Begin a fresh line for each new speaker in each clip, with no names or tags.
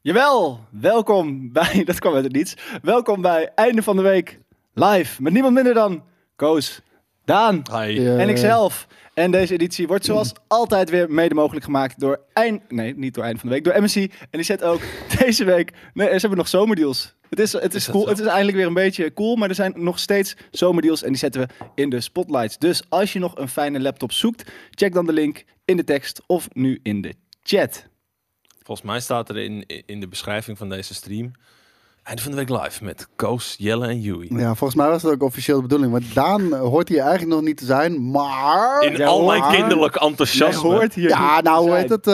Jawel, welkom bij, dat kwam uit het niets, welkom bij Einde van de Week live met niemand minder dan Koos, Daan
Ja.
en ikzelf. En deze editie wordt zoals altijd weer mede mogelijk gemaakt door Eind, nee niet door Einde van de Week, door MSC. En die zet ook deze week, nee ze hebben nog zomerdeals. Het is, het is
dat
cool,
zo?
het is eindelijk weer een beetje cool, maar er zijn nog steeds zomerdeals en die zetten we in de spotlights. Dus als je nog een fijne laptop zoekt, check dan de link in de tekst of nu in de chat.
Volgens mij staat er in, in de beschrijving van deze stream... Einde van de week live met Koos, Jelle en Joey.
Ja, volgens mij was dat ook officieel de bedoeling. Want Daan eh, hoort hier eigenlijk nog niet te zijn, maar...
In
Ja,
al mijn
hoor.
kinderlijk
Jij
enthousiasme.
hoort hier
Ja,
niet
nou
te
hoe
zijn.
heet het? eh,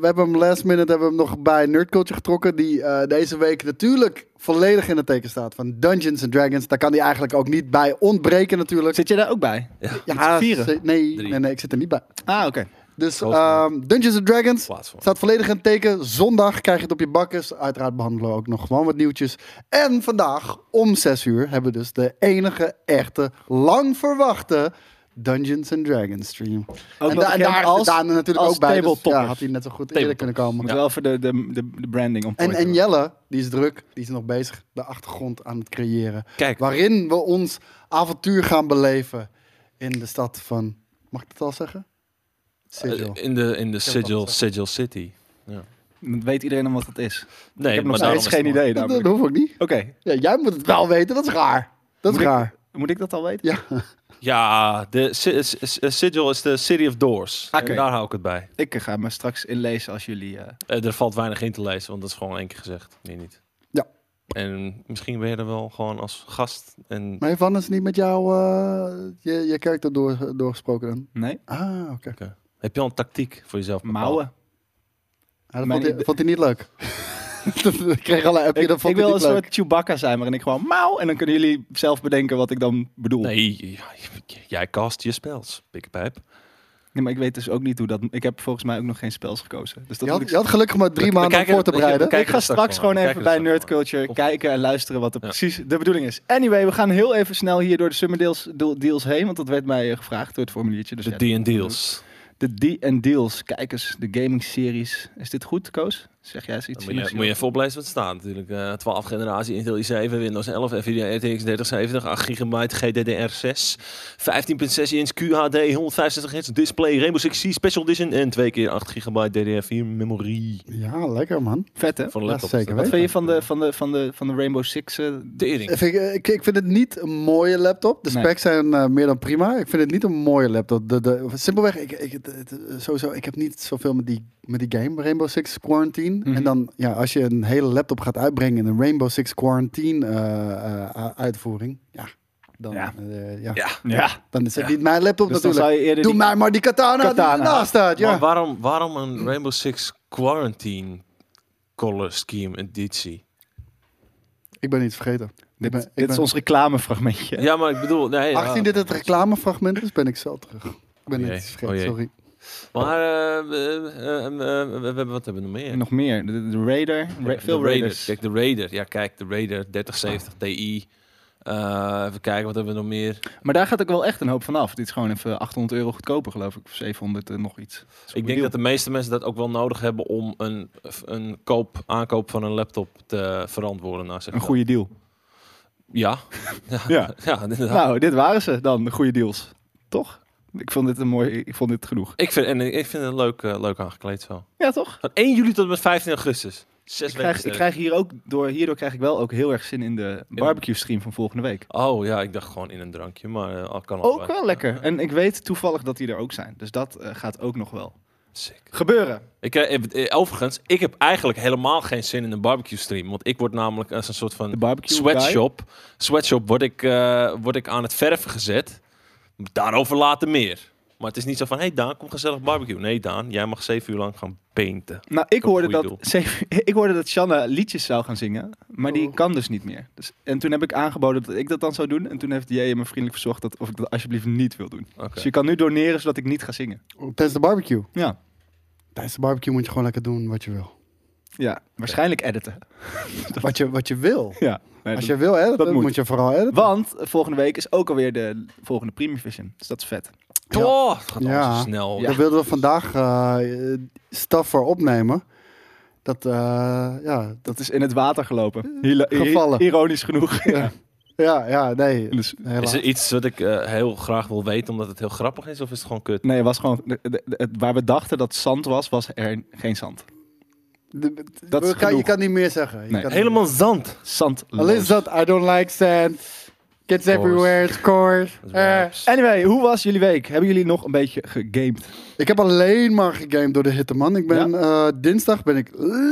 we hebben hem last minute hebben we hem nog bij Nerdculture getrokken. Die eh, deze week natuurlijk volledig in het teken staat van Dungeons and Dragons. Daar kan hij eigenlijk ook niet bij ontbreken natuurlijk.
Zit je daar ook bij?
ja,
met z'n vieren?
ze- nee,
Drie.
nee, nee, ik zit er niet bij.
Ah, oké.
Dus
Roos, man.
ehm, Dungeons and Dragons
Plaats voor.
staat volledig in het teken. Zondag krijg je het op je bakkes. Uiteraard behandelen we ook nog gewoon wat nieuwtjes. En vandaag om 6 uur hebben we dus de enige echte lang verwachte Dungeons and Dragons stream.
Ook
en,
wel
da- en
bekend
daar
als-
is Daan er natuurlijk
als
ook bij. Dus,
tabletoppers.
ja, had hij net zo goed eerder kunnen komen.
Moet wel voor de, de, de, de branding om
En,
point
en
te
Jelle, die is druk, die is nog bezig de achtergrond aan het creëren.
Kijk.
Waarin we ons avontuur gaan beleven in de stad van, mag ik dat al zeggen? Sigil.
Eh, In de, in de sigil,
gezegd.
sigil City.
doen. Dan weet iedereen dan wat dat is.
Nee,
ik heb
maar
nog
daarom
steeds
is het
geen idee.
dat, dat
namelijk.
hoef ik niet.
Oké,
Ja, jij moet het wel weten, dat is raar. Dat is
Moet ik-
raar.
moet ik dat al weten?
Ja.
Ja, de si- si- si- sigil is de City of Doors.
Oké.
En daar hou ik het bij.
Ik eh, ga me straks inlezen als jullie... eh,
Eh, er valt weinig in te lezen, want dat is gewoon één keer gezegd. Nee, niet.
Ja.
En misschien ben je er wel gewoon als gast. En
Maar heeft Hannes niet met jou eh, je, je karakter door, doorgesproken dan?
nee,
Ah, oké.
heb je al een tactiek voor jezelf bepaald?
mouwen.
Ah, dat
Mijn
vond, hij,
idee-
vond hij niet leuk. ik kreeg al een appje,
Ik,
dat vond
ik wil
hij
een
niet leuk.
soort Chewbacca zijn waarin ik gewoon mouw... en dan kunnen jullie zelf bedenken wat ik dan bedoel. Nee.
Nee, j- j- jij cast je spels, pikpijp.
maar ik weet dus ook niet hoe dat... Ik heb volgens mij ook nog geen spels gekozen. Dus dat
Je
moet
had,
ik...
je had gelukkig maar drie
We- we
maanden om
kijken-
voor te
weet je, we
bereiden.
kijken
ik ga
er
straks
van.
gewoon
We
even bij
kijken er
Nerd
straks van.
Culture
Of-
kijken en luisteren wat er
Ja.
precies de bedoeling is. Anyway, we gaan heel even snel hier door de Summer Deals, do- deals heen, want dat werd mij eh, gevraagd door het formuliertje. Dus ja,
De D&D's. Deals.
De D&D Deals, kijk eens, de gaming series. Is dit goed, Koos? Zeg jij eens iets?
Dan moet je,
in
moet je even oplezen wat er staat natuurlijk. Eh 12 generatie Intel i7, Windows 11, NVIDIA RTX 3070, 8 gigabyte GDDR6, 15.6 inch QHD, 165 hertz display, Rainbow Six Siege Special Edition en 2 keer 8 gigabyte DDR4 memorie.
Ja, lekker man.
Vet, hè?
Voor
Ja,
de laptop.
zeker
Wat
weten.
vind je van de, van de, van de, van de Rainbow Six? eh,
Tering.
Ik, ik, ik vind het niet een mooie laptop. De
Nee.
specs zijn eh, meer dan prima. Ik vind het niet een mooie laptop. De, de, simpelweg, ik, ik, het- het- sowieso, ik heb niet zoveel met die, met die game, Rainbow Six Quarantine.
Mhm.
En dan, ja, als je een hele laptop gaat uitbrengen in een Rainbow Six Quarantine eh, eh, u- uitvoering, ja, dan,
Ja.
eh, ja.
Ja.
ja,
dan is het
Ja.
niet mijn laptop
dus dan zou
natuurlijk.
je eerder...
Doe
die-
mij maar die katana,
Katana.
die ernaast staat. Ja.
Maar waarom, waarom een Rainbow Six Quarantine Color Scheme editie?
Ik ben iets vergeten.
Dit,
Ik ben-
dit
ik
is
ben-
ons reclamefragmentje.
Ja, maar ik bedoel... Nee, ja.
18 dit het reclamefragment is, ben ik zo terug. Ik ben
Oh jee,
iets
oh
vergeten,
jee.
sorry.
Maar eh, eh, eh, eh, we hebben, wat hebben we nog meer?
Nog meer, de, de Raider, Ra-
Ja,
veel
de Raider.
Raiders.
Kijk, de Raider. Ja, kijk, de Raider 3070 Ti. Eh, even kijken, wat hebben we nog meer?
Maar daar gaat ook wel echt een hoop van af. Dit is gewoon even 800 euro goedkoper, geloof ik. Of 700 en nog iets.
Ik denk dat de meeste mensen dat ook wel nodig hebben om een, een koop, aankoop van een laptop te verantwoorden. Nou, zeg
Een
ik
goede deal.
dan. Ja.
Ja.
ja, inderdaad.
Nou, dit waren ze dan, de goede deals. Toch? Ik vond dit een mooi... Ik vond dit genoeg.
Ik vind, en ik vind het leuk, eh, leuk aangekleed zo.
Ja, toch?
Van 1 juli tot en met 15 augustus. Zes
Ik
weken
krijg, ik
sterk.
krijg hier ook door, hierdoor krijg ik wel ook heel erg zin in de barbecue stream van volgende week.
Oh ja, ik dacht gewoon in een drankje, maar eh, al kan
Ook
allebei.
wel lekker. En ik weet toevallig dat die er ook zijn. Dus dat eh, gaat ook nog wel
Sick.
gebeuren.
Ik, eh, heb- eh, overigens, ik heb eigenlijk helemaal geen zin in een barbecue stream. Want ik word namelijk als een soort van
De barbecue
sweatshop, sweatshop word, ik, eh, word ik aan het verven gezet. Daarover later meer. Maar het is niet zo van, hey Daan, kom gezellig barbecue. Nee Daan, jij mag zeven uur lang gaan painten.
guy. Nou, ik
Ook
hoorde,
goeie
dat, zeven- ik hoorde dat Shanna liedjes zou gaan zingen, maar die
Oh.
kan dus niet meer. Dus, en toen heb ik aangeboden dat ik dat dan zou doen. En toen heeft jij me vriendelijk verzocht dat, of ik dat alsjeblieft niet wil doen.
Oké.
Dus je kan nu doneren zodat ik niet ga zingen.
Tijdens de barbecue.
Ja,
Tijdens de barbecue moet je gewoon lekker doen wat je wil.
ja waarschijnlijk editen.
Wat je, wat je wil.
Ja, nee,
Als
dat-
je wil editen,
dat moet.
moet. je vooral editen.
want volgende week is ook alweer de volgende Premium Vision. Dus dat is vet.
Ja.
Oh, het gaat allemaal
Ja.
zo snel.
Daar wilden we vandaag eh staf voor opnemen. Dat, eh, ja, dat,
Dat is in het water gelopen. Hila- i-
Gevallen.
Ironisch genoeg. Eh, Ja.
ja, ja, nee.
Dus-
Is
Helaas.
er iets wat ik eh, heel graag wil weten omdat het heel grappig is of is het gewoon kut?
Nee, het was gewoon, de- de- de- het- waar we dachten dat zand was, was er geen zand.
De-
Dat is
we kan, je
genoeg.
kan niet meer zeggen. Je
Nee.
kan
Helemaal zand.
Zand.
Alleen dat, I don't like sand. Kids everywhere, it's coarse.
Dat is
Eh,
raps.
Anyway, hoe was jullie week? Hebben jullie nog een beetje gegamed?
ik heb alleen maar gegamed door de hitte, man. Ik ben, eh, dinsdag ben ik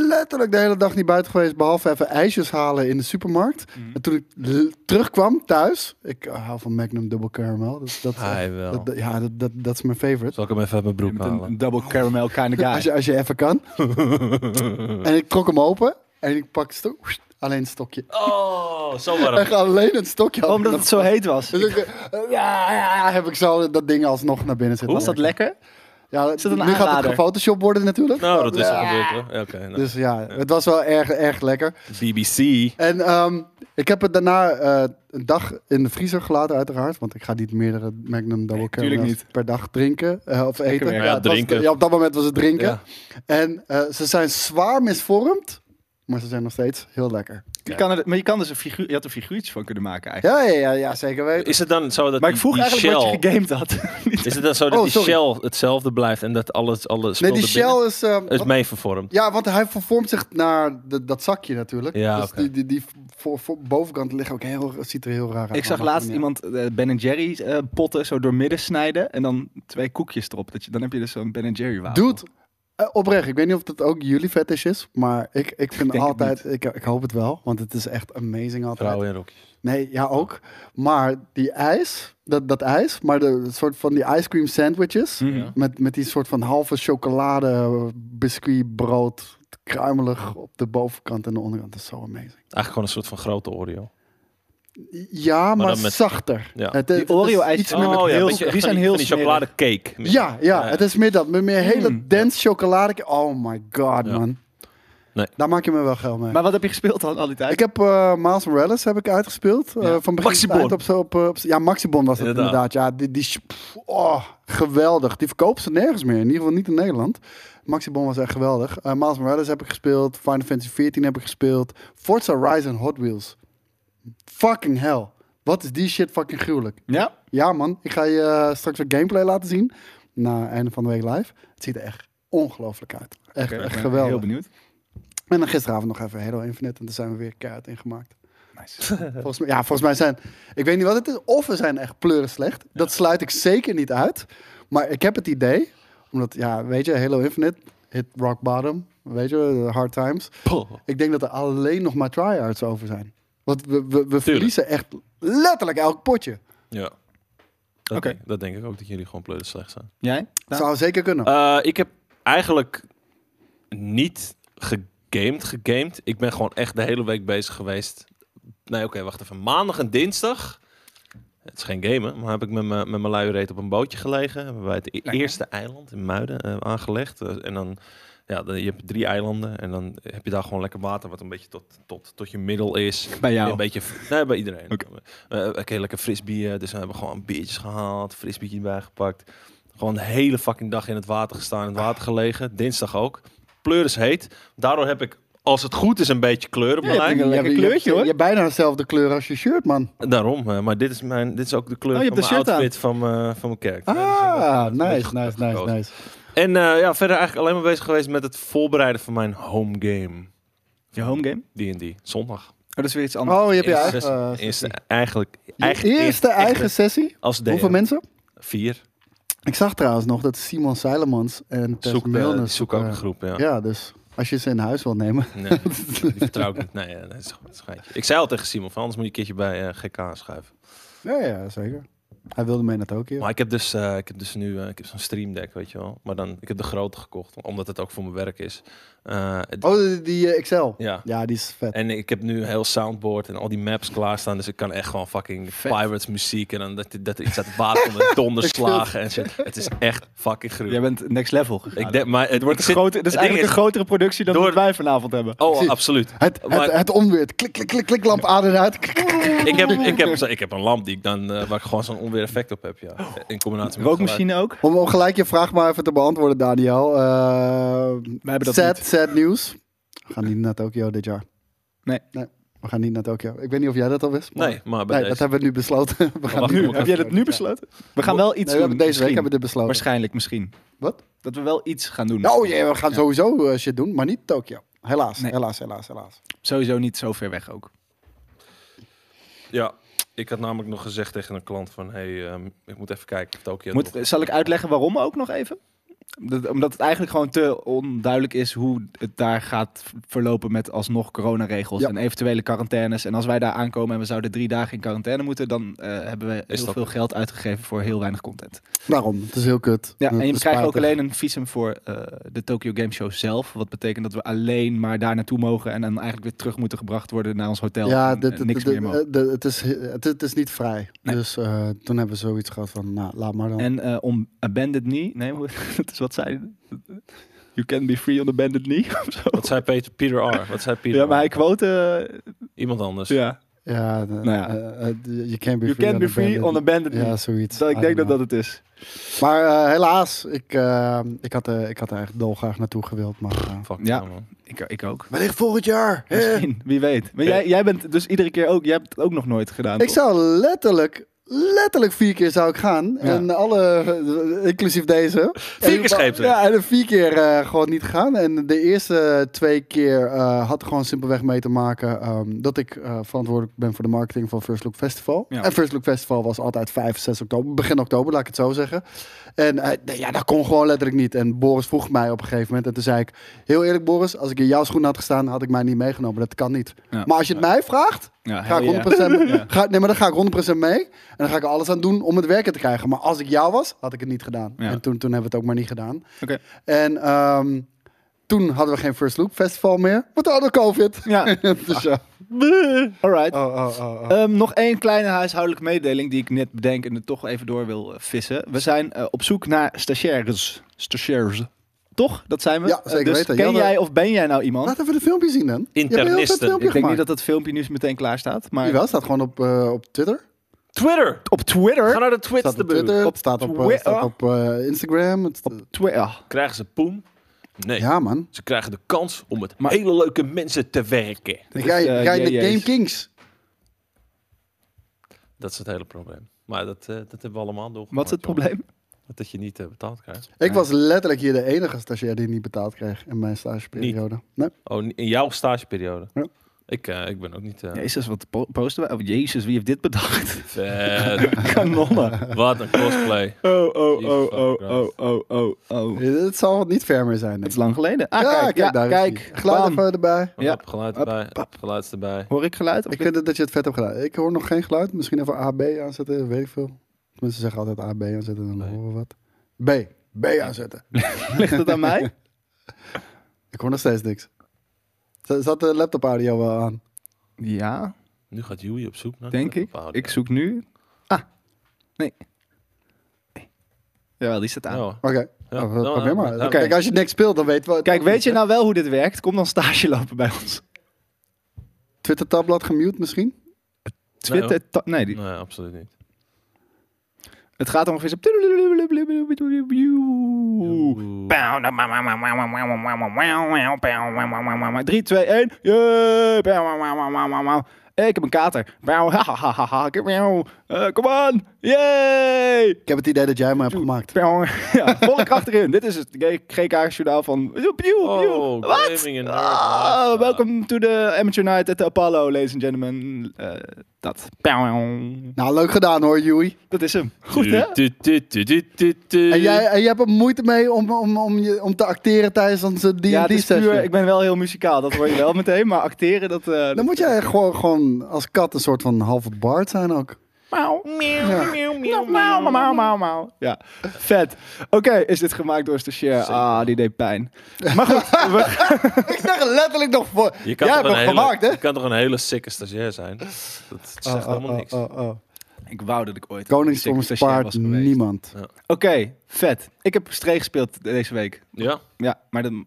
letterlijk de hele dag niet buiten geweest, behalve even ijsjes halen in de supermarkt. En toen ik l- terugkwam thuis, ik eh, hou van Magnum Double Caramel. Dus dat, is echt-
Hij wel.
dat- dat- ja, dat, dat, dat is mijn favorite.
Zal ik hem even uit mijn
Je
broek
bent een,
halen?
een double caramel kind of guy.
Als je, als je even kan. en ik trok hem open en ik pak sto- alleen het stokje.
Oh, zo warm.
Echt alleen het stokje.
Oh,
had ik
omdat
nog.
het zo heet was.
Dus ik, eh, ja, ja, heb ik zo dat ding alsnog naar binnen zitten.
Was dat lekker?
Ja,
dat een
nu gaat het
aanrader?
gefotoshopt worden natuurlijk.
Nou, dat is
Ja.
er gebeurd hoor. Ja, Oké. nou.
Dus ja, het was wel erg, erg lekker.
BBC.
En ehm, ik heb het daarna eh, een dag in de vriezer gelaten uiteraard. Want ik ga niet meerdere Magnum Double
tuurlijk
Caramels per dag drinken eh, of eten.
werk.
Ja,
het was-
drinken.
ja, op dat moment was het drinken.
Ja.
En eh, ze zijn zwaar misvormd. Maar ze zijn nog steeds heel lekker.
Je kan er, maar je, kan dus een figuur, je had er figuurtjes van kunnen maken eigenlijk.
Ja, ja, ja, ja zeker weten.
Is het dan zo dat
Maar ik
die-
vroeg
die
eigenlijk
shell...
wat je gegamed had. Niet-
Is het dan zo dat
Oh,
die
sorry.
shell hetzelfde blijft en dat alles, alles
Nee, die shell is... ehm,
is
wat-
mee vervormd?
Ja, want hij vervormt zich naar de- dat zakje natuurlijk.
Ja,
dus
oké.
die, die, die voor, voor bovenkant liggen ook heel, ziet er heel raar uit.
Ik zag
Maar
laatst
ja.
iemand eh, Ben Jerry eh, potten zo door midden snijden en dan twee koekjes erop. Dat je, dan heb je dus zo'n Ben Jerry wafel.
Dude, eh, oprecht, ik weet niet of dat ook jullie fetish is, maar ik, ik vind
denk het
altijd, ik, ik hoop het wel, want het is echt amazing altijd.
Vrouwen in rokjes.
Nee, ja ook. Maar die ijs, dat, dat ijs, maar de het soort van die ice cream sandwiches,
Mhm.
met, met die soort van halve chocolade, biscuit, brood, kruimelig op de bovenkant en de onderkant. Dat is zo amazing.
Eigenlijk gewoon een soort van grote Oreo.
Ja, maar,
dan met-
zachter.
Ja.
Het, het-
Die
het is
Oreo-ijsjes
iets
met-
meer met-
heel-
Oh, beetje echt
die
van
zijn heel
van die chocoladecake.
Oh, Ja, ja, het is meer dat. Met meer hele
Mm.
dense chocolade. Oh my god,
Ja.
man.
Nee.
Daar maak je me wel geil mee.
Maar wat heb je gespeeld dan al die tijd?
ik heb eh Miles Morales heb ik uitgespeeld. eh,
Ja.
van begin tot
Maxibon.
eind Op, zo- op, eh, op, ja, Maxibon was het
Inderdaad.
inderdaad. Ja, die, die, sh- pff, oh, geweldig. Die verkoopt ze nergens meer. In ieder geval niet in Nederland. Maxibon was echt geweldig. Eh Miles Morales heb ik gespeeld. Final Fantasy 14 heb ik gespeeld. Forza Horizon Hot Wheels. Fucking hell. Wat is die shit fucking gruwelijk.
Ja?
Ja, man. Ik ga je eh, straks weer gameplay laten zien. Na einde van de week live. Het ziet er echt ongelooflijk uit. Echt,
Oké, ik
echt
ben
geweldig.
Heel benieuwd.
En dan gisteravond nog even Halo Infinite. En daar zijn we weer keihard in gemaakt.
Nice.
Volgens mij, ja, volgens mij zijn... Ik weet niet wat het is. Of we zijn echt pleuren slecht. Dat sluit ik zeker niet uit. Maar ik heb het idee... Omdat, ja, weet je, Halo Infinite... Hit rock bottom. Weet je, hard times. Ik denk dat er alleen nog maar tryouts over zijn. Want we, we, we verliezen echt letterlijk elk potje.
Ja. Dat,
Oké.
denk, dat denk ik ook, dat jullie gewoon pleuren slecht zijn.
Jij?
Dat
Nou,
zou zeker kunnen.
Eh, ik heb eigenlijk niet gegamed, gegamed. Ik ben gewoon echt de hele week bezig geweest. Nee, oké, wacht even. Maandag en dinsdag. Het is geen gamen, maar heb ik met mijn met mijn luie reet op een bootje gelegen. Hebben wij het e-
Lekker.
eerste eiland in Muiden eh, aangelegd. Eh, en dan, ja, dan, je hebt drie eilanden. En dan heb je daar gewoon lekker water, wat een beetje tot, tot, tot je middel is.
Bij jou?
Een beetje, nee, bij iedereen.
Oké.
Eh, Oké, lekker frisbee. Dus we hebben gewoon biertjes gehaald, frisbeetje erbij gepakt. Gewoon de hele fucking dag in het water gestaan, in het water gelegen. Dinsdag ook. Pleuris heet. Daardoor heb ik, als het goed is, een beetje kleur op mijn
Ja,
lijn.
ik een lekker
je,
kleurtje,
je,
hoor.
Je hebt bijna dezelfde kleur als je shirt, man.
Daarom, eh, maar dit is, mijn, dit is ook de kleur
Oh, je
van
hebt
mijn
de shirt aan.
outfit van, mijn- van mijn kerk. Nee, dus, eh, dat- dat
Ah,
is een beetje
nice,
goed
nice, nice,
gekozen.
nice.
En eh, ja, verder eigenlijk alleen maar bezig geweest met het voorbereiden van mijn home game.
je home game? Ah,
D&D, zondag.
Oh, dat is weer iets anders.
Oh, je hebt je
Eerste
eigen...
sessie.
eh,
Eerste,
sessie.
eigenlijk,
Je
eigen-
eerste
echte-
eigen sessie?
Als DM.
Hoeveel mensen?
Vier.
Ik zag trouwens nog dat Simon Seilemans en Tess
Zoek, eh,
Milner
die zoeken ook een
zoeken-
groep, ja.
Ja, dus als je ze in huis wilt nemen.
Nee, die vertrouw ik niet. Nee, ja, dat is gewoon een schijntje. Ik zei al tegen Simon, van, anders moet je een keertje bij eh, GK aanschuiven.
Ja, ja, zeker. Hij wilde mee naar Tokio.
Maar ik heb dus, eh, ik heb dus nu eh, ik heb zo'n stream deck, weet je wel. Maar dan, ik heb de grote gekocht, omdat het ook voor mijn werk is. Eh, het-
Oh, die, die, eh, Excel.
Ja. Eh,
Ja, die is vet.
En ik heb nu een heel soundboard en al die maps klaarstaan. Dus ik kan echt gewoon fucking Pirates muziek. En dan dat, dat ik zat water onder donderslagen en shit. Het is echt fucking
Jij
Oh.
gruwelijk.
bent next level gegaan.
Ik denk, maar het wordt
Het is grote- dat is eigenlijk een grotere productie dan
door-
wat wij vanavond hebben.
Oh,
Precies.
absoluut.
Het, het,
Maar-
het onweer. het Klik, klik, klik, klik, lamp aan en uit. Klik, klik, klik.
Ik heb, ik, heb, zo- ik heb een lamp die ik dan, eh, waar ik gewoon zo'n onweer effect op heb, ja. In combinatie met het geluid.
Rookmachine ook?
Om, om gelijk je vraag maar even te beantwoorden, Daniel. Eh
hebben dat
sad,
niet.
sad nieuws. We gaan niet naar Tokio dit jaar.
Nee.
We gaan niet naar Tokio. Ik weet niet of jij dat al wist. maar-
Nee, maar bij
Nee,
deze.
dat hebben we nu besloten. We gaan
Oh, wacht,
niet
Oh, Nu,
naar
heb jij dat nu
Ja.
besloten? We gaan wel iets
Nee, we
doen.
hebben deze week
misschien.
hebben we dit besloten.
Waarschijnlijk misschien.
Wat?
Dat we wel iets gaan doen.
Oh jee, we gaan sowieso eh, shit doen, maar niet Tokio. Helaas,
Nee.
helaas, helaas, helaas.
Sowieso niet zo ver weg ook.
Ja, ik had namelijk nog gezegd tegen een klant van... hey, ehm, ik moet even kijken of Tokio...
Moet,
nog-
zal ik uitleggen waarom ook nog even? Dat, omdat het eigenlijk gewoon te onduidelijk is hoe het daar gaat v- verlopen met alsnog coronaregels
Ja.
en eventuele quarantaines. En als wij daar aankomen en we zouden drie dagen in quarantaine moeten, dan eh, hebben we
Is
heel
dat-
veel geld uitgegeven voor heel weinig content.
Daarom, het is heel kut.
Ja,
Het
en je
is
krijgt ook
spijtig.
alleen een visum voor eh, de Tokyo Game Show zelf. Wat betekent dat we alleen maar daar naartoe mogen en dan eigenlijk weer terug moeten gebracht worden naar ons hotel.
Ja,
en,
dit,
eh,
dit-
niks
dit-
meer mogen.
eh, dit- het, is, het, het is niet vrij.
Nee.
Dus eh, toen hebben we zoiets gehad van, nou, laat maar dan.
En eh om a bended knee. Nee, hoe- dat is wat zij. You can be free on a bended knee. of zo.
Wat zei Peter, Peter R? Wat zei Peter
Ja, maar
R?
hij quote. eh,
Iemand anders.
ja.
ja, de-
nou ja.
eh, eh, you can be
You
free
can
on
be
a
free
bandit.
on a bended knee.
Ja, zoiets.
Dat,
I
ik denk dat
don't
dat het is.
know. Maar eh, helaas, ik, eh, ik, had, eh, ik had er eigenlijk dolgraag naartoe gewild. Maar, eh,
Fuck
Ja.
ja. man.
Ik, ik ook.
wellicht volgend jaar. hè?
Misschien, wie weet. Maar jij, jij bent dus iedere keer ook. Jij hebt het ook nog nooit gedaan.
Ik
toch?
zou letterlijk, letterlijk vier keer zou ik gaan. En alle, eh, inclusief deze.
Vier
En-
keer scheepsrecht.
Ja, en vier keer eh, gewoon niet gegaan. En de eerste twee keer eh, had gewoon simpelweg mee te maken ehm, dat ik eh, verantwoordelijk ben voor de marketing van First Look Festival.
Ja.
En First Look Festival was altijd 5, 6 oktober, begin oktober, laat ik het zo zeggen. En eh, nee, ja, dat kon gewoon letterlijk niet. En Boris vroeg mij op een gegeven moment. En toen zei ik, heel eerlijk Boris, als ik in jouw schoenen had gestaan, had ik mij niet meegenomen. Dat kan niet.
Ja.
Maar als je het mij vraagt,
Ja,
Ga
hell yeah.
ik 100%,
Ja.
ga, nee, maar dan ga ik 100% mee. En dan ga ik er alles aan doen om het werken te krijgen. Maar als ik jou was, had ik het niet gedaan.
Ja.
En toen, toen hebben we het ook maar niet gedaan.
Oké.
En ehm, toen hadden we geen First Loop Festival meer. Want we hadden COVID.
Ja,
dus ja.
alright.
Oh, oh, oh, oh.
Ehm, nog één kleine huishoudelijke mededeling die ik net bedenk en er toch even door wil eh, vissen. We zijn eh, op zoek naar stagiaires. Stagiaires. Toch? Dat zijn we.
Ja, zeker
Eh, dus
weten.
Ken
Jelle-
jij of ben jij nou iemand?
Laat even de filmpje zien dan. Je hebt heel veel
Internisten.
filmpje
Ik denk niet
gemaakt.
dat dat filmpje nu meteen klaar staat. Maar
Jawel, staat gewoon op, eh, op Twitter.
Twitter!
op
Ga
Twitter.
naar de Twitter.
Staat op Twitter.
Op
het staat op, eh,
Twitter.
staat op eh, Instagram. Het-
Twitter.
Krijgen ze poem? Nee.
ja, man.
Ze krijgen de kans om met
Maar-
hele leuke mensen te werken.
Dit
Ga
is, eh,
je, ga je
JJ's.
naar Game Kings?
Dat is het hele probleem. Maar dat, eh, dat hebben we allemaal door.
Wat is het probleem?
Dat je niet eh, betaald krijgt.
Ik was letterlijk hier de enige stagiair die niet betaald kreeg in mijn stageperiode. Nee.
Oh, ni- in jouw stageperiode.
Ja.
Ik, eh, ik ben ook niet... eh,
Jezus, wat po- posten we? Oh, jezus, wie heeft dit bedacht?
vet.
Kanonnen.
Eh, Wat een cosplay.
Oh, oh,
Jesus
oh, oh, oh,
Christ.
oh, oh, oh.
Ja, Het zal wat niet ver meer
Dat
zijn. denk
is
ik.
lang geleden. Ah,
ja,
kijk, ja,
daar
kijk.
is die. Geluid
Bam.
even erbij.
Ja.
Hop, geluid
Hop,
erbij.
pap.
Geluid erbij.
Hoor ik geluid? Of
Ik vind het dat je het vet hebt gedaan. Ik hoor nog geen geluid. Misschien even AB aanzetten, weet ik veel. Mensen zeggen altijd AB aanzetten, dan
Nee.
horen we wat. B. B aanzetten.
ligt het aan mij?
Ik hoor nog steeds niks. Z- Zat de laptop audio wel aan?
Ja,
Nu gaat Joey op zoek naar...
denk ik.
Bepaalde-
Ik zoek nu. Ah, nee. Nee. Jawel, die staat aan.
Ja.
Oké,
Ja. Nou,
Oh, probeer
nou,
maar.
nou,
Kijk, als je niks speelt, dan weten we het
Kijk,
ook
weet
niet,
je
hè?
nou wel hoe dit werkt? Kom dan stage lopen bij ons.
Twitter-tabblad gemute misschien?
Twitter, ta- nee, die-
Nee, absoluut niet.
het gaat ongeveer zo...
Oeh.
3, 2, 1. Yeah. Ik heb een kater. Eh, Kom aan. Yay.
Ik heb het idee dat jij me hebt gemaakt.
Ja, volle kracht erin. Dit is het GK-journaal van...
Oh,
Wat?
gaming en nerd
Ah,
lifestyle.
welcome to the Amateur Night at the Apollo, ladies and gentlemen. Eh, dat.
Nou, leuk gedaan hoor, Joey.
Dat is hem. Goed, hè?
Du- du- du- du- du- du.
En jij, en jij hebt er moeite mee om, om, om, je, om te acteren tijdens onze D&D
Ja, het is
session.
puur, ik ben wel heel muzikaal, dat hoor je wel meteen. Maar acteren, dat... eh,
Dan
dat-
moet jij gewoon, gewoon als kat een soort van halve baard zijn ook.
Mauw.
Ja.
Mauw, mauw, mauw, mauw, mauw. Ja, vet. Oké, is dit gemaakt door Stagiair? Ah, die deed pijn. Maar goed, we-
ik zeg er letterlijk nog voor.
Je kan, toch
jij hebt
een
hem
hele,
gemaakt, hè?
je kan toch een hele sikke stagiair zijn? Dat zegt
Oh, oh,
helemaal niks.
oh, oh, oh.
ik wou dat ik ooit
Koningsdom
een stagiair
spaart
was geweest.
niemand.
Oké, vet. Ik heb Streek gespeeld deze week.
Ja,
Ja, maar dan,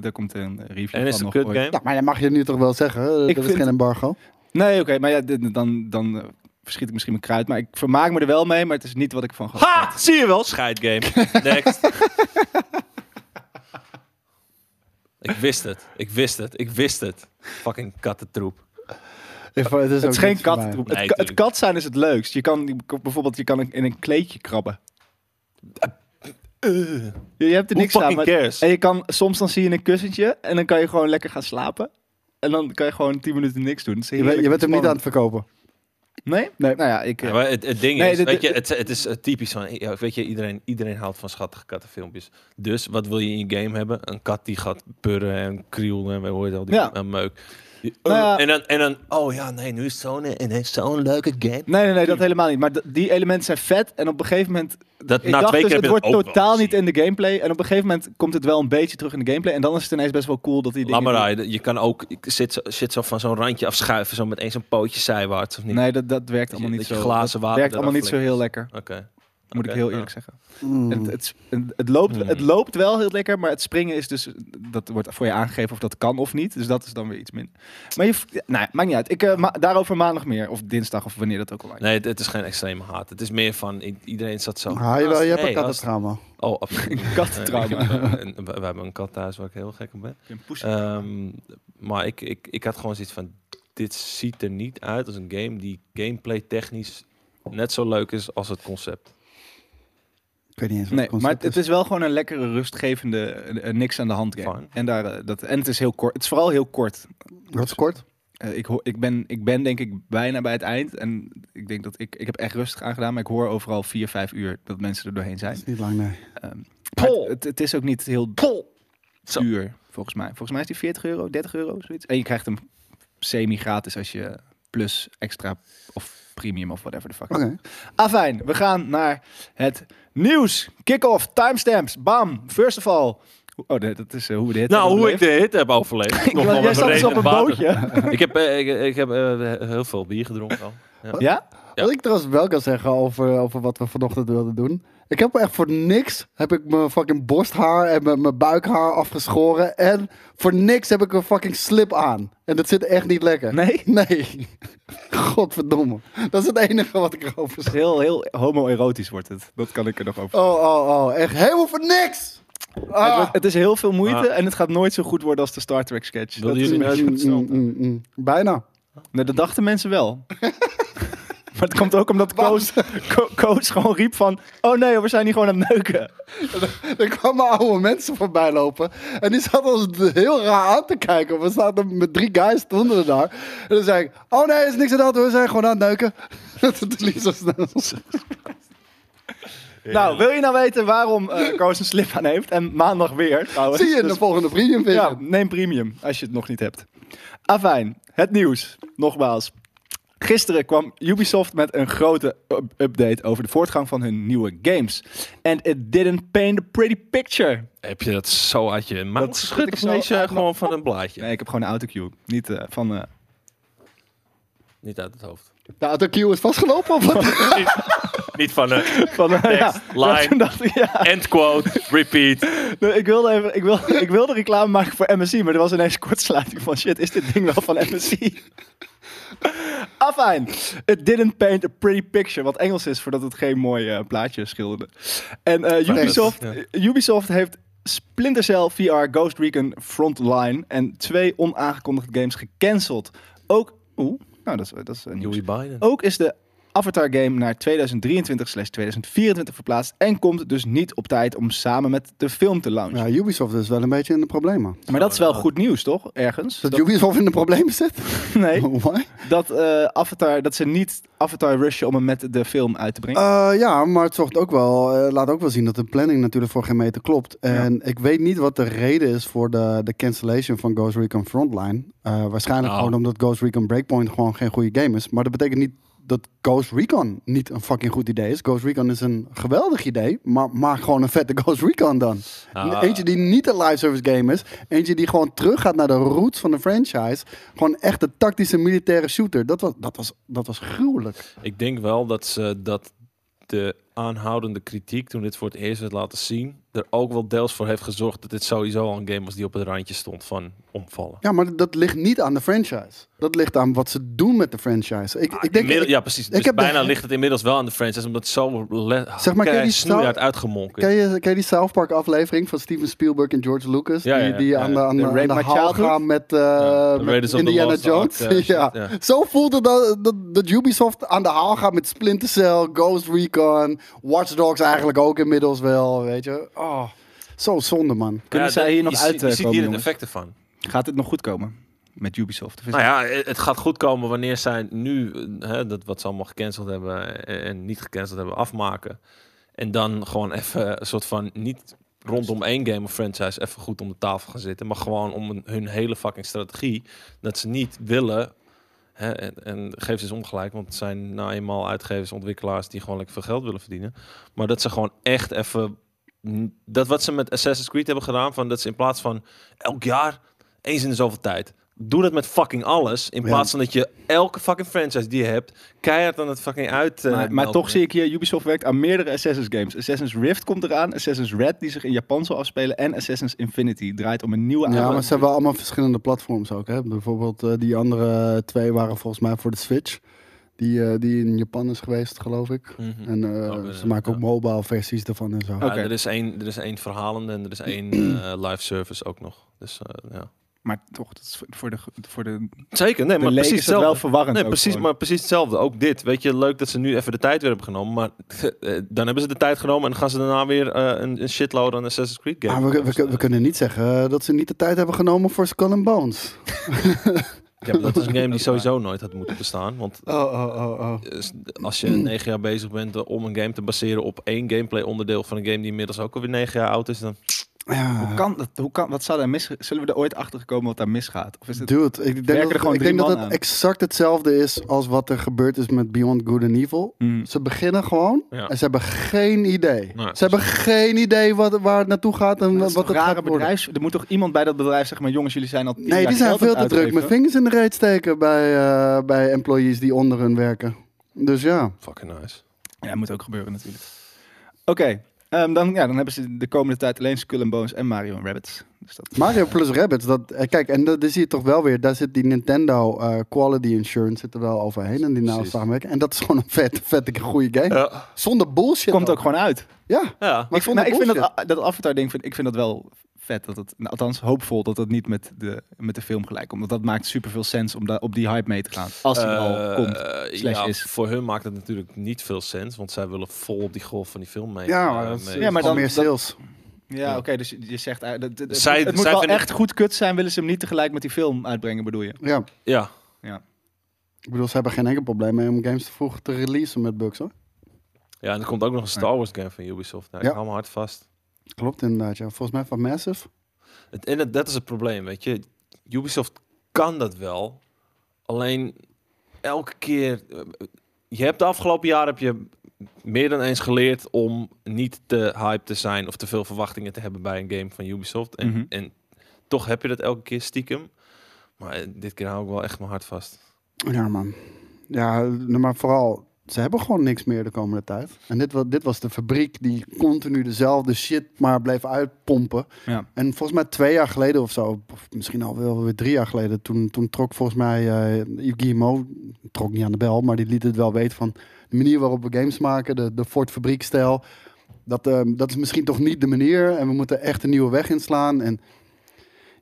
daar komt een review
en
van
is het een
nog
kut
ooit.
game?
Nou, maar dat mag je nu toch wel zeggen. hè? Er
Ik
is
vind-
geen embargo.
Nee, oké, maar ja, dit- dan, dan eh, verschiet ik misschien mijn kruid. Maar ik vermaak me er wel mee, maar het is niet wat ik van ga.
Ha! Zie je wel, scheidgame. Next. Ik wist het. Ik wist het. Ik wist het. Fucking kattentroep.
Ik vond-
Het is
ook
geen
niks voor mij.
kattentroep.
Nee,
het, ka- het
tuurlijk.
kat zijn is het leukst. Je kan bijvoorbeeld je kan in een kleedje krabben.
Eh.
Je, je hebt er
Who
niks aan.
fucking
maar-
cares?
en je kan, soms dan zie je een kussentje en dan kan je gewoon lekker gaan slapen. En dan kan je gewoon 10 minuten niks doen.
Je, bent- je bent hem niet aan het verkopen.
Nee? Nee. Nou ja, ik...
Ja, maar het, het ding
Nee,
is,
dit-
weet je,
dit-
het, het is eh, typisch van, ja, weet je, iedereen, iedereen houdt van schattige kattenfilmpjes. Dus wat wil je in je game hebben? Een kat die gaat purren en krielen en we horen al die
Ja.
eh, meuk. Die-
Nou ja.
en, dan, en dan, oh ja, nee, nu is het zo'n en het is zo'n leuke game.
Nee, nee, nee, dat helemaal niet. Maar d- die elementen zijn vet. En op een gegeven moment.
Dat
Ik
na
dacht
twee
dus,
keer heb
het
je dat
wordt
ook wel
totaal niet
gezien.
in de gameplay. En op een gegeven moment komt het wel een beetje terug in de gameplay. En dan is het ineens best wel cool dat die dingen.
Laat maar rijden. Je kan ook ik zit, zo- shit zo van zo'n randje afschuiven, zo met eens een pootje zijwaarts of niet.
Nee, dat, dat werkt
je-
allemaal niet
dat je
zo.
glazen
Dat
water
werkt allemaal
eraf
niet zo heel lekker.
Oké.
Moet ik
Oké,
heel
nou.
eerlijk zeggen.
Mm.
Het, het, het, het loopt,
Hmm.
het loopt wel heel lekker, maar het springen is dus... Dat wordt voor je aangegeven of dat kan of niet. Dus dat is dan weer iets minder. Maar je... v- Nee, maakt niet uit. Ik, eh, ma- daarover maandag meer. Of dinsdag, of wanneer dat ook al is.
Nee, het, het is geen extreme haat. Het is meer van i- iedereen zat zo.
Ah, jawel, je hebt
Hey,
een
gast.
kattentrauma.
Oh, absoluut.
Een
Nee,
kattentrauma.
ik heb, eh, een- we, we hebben een kat thuis waar ik heel gek op ben.
Een poes.
Ehm, maar ik, ik, ik had gewoon zoiets van: dit ziet er niet uit als een game die gameplay technisch net zo leuk is als het concept.
Ik weet niet eens wat
Nee, maar
het concept
het, het is wel gewoon een lekkere, rustgevende, eh, eh, niks aan de hand game.
Fine.
En, daar, eh, dat, en het is heel kort. Het is vooral heel kort.
is. Dat is kort.
Eh, ik, hoor- ik, ben, ik ben denk ik bijna bij het eind. En ik denk dat ik... Ik heb echt rustig aangedaan, maar ik hoor overal vier, vijf uur dat mensen er doorheen
Dat
zijn.
is niet lang, nee.
Ehm, maar
Pol.
het, het, het is ook niet heel
Zo.
duur, volgens mij. Volgens mij is die 40 euro, 30 euro, zoiets. En je krijgt hem semi-gratis als je plus extra of premium of whatever the fuck.
Oké.
Afijn, we gaan naar het nieuws. Kick-off, timestamps, bam, first of all. Oh, nee, dat is eh, hoe we dit
Nou, hoe ik de hit heb overleefd. Nog wel
Jij
met
zat dus op
regen
een
en water.
bootje.
Ik heb, eh, ik, ik heb eh, heel veel bier gedronken al. Ja.
Oh, Ja?
Ja.
Wat ik trouwens wel kan zeggen over, over wat we vanochtend wilden doen. Ik heb echt voor niks heb ik mijn fucking borsthaar en mijn, mijn buikhaar afgeschoren. En voor niks heb ik een fucking slip aan. En dat zit echt niet lekker.
Nee?
Nee. Godverdomme. Dat is het enige wat ik erover zeg.
Heel, heel homoerotisch wordt het. Dat kan ik er nog over
Oh, oh, oh. Echt helemaal voor niks.
Het,
Ah.
wordt- het is heel veel moeite
Ah.
en het gaat nooit zo goed worden als de Star Trek sketch.
Wilden
Dat, is-
jullie nou-
nee,
met-
Mm, mm, mm, mm. Bijna.
dat dachten mensen wel. maar het komt ook omdat Koos, Ko- Koos gewoon riep van... Oh nee, we zijn hier gewoon aan het neuken.
Er kwamen oude mensen voorbij lopen. En die zaten ons heel raar aan te kijken. We zaten met drie guys stonden er daar. En dan zei ik, oh nee, is niks aan de hand. We zijn gewoon aan het neuken. Dat liep zo snel.
Nou, wil je nou weten waarom eh, Koos een slip aan heeft? En maandag weer trouwens.
Zie je in de
Dus-
volgende premium video.
ja, neem premium als je het nog niet hebt. Afijn, het nieuws. Nogmaals. Gisteren kwam Ubisoft met een grote up- update over de voortgang van hun nieuwe games. And it didn't paint a pretty picture.
Heb je dat zo uit je mouw
Dat schud
geschud?
ik
Of
zo
lees je
uit
gewoon van een blaadje?
Nee, ik heb gewoon een autocue. Niet eh, van... eh,
Niet uit het hoofd.
De autocue is vastgelopen of wat?
Niet van een
van eh, ja.
line.
Toen dacht ik, ja.
end quote, repeat.
Nee, ik, wilde even, ik, wilde, ik wilde reclame maken voor MSI, maar er was ineens kortsluiting van shit, is dit ding wel van MSI? Afijn, it didn't paint a pretty picture, wat Engels is voordat het geen mooi eh, plaatje schilderde. En eh,
Thanks.
Ubisoft,
Ja.
Ubisoft heeft Splinter Cell VR, Ghost Recon Frontline en twee onaangekondigde games gecanceld. Ook, oeh, nou dat is, dat is een nieuws.
Joey Biden.
Ook is de Avatar game naar 2023/2024 verplaatst en komt dus niet op tijd om samen met de film te launchen.
Ja, Ubisoft is wel een beetje in de problemen.
Maar dat is wel goed nieuws, toch? Ergens.
Dat
Dat-
Ubisoft in de problemen zit?
nee,
Why?
dat eh, Avatar, dat ze niet Avatar rushen om hem met de film uit te brengen.
Oh.
Eh, ja, maar het zorgt ook wel, eh, laat ook wel zien dat de planning natuurlijk voor geen meter klopt. En ik weet niet wat de reden is voor de, de cancellation van Ghost Recon Frontline. Eh, waarschijnlijk
Nou.
gewoon omdat Ghost Recon Breakpoint gewoon geen goede game is. Maar dat betekent niet dat Ghost Recon niet een fucking goed idee is. Ghost Recon is een geweldig idee, maar maak gewoon een vette Ghost Recon dan.
Ah.
Eentje die niet een live service game is. Eentje die gewoon terug gaat naar de roots van de franchise. Gewoon echt de tactische militaire shooter. Dat was, dat was, dat was gruwelijk.
Ik denk wel dat ze dat de aanhoudende kritiek toen dit voor het eerst werd laten zien, er ook wel deels voor heeft gezorgd dat dit sowieso al een game was die op het randje stond van omvallen.
Ja, maar dat ligt niet aan de franchise. Dat ligt aan wat ze doen met de franchise. Ik, ik denk,
Inmiddel-
ik,
Ah, ja, precies. Dus
heb de-
bijna ligt het inmiddels wel aan de franchise, omdat het zo le-
Zeg maar, ken je die
snoeihard
stou-
uitgemolken is.
ken, je, ken je die South Park aflevering van Steven Spielberg en George Lucas?
Ja, ja,
die die
ja,
aan
ja.
de, aan
De
de, aan
Raid
de
My
haal
Childhood?
gaan met, eh,
The
met
Raiders of the
Indiana
Lost
Jones.
Ark, eh, shit,
ja.
ja.
Zo voelde dat, dat, dat Ubisoft aan de haal gaat met Splinter Cell, Ghost Recon, Watch Dogs eigenlijk ook inmiddels wel, weet je. Oh, zo zonde, man.
Kunnen zij hier nog
je,
uit,
ziet-
eh,
Je ziet
komen,
hier het
jongens?
effect ervan.
Gaat dit nog goed komen met Ubisoft? Of is
Nou ja, eh, het gaat goed komen wanneer zij nu eh, hè, dat wat ze allemaal gecanceld hebben en- en niet gecanceld hebben afmaken. En dan gewoon even een soort van niet rondom één game of franchise even goed om de tafel gaan zitten, maar gewoon om een- hun hele fucking strategie dat ze niet willen. Hè, en, en geef ze eens ongelijk, want het zijn nou eenmaal uitgevers, ontwikkelaars die gewoon lekker veel geld willen verdienen. Maar dat ze gewoon echt even. mm, Dat wat ze met Assassin's Creed hebben gedaan, van dat ze in plaats van elk jaar eens in de zoveel tijd. Doe dat met fucking alles. In
Ja.
plaats van dat je elke fucking franchise die je hebt, keihard aan het fucking uit. eh,
maar, maar
melken.
toch zie ik hier, Ubisoft werkt aan meerdere Assassin's games. Assassin's Rift komt eraan, Assassin's Red die zich in Japan zal afspelen en Assassin's Infinity draait om een nieuwe
Ja,
aanpak.
maar ze hebben allemaal verschillende platforms ook. Hè? Bijvoorbeeld eh, die andere twee waren volgens mij voor de Switch. Die, eh, die in Japan is geweest, geloof ik.
Hm.
Mhm.
En eh,
Ook, eh,
ze maken ook
ja.
mobile versies ervan en zo.
Ja,
Oh, Oké.
er, is één, er is één verhalende en er is één eh, live service ook nog. Dus eh, ja.
Maar toch, dat is voor- voor de, voor de,
Zeker, nee,
de
maar
leek
precies
is het
hetzelfde.
wel verwarrend.
Nee,
ook
precies,
gewoon.
maar precies hetzelfde. Ook dit. Weet je, leuk dat ze nu even de tijd weer hebben genomen. Maar eh, dan hebben ze de tijd genomen en dan gaan ze daarna weer eh, een, een shitload aan Assassin's Creed games.
Maar Ah, we, we, we kunnen niet zeggen eh, dat ze niet de tijd hebben genomen voor Skull and Bones.
Ja, maar dat is een game die sowieso nooit had moeten bestaan. Want
Oh, oh, oh, oh.
eh, s- als je negen jaar bezig bent eh, om een game te baseren op één gameplay onderdeel van een game die inmiddels ook alweer negen jaar oud is, dan
Ja.
Hoe kan dat? Hoe kan, wat zou daar mis, zullen we er ooit achter komen wat daar misgaat? Of is het,
Dude, ik
Werken
denk
er
dat,
gewoon
ik
drie
denk dat
man
het
aan.
exact hetzelfde is als wat er gebeurd is met Beyond Good and Evil.
Hmm.
Ze beginnen gewoon
Ja.
en ze hebben geen idee.
Nee.
Ze hebben geen idee wat, waar het naartoe gaat en
Dat is
wat
toch
het
rare
gaat worden.
bedrijf. Er moet toch iemand bij dat bedrijf zeggen, maar jongens, jullie zijn al tien
Nee,
jaar
die zijn
geld
veel
aan
te
het
druk met
uitgeven.
vingers in de reet steken bij, eh, bij employees die onder hun werken. Dus ja.
fucking nice.
Ja, moet ook gebeuren natuurlijk. Oké, ehm, dan, ja, dan hebben ze de komende tijd alleen Skull and Bones en Mario en Rabbits. Dus dat
Mario plus Rabbits, dat, eh, kijk, en dat, dat zie je toch wel weer. Daar zit die Nintendo eh, Quality Insurance zit er wel overheen. En die nauwe
Precies.
samenwerking. En dat is gewoon een vette, vette goede game.
Ja.
Zonder bullshit.
komt ook gewoon uit.
Ja.
ja.
Maar
ik, vind- nou, ik
zonder
vind dat, dat Avatar-ding vind, ik vind dat wel vet. Dat het, nou, althans, hoopvol dat dat niet met de, met de film gelijk komt. Want dat maakt superveel sens om daar op die hype mee te gaan. Als die al
Eh,
komt. slash
ja,
is.
Voor hun maakt het natuurlijk niet veel sens, want zij willen vol op die golf van die film mee.
Ja,
eh,
maar dat is-
mee.
Ja, maar
maar dan
dan-
meer
dat-
sales.
Ja,
Ja.
oké, dus je je zegt... uit- dat, dat- het
Zij-
moet- het moet
zij
wel
vinden-
echt goed kut zijn, willen ze hem niet tegelijk met die film uitbrengen, bedoel je?
Ja,
ja.
ik bedoel, ze hebben geen enkel probleem mee om games te vroeg te releasen met bugs hoor.
Ja, en er komt ook nog een Star Wars game van Ubisoft. Nou, Ik
Ja.
hou me hard vast.
Klopt inderdaad, ja. Volgens mij van Massive.
Het, en dat, dat is het probleem, weet je. Ubisoft kan dat wel. Alleen elke keer... eh, Je hebt de afgelopen jaar heb je meer dan eens geleerd om niet te hype te zijn... of te veel verwachtingen te hebben bij een game van Ubisoft. En,
Mhm.
en toch heb je dat elke keer stiekem. Maar eh, dit keer hou ik wel echt mijn hart vast.
Ja man. Ja, nou, maar vooral, ze hebben gewoon niks meer de komende tijd. En dit was, dit was de fabriek die continu dezelfde shit maar bleef uitpompen.
Ja.
En volgens mij twee jaar geleden of zo, of misschien al wel weer drie jaar geleden, toen, toen trok volgens mij eh Yves Guillemot, trok niet aan de bel, maar die liet het wel weten van de manier waarop we games maken, de, de Ford fabriekstijl. Dat, eh, dat is misschien toch niet de manier en we moeten echt een nieuwe weg inslaan. En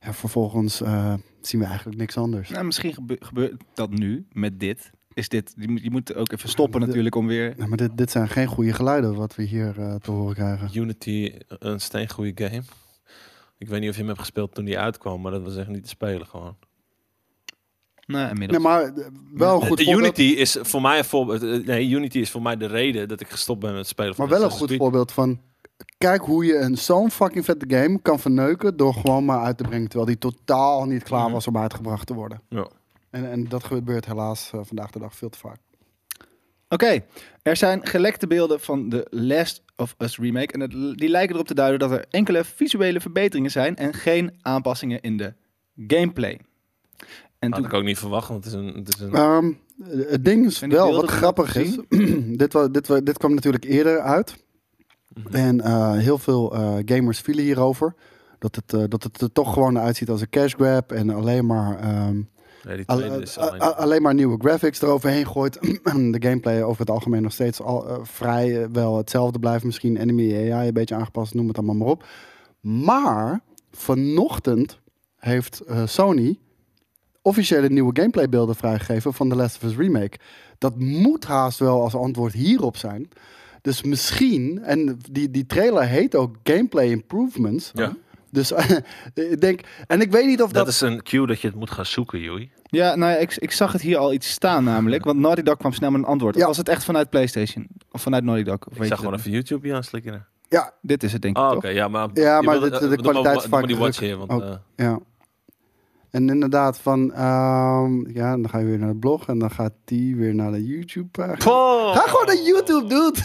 ja, vervolgens eh, zien we eigenlijk niks anders.
Nou, misschien gebe- gebeurt dat nu met dit. Is dit je, moet, je moet ook even stoppen
De-
natuurlijk om weer...
Nou, maar dit, dit zijn geen goede geluiden wat we hier eh, te horen krijgen.
Unity, eh, een steengoede game. Ik weet niet of je hem hebt gespeeld toen die uitkwam... maar dat was echt niet te spelen gewoon.
Nou, inmiddels.
Nee, maar eh, wel een goed
Eh,
voorbeeld.
Unity is voor mij een voorbeeld. eh, Nee, Unity is voor mij de reden dat ik gestopt ben met het spelen van
Maar wel een
Assassin's
goed voorbeeld van... Kijk hoe je een zo'n fucking vette game kan verneuken door gewoon maar uit te brengen. Terwijl die totaal niet klaar
Mhm.
was om uitgebracht te worden.
Creed. Ja.
En, en dat gebeurt helaas eh, vandaag de dag veel te vaak.
Oké, er zijn gelekte beelden van de Last of Us remake. En het, die lijken erop te duiden dat er enkele visuele verbeteringen zijn en geen aanpassingen in de gameplay. En
Had
toen,
ik ook niet verwacht, want het is een... Het is een
Ehm, het ding is
Zijn die
wel,
beelden
wat
nog
grappig
te
is, dit, wa- dit, wa- dit kwam natuurlijk eerder uit.
Mhm.
En eh, heel veel eh, gamers vielen hierover. Dat het, eh, dat het er toch gewoon uitziet als een cash grab en alleen maar, ehm,
nee, die
al-
tweede is
a-
alleen-
a- alleen maar nieuwe graphics eroverheen gooit. de gameplay over het algemeen nog steeds al, eh, vrij eh, wel hetzelfde blijft. Misschien enemy AI een beetje aangepast, noem het allemaal maar op. Maar vanochtend heeft eh, Sony officiële nieuwe gameplaybeelden vrijgegeven van The Last of Us Remake. Dat moet haast wel als antwoord hierop zijn. Dus misschien, en die, die trailer heet ook Gameplay Improvements.
Ja.
Dus ik denk, en ik weet niet of dat...
Dat is een cue dat je het moet gaan zoeken, Joey.
ja, nou ja, ik, ik zag het hier al iets staan namelijk. Want Naughty Dog kwam snel met een antwoord.
Ja.
Was het echt vanuit PlayStation? Of vanuit Naughty Dog? Of weet
Ik
je
zag
dat
gewoon
niet?
even YouTube hier aanslikkeren.
ja,
Dit is het denk ik
Ah, oké,
toch?
ja, maar...
Ja, maar
je wil
de-
het-
de
eh, dan
kwaliteit
moet-
is
dan
vaak
moet die watch
druk.
hier, want...
Oh.
eh,
Ja. En inderdaad, van ehm, ja, dan ga je weer naar de blog en dan gaat die weer naar de YouTube pagina. Ga gewoon naar YouTube, dude.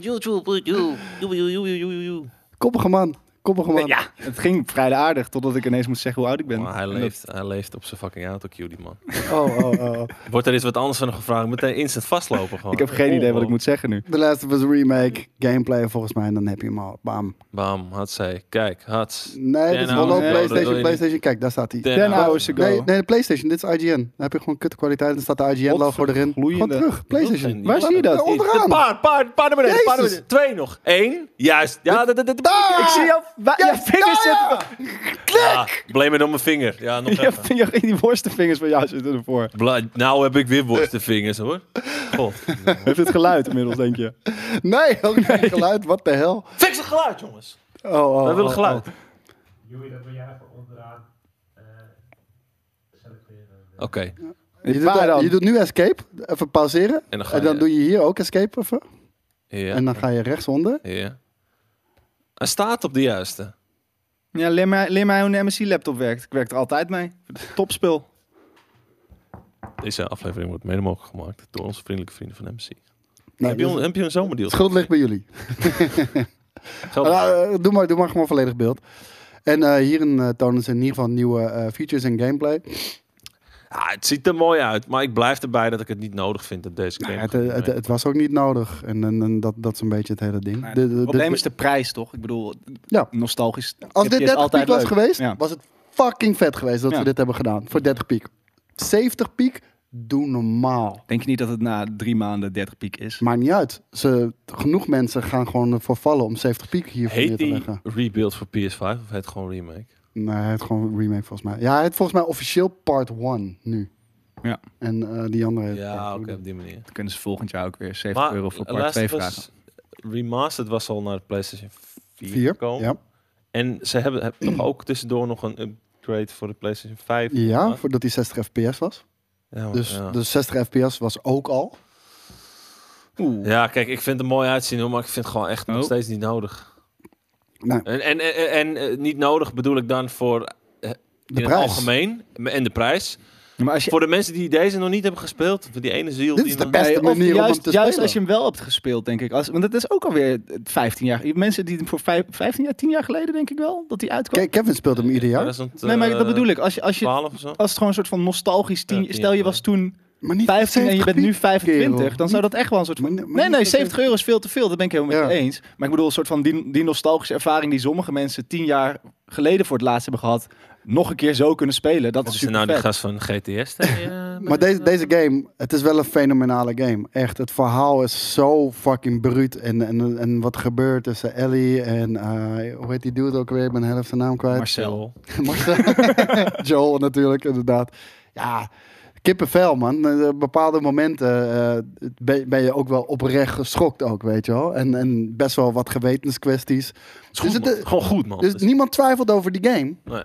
YouTube, YouTube, YouTube, YouTube, YouTube.
Koppige man, koppige man.
Ja, het ging vrij aardig totdat ik ineens moest zeggen hoe oud ik ben.
Maar Oh, hij
En dat-
leeft, hij leeft op zijn fucking autocue, die man.
Oh, oh, oh.
Wordt er eens wat anders van hem gevraagd, meteen instant vastlopen gewoon.
Ik heb geen idee wat ik
Oh,
moet zeggen nu.
The Last of Us Remake, gameplay volgens mij, en dan heb je hem al. Bam.
Bam, had zij. Kijk, had.
Nee, dit is
Ten
gewoon
hours.
ook
Nee,
nou, dat wil
PlayStation,
je
PlayStation. Kijk, daar staat hij.
Ten
Ten
hours.
hours ago.
Nee, nee, de PlayStation, dit is IGN. Dan heb je gewoon kutte kwaliteit en dan staat de IGN-logo erin. Gewoon
Godvergloeiende.
terug, PlayStation.
Waar zie je dat?
Ja, onderaan.
Een paar, paar, paar naar beneden, paar naar
Jezus.
beneden. Twee nog. Eén. Juist. Ja, dat, dat, dat,
Ik zie jou, wa-
Ah! Ja,
je vingers
ja, ja.
zitten...
Ja, blame het op mijn vinger. Ja, nog
Je
even.
vinger- die worstenvingers van jou zitten ervoor.
Bla- nou heb ik weer worstenvingers hoor. God.
Heeft het geluid inmiddels, denk je?
Nee, ook geen geluid, wat de hel.
Fix het geluid, jongens.
Oh, oh,
Wij willen
oh,
geluid.
oh.
Joey, dat wil jij even onderaan Eh, selecteren. eh.
Oké.
Je doet,
Waar dan?
je doet nu escape, even pauzeren.
En dan ga
En dan
je...
doe je hier ook escape even.
Ja.
En dan ga je rechtsonder.
Ja. Hij staat op de juiste.
Ja, leer mij, leer mij hoe een MSI-laptop werkt. Ik werk er altijd mee. Topspul.
Deze aflevering wordt mede mogelijk gemaakt door onze vriendelijke vrienden van MC.
Nee,
heb, je
dus
een, heb je een zomerdeal?
het schuld ligt bij jullie.
Geld-
Nou, eh, doe, maar, doe maar gewoon volledig beeld. En eh, hierin eh, tonen ze in ieder geval nieuwe eh, features en gameplay.
Ah, het ziet er mooi uit, maar ik blijf erbij dat ik het niet nodig vind dat deze game.
het, eh, het, het was ook niet nodig. En, en, en dat, dat is een beetje het hele ding. De- de- de-
Het probleem is de prijs, toch? Ik bedoel,
Ja.
nostalgisch.
Als
heb
dit
je het
30 piek was
leuk.
geweest,
Ja.
was het fucking vet geweest dat
Ja.
we dit hebben gedaan. Voor 30 piek. 70 piek, doe normaal.
Denk je niet dat het na drie maanden 30 piek is?
Maakt niet uit. Ze, genoeg mensen gaan gewoon ervoor vallen om 70 piek hiervoor neer
Heet
te
die
leggen.
Rebuild voor PS5 of heet het gewoon Remake?
Nee, hij heeft gewoon een remake volgens mij. Ja, hij heeft volgens mij officieel part 1 nu.
Ja.
En eh, die andere heeft part
Ja,
two
oké,
dan.
op die manier.
Dan kunnen ze volgend jaar ook weer 70
Maar
euro voor part
Last
2
of Us
vragen.
Remastered was al naar de PlayStation 4
Vier,
gekomen.
ja.
En ze hebben, hebben toch ook tussendoor nog een upgrade voor de PlayStation 5.
Ja, voordat hij 60 fps was.
Ja, maar-
Dus,
Oh, ja.
dus 60 fps was ook al.
Oeh.
Ja, kijk, ik vind het er mooi uitzien, hoor, maar ik vind het gewoon echt nog
Oh.
steeds niet nodig.
Nee.
En, en, en, en, eh, niet nodig bedoel ik dan voor eh, in
De
het
prijs.
algemeen en de prijs.
Maar als je,
Voor de mensen die deze nog niet hebben gespeeld, voor die ene ziel.
Dit
die
is de
nog-
beste
Nee, of
manier om
juist,
hem te
juist
spelen.
als je hem wel hebt gespeeld, denk ik. Als, want dat is ook alweer 15 jaar. Mensen die hem voor vijf- 15 jaar, 10 jaar geleden, denk ik wel, dat hij uitkwam.
Ke- Kevin speelt hem ieder jaar.
2000,
nee, maar
eh,
dat bedoel ik. Als, je, als, je, Oh,
12 of zo.
als het gewoon een soort van nostalgisch tien,
Ja, tien
stel je
jaar
was toen
Maar niet
15 en je
70
bent nu
piek,
25,
kerel.
dan zou dat echt wel een soort
Maar
van...
nee, maar
Nee,
niet
nee,
dat je-
70 euro is veel te veel. Dat ben ik helemaal met
Ja.
je eens. Maar ik bedoel, een soort van die, die nostalgische ervaring die sommige mensen 10 jaar geleden voor het laatst hebben gehad, nog een keer zo kunnen spelen. Dat
Wat
is
is er
super
nou die
vet.
gast van GTS? Ja,
Maar deze, deze game, het is wel een fenomenale game. Echt, het verhaal is zo fucking bruut. En, en, en wat gebeurt tussen Ellie en... eh, hoe heet die dude ook weer? Ik ben de helft zijn naam kwijt.
Marcel.
Marcel. eh, Joel natuurlijk, inderdaad. Ja, kippenvel, man. Eh, Bepaalde momenten eh, ben, ben je ook wel oprecht geschokt ook, weet je wel. En, en best wel wat gewetenskwesties.
Is goed,
Dus het,
man.
eh,
Gewoon goed, man.
Dus
Dus-
niemand twijfelt over die game.
nee.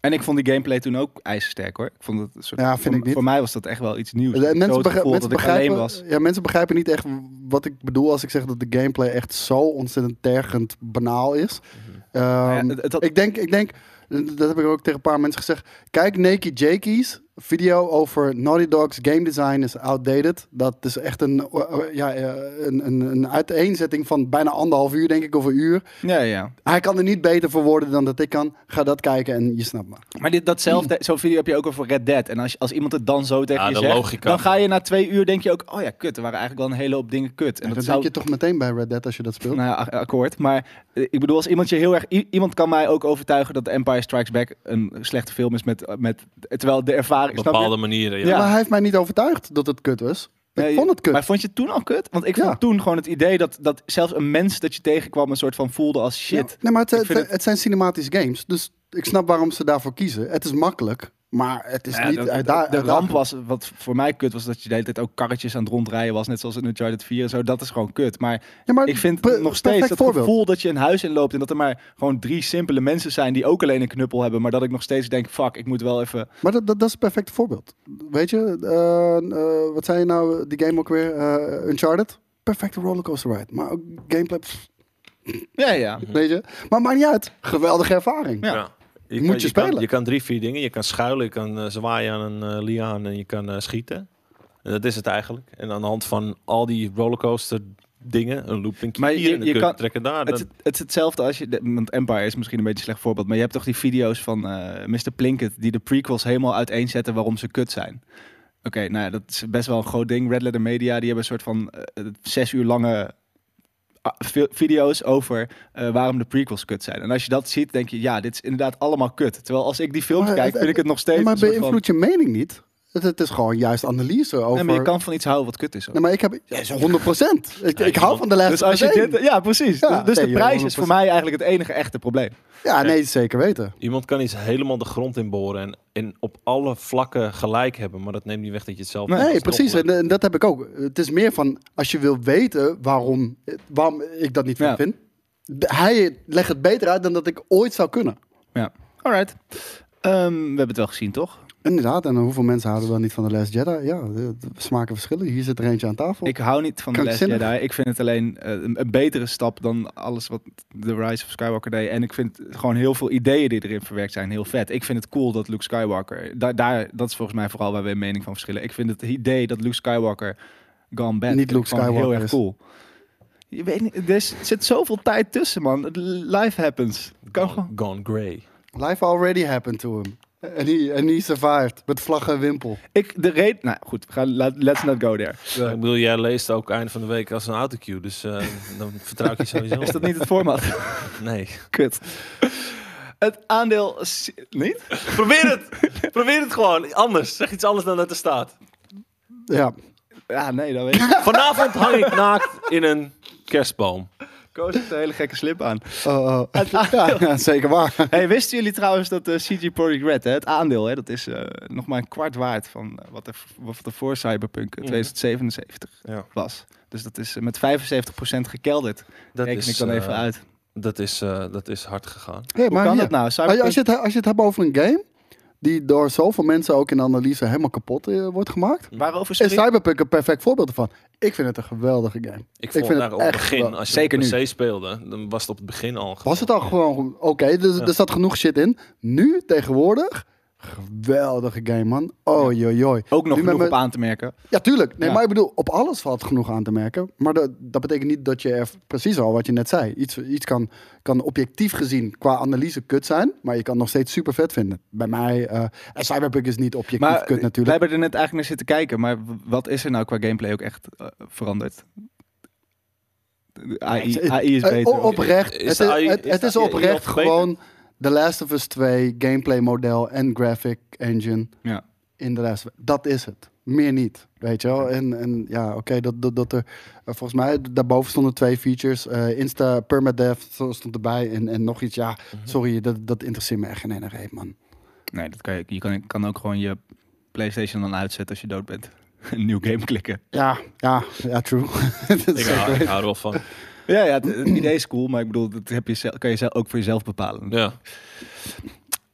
En ik vond die gameplay toen ook ijzersterk hoor. Ik vond het een soort,
Ja, vind
voor,
ik niet.
voor mij was dat echt wel iets nieuws.
Eh,
Ik had zo
Mensen,
het
begrijp-
gevoel
mensen,
dat ik alleen was.
begrijpen, ja, mensen begrijpen niet echt wat ik bedoel als ik zeg dat de gameplay echt zo ontzettend tergend banaal is. Ehm,
Mhm. Nou ja, het- het had-
ik, denk, ik denk, dat heb ik ook tegen een paar mensen gezegd. Kijk Naked Jakies video over Naughty Dog's game design is outdated. Dat is echt een, eh, eh, ja, eh, een, een, een uiteenzetting van bijna anderhalf uur, denk ik, of een uur.
Ja, ja.
Hij kan er niet beter voor worden dan dat ik kan. Ga dat kijken en je snapt me.
Maar dit, datzelfde, zo'n video heb je ook over Red Dead. En als, je- als iemand het dan zo tegen
Ja,
je
de
zegt,
logica.
dan ga je na twee uur denk je ook... Oh ja, kut, er waren eigenlijk wel een hele hoop dingen kut. En
En
dat
dat
zou...
denk je toch meteen bij Red Dead als je dat speelt.
Nou ja, ak- akkoord. Maar eh, ik bedoel, als iemand je heel erg... i- Iemand kan mij ook overtuigen dat Empire Strikes Back een slechte film is met... eh, met terwijl de ervaring... snap je?
bepaalde manieren. Ja.
Ja.
Maar hij heeft mij niet overtuigd dat het kut was. Ik
Nee,
vond het kut.
Maar vond je het toen al kut? Want ik
Ja.
vond toen gewoon het idee dat, dat zelfs een mens dat je tegenkwam een soort van voelde als shit.
Ja, nee, maar het,
Ik
het,
vind het-
het zijn cinematische games. Dus ik snap waarom ze daarvoor kiezen. Het is makkelijk, maar het is
Ja,
niet...
dat-
uitda-
dat- de eh,
uitdagend.
ramp was, wat voor mij kut was, dat je de hele tijd ook karretjes aan het rondrijden was. Net zoals in Uncharted 4 en zo. Dat is gewoon kut. Maar
Ja, maar
ik vind
pe-
nog steeds
perfect
het
voorbeeld.
gevoel dat je een huis inloopt en dat er maar gewoon drie simpele mensen zijn die ook alleen een knuppel hebben. Maar dat ik nog steeds denk, fuck, ik moet wel even...
Maar dat, dat, dat is het perfecte voorbeeld. Weet je, eh, eh, wat zei je nou, die game ook weer? eh, Uncharted? Perfecte rollercoaster ride. Maar ook gameplay, pff,
Ja, ja.
weet je. Maar maakt niet uit. Geweldige ervaring.
Mhm. Ja.
Je
Moet
kan-
je
kan-
spelen.
je kan drie, vier dingen. Je kan schuilen, je kan eh, zwaaien aan een eh, liaan en je kan eh, schieten. En dat is het eigenlijk. En aan de hand van al die rollercoaster dingen, een looping
Maar
hier
je-
en dan
je
kun je
kan-
trekken daar.
Het,
dan-
is- het is hetzelfde als je. de- Want Empire is misschien een beetje een slecht voorbeeld. Maar je hebt toch die video's van eh, Mr. Plinkett. die de prequels helemaal uiteenzetten waarom ze kut zijn. Oké, nou ja, dat is best wel een groot ding. Red Letter Media, die hebben een soort van eh, zes uur lange ah, vi- video's over eh, waarom de prequels kut zijn. En als je dat ziet, denk je, ja, dit is inderdaad allemaal kut. Terwijl als ik die films
Maar
kijk,
het-
vind ik het nog steeds.
maar
een soort van,
beïnvloedt je mening niet. Het, het is gewoon juist analyse over...
nee, maar je kan van iets houden wat kut is. hoor.
Nee, maar ik heb... Ja, zo 100 Ik, ik hou van de laatste
Dus als je dit, ja, precies.
Ja,
dus dus
nee,
de
joh,
prijs is voor
100%.
mij eigenlijk het enige echte probleem.
Ja, nee, zeker weten.
Iemand kan iets helemaal de grond in boren en, en op alle vlakken gelijk hebben, maar dat neemt niet weg dat je het zelf
Nee,
niet
Nee,
kan
precies.
stoppen.
En, en dat heb ik ook. Het is meer van, als je wil weten waarom, waarom ik dat niet
Ja.
vind. d- Hij legt het beter uit dan dat ik ooit zou kunnen.
Ja, alright. Ehm, we hebben het wel gezien, toch?
Inderdaad, en hoeveel mensen houden wel niet van The Last Jedi? Ja, de de smaken verschillen. Hier zit er eentje aan tafel.
Ik hou niet van de Last
Oh. Krankzinnig.
Jedi. Ik vind het alleen eh, een, een betere stap dan alles wat The Rise of Skywalker deed. En ik vind gewoon heel veel ideeën die erin verwerkt zijn heel vet. Ik vind het cool dat Luke Skywalker... Daar, daar, dat is volgens mij vooral waar we een mening van verschillen. Ik vind het idee dat Luke Skywalker gone bad...
Niet
vind ik
Luke
gewoon heel
Skywalker
erg
is.
cool. Je weet niet, er is- zit zoveel tijd tussen, man. Life happens. Kan
Gone,
gewoon...
gone grey.
Life already happened to him. En hij en hij survived met vlag en wimpel.
Ik, de reden... Nou goed, we gaan, laat- let's not go there.
Ik bedoel, jij leest ook eind van de week als een autocue, dus eh, dan vertrouw ik je sowieso.
Is dat niet het format?
Nee.
Kut. Het aandeel... s- Niet?
Probeer het! Probeer het gewoon. Anders. Zeg iets anders dan dat er staat.
Ja,
Ja, nee, dat weet ik.
Vanavond hang ik naakt in een kerstboom.
Koos heeft een hele gekke slip aan.
eh, eh, ja, ja, zeker waar.
Hey, wisten jullie trouwens dat eh, CG Projekt Red, hè, het aandeel, hè, dat is eh, nog maar een kwart waard van eh, wat, er, wat er voor Cyberpunk eh, 2077
Mhm. Ja.
was. Dus dat is eh, met 75% gekelderd.
Dat
Reken ik dan
eh,
even uit.
Dat is, eh, dat is hard gegaan.
Hey,
Hoe kan
hier-
dat nou?
Als je,
Cyberpunk...
als, je het, als je het hebt over een game die door zoveel mensen ook in de analyse helemaal kapot eh, wordt gemaakt.
Waarover
Is
spreekt...
Cyberpunk een perfect voorbeeld ervan? Ik vind het een geweldige game.
Ik vond
vind
daar
het
op het
echt
begin,
wel-
als je
Zeker
op PC
nu.
speelde, dan was het op het begin al.
Was het al gewoon oké, dus er zat genoeg shit in. Nu, tegenwoordig, geweldige game, man. Oh, joi, joi.
Ook nog
Nu met
genoeg op
mijn-
aan te merken.
Ja, tuurlijk. Nee,
Ja.
maar ik bedoel, op alles valt genoeg aan te merken. Maar dat, dat betekent niet dat je er precies al wat je net zei. Iets, iets kan, kan objectief gezien qua analyse kut zijn, maar je kan nog steeds super vet vinden. Bij mij, eh, en Cyberpunk is niet objectief
Maar
kut
wij
natuurlijk.
hebben er net eigenlijk naar zitten kijken. Maar w- wat is er nou qua gameplay ook echt eh, veranderd? De AI, AI is
Eh,
beter.
o- oprecht,
Is
het,
de AI
is, het,
is
het
de
is
AI
oprecht
nog beter?
gewoon The Last of Us 2 gameplay model en graphic engine
Ja.
in The Last of Us. Dat is het. Meer niet, weet je wel. En, en ja, oké, dat, dat, dat er... eh, volgens mij, daarboven stonden twee features. eh, Insta, permadeath zo stond erbij en, en nog iets. Ja, sorry, dat, dat interesseert me echt geen ene reet, man.
Nee, dat kan je, je kan, kan ook gewoon je PlayStation dan uitzetten als je dood bent. Een nieuw game klikken.
Ja, ja, ja, true. Dat is
Ik
zeker
hou, ik
weten.
hou er wel van.
Ja, ja het, het idee is cool, maar ik bedoel, dat heb je zel- kan je zelf ook voor jezelf bepalen.
Ja.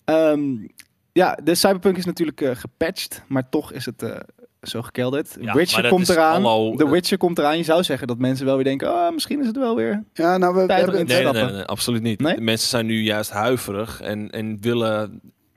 Ehm, ja, de Cyberpunk is natuurlijk eh, gepatcht, maar toch is het eh, zo gekelderd.
Ja, maar
Witcher
dat
komt
is
eraan.
hallo,
The
eh.
Witcher komt eraan. Je zou zeggen dat mensen wel weer denken, oh, misschien is het wel weer.
ja, nou, we, we
Tijd
hebben
erin.
het-
Nee, nee, nee,
Stappen.
nee, absoluut niet.
Nee?
De Mensen zijn nu juist huiverig en, en willen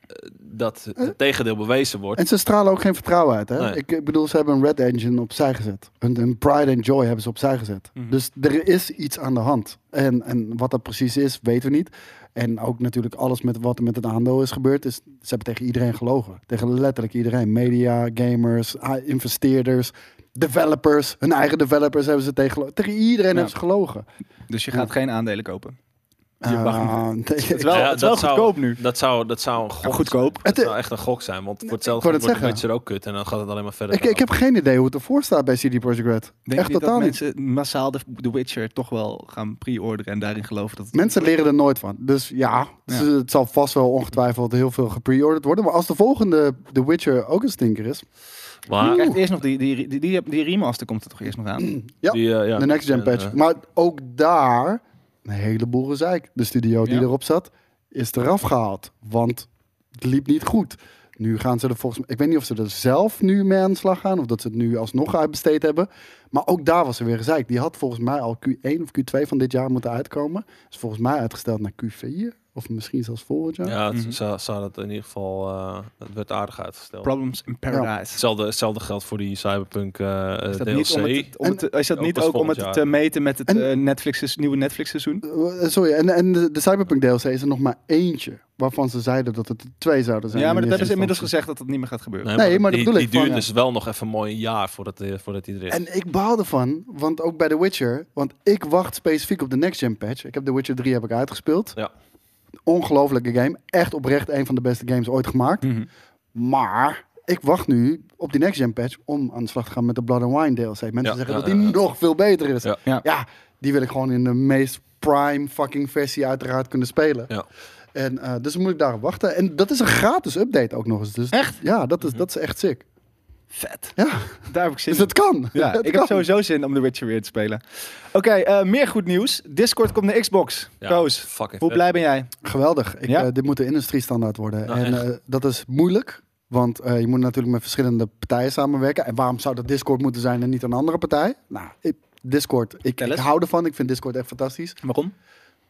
eh, dat het tegendeel bewezen wordt.
En ze stralen ook geen vertrouwen uit. Hè?
Nee.
Ik, ik bedoel, ze hebben een Red Engine opzij gezet. Een, een Pride and Joy hebben ze opzij gezet.
Mhm.
Dus er is iets aan de hand. En, en wat dat precies is, weten we niet. En ook natuurlijk alles met wat er met het aandeel is gebeurd. Is, ze hebben tegen iedereen gelogen. Tegen letterlijk iedereen. Media, gamers, ah, investeerders, developers. Hun eigen developers hebben ze tegen gelogen. Tegen iedereen
Ja.
hebben ze gelogen.
Dus je gaat geen aandelen kopen. Je
Ah,
mag
nee,
Het is wel,
Ja,
het is wel
dat zou-
goedkoop nu.
Dat zou, dat zou een gok
Ja, goedkoop.
Dat
Het-
zou echt een gok zijn, want voor
ik
hetzelfde
wou
wordt
net
de
zeggen.
mensen er ook kut en dan gaat het alleen maar verder.
Ik, ik heb geen idee hoe het ervoor staat bij CD Projekt Red.
Denk
Echt
je niet
totaal
dat
niet.
mensen massaal de, The Witcher toch wel gaan pre-orderen en daarin geloven dat het...
Mensen leren er nooit van. Dus ja,
Ja.
ze- het zal vast wel ongetwijfeld heel veel gepreorderd worden. Maar als de volgende The Witcher ook een stinker is.
Je
maar,
krijgt eerst nog die, die, die, die, die remaster komt er toch eerst nog aan?
Ja,
die, eh, ja,
de next gen
en,
patch.
eh,
Maar ook daar een heleboel gezeik. De studio die
Ja.
erop zat is eraf gehaald. Want het liep niet goed. Nu gaan ze er volgens mij... Ik weet niet of ze er zelf nu mee aan de slag gaan. Of dat ze het nu alsnog uitbesteed hebben. Maar ook daar was er weer gezeik. Die had volgens mij al Q1 of Q2 van dit jaar moeten uitkomen. Is volgens mij uitgesteld naar Q4. Of misschien zelfs volgend jaar.
Ja, het
Mhm.
zou, zou dat in ieder geval, eh, het werd aardig uitgesteld.
Problems in Paradise.
Hetzelfde, hetzelfde geldt voor die Cyberpunk eh, eh,
Is dat
DLC.
niet om het, om
En-
het- is dat
Ook
niet
pas
ook om
volgend
het
jaar.
te meten met het
En-
eh, Netflix, is- nieuwe Netflix seizoen?
Eh, Sorry, en, en de, de Cyberpunk DLC is er nog maar eentje. Waarvan ze zeiden dat het er twee zouden zijn.
Ja,
in
maar dat hebben ze inmiddels
eerste instantie.
gezegd dat dat niet meer gaat gebeuren.
Nee, maar
die,
dat bedoel
die
ik van,
duurt
ja.
dus wel nog even mooi een jaar voordat, eh, voordat die er is.
En ik baal ervan, want ook bij The Witcher... Want ik wacht specifiek op de next-gen patch. Ik heb The Witcher 3 heb ik uitgespeeld.
Ja.
Ongelooflijke game. Echt oprecht een van de beste games ooit gemaakt.
Mhm.
Maar ik wacht nu op die next-gen patch... om aan de slag te gaan met de Blood and Wine DLC. Mensen
Ja,
zeggen
ja,
dat die
ja, ja.
nog veel beter is.
Ja.
Ja.
die wil ik gewoon in de meest prime fucking versie uiteraard kunnen spelen.
Ja.
En, eh, dus moet ik daarop wachten. En dat is een gratis update ook nog eens. Dus echt? Ja, dat
Mhm.
is, dat is echt sick.
Vet.
Ja,
Daar heb ik zin
dus
in.
het kan.
Ja,
Het
ik
kan.
heb sowieso zin om The Witcher weer te spelen. Oké, eh, meer goed nieuws. Discord komt naar Xbox.
Ja,
Koos,
fucking
hoe
vet.
blij ben jij?
Geweldig. Ik,
Ja?
eh, dit moet de industriestandaard worden.
Nou,
en
echt.
eh, dat is moeilijk. Want eh, je moet natuurlijk met verschillende partijen samenwerken. En waarom zou dat Discord moeten zijn en niet een andere partij? Nou, ik- Discord. Ik,
Vertel
ik
eens.
hou ervan. Ik vind Discord echt fantastisch.
Waarom?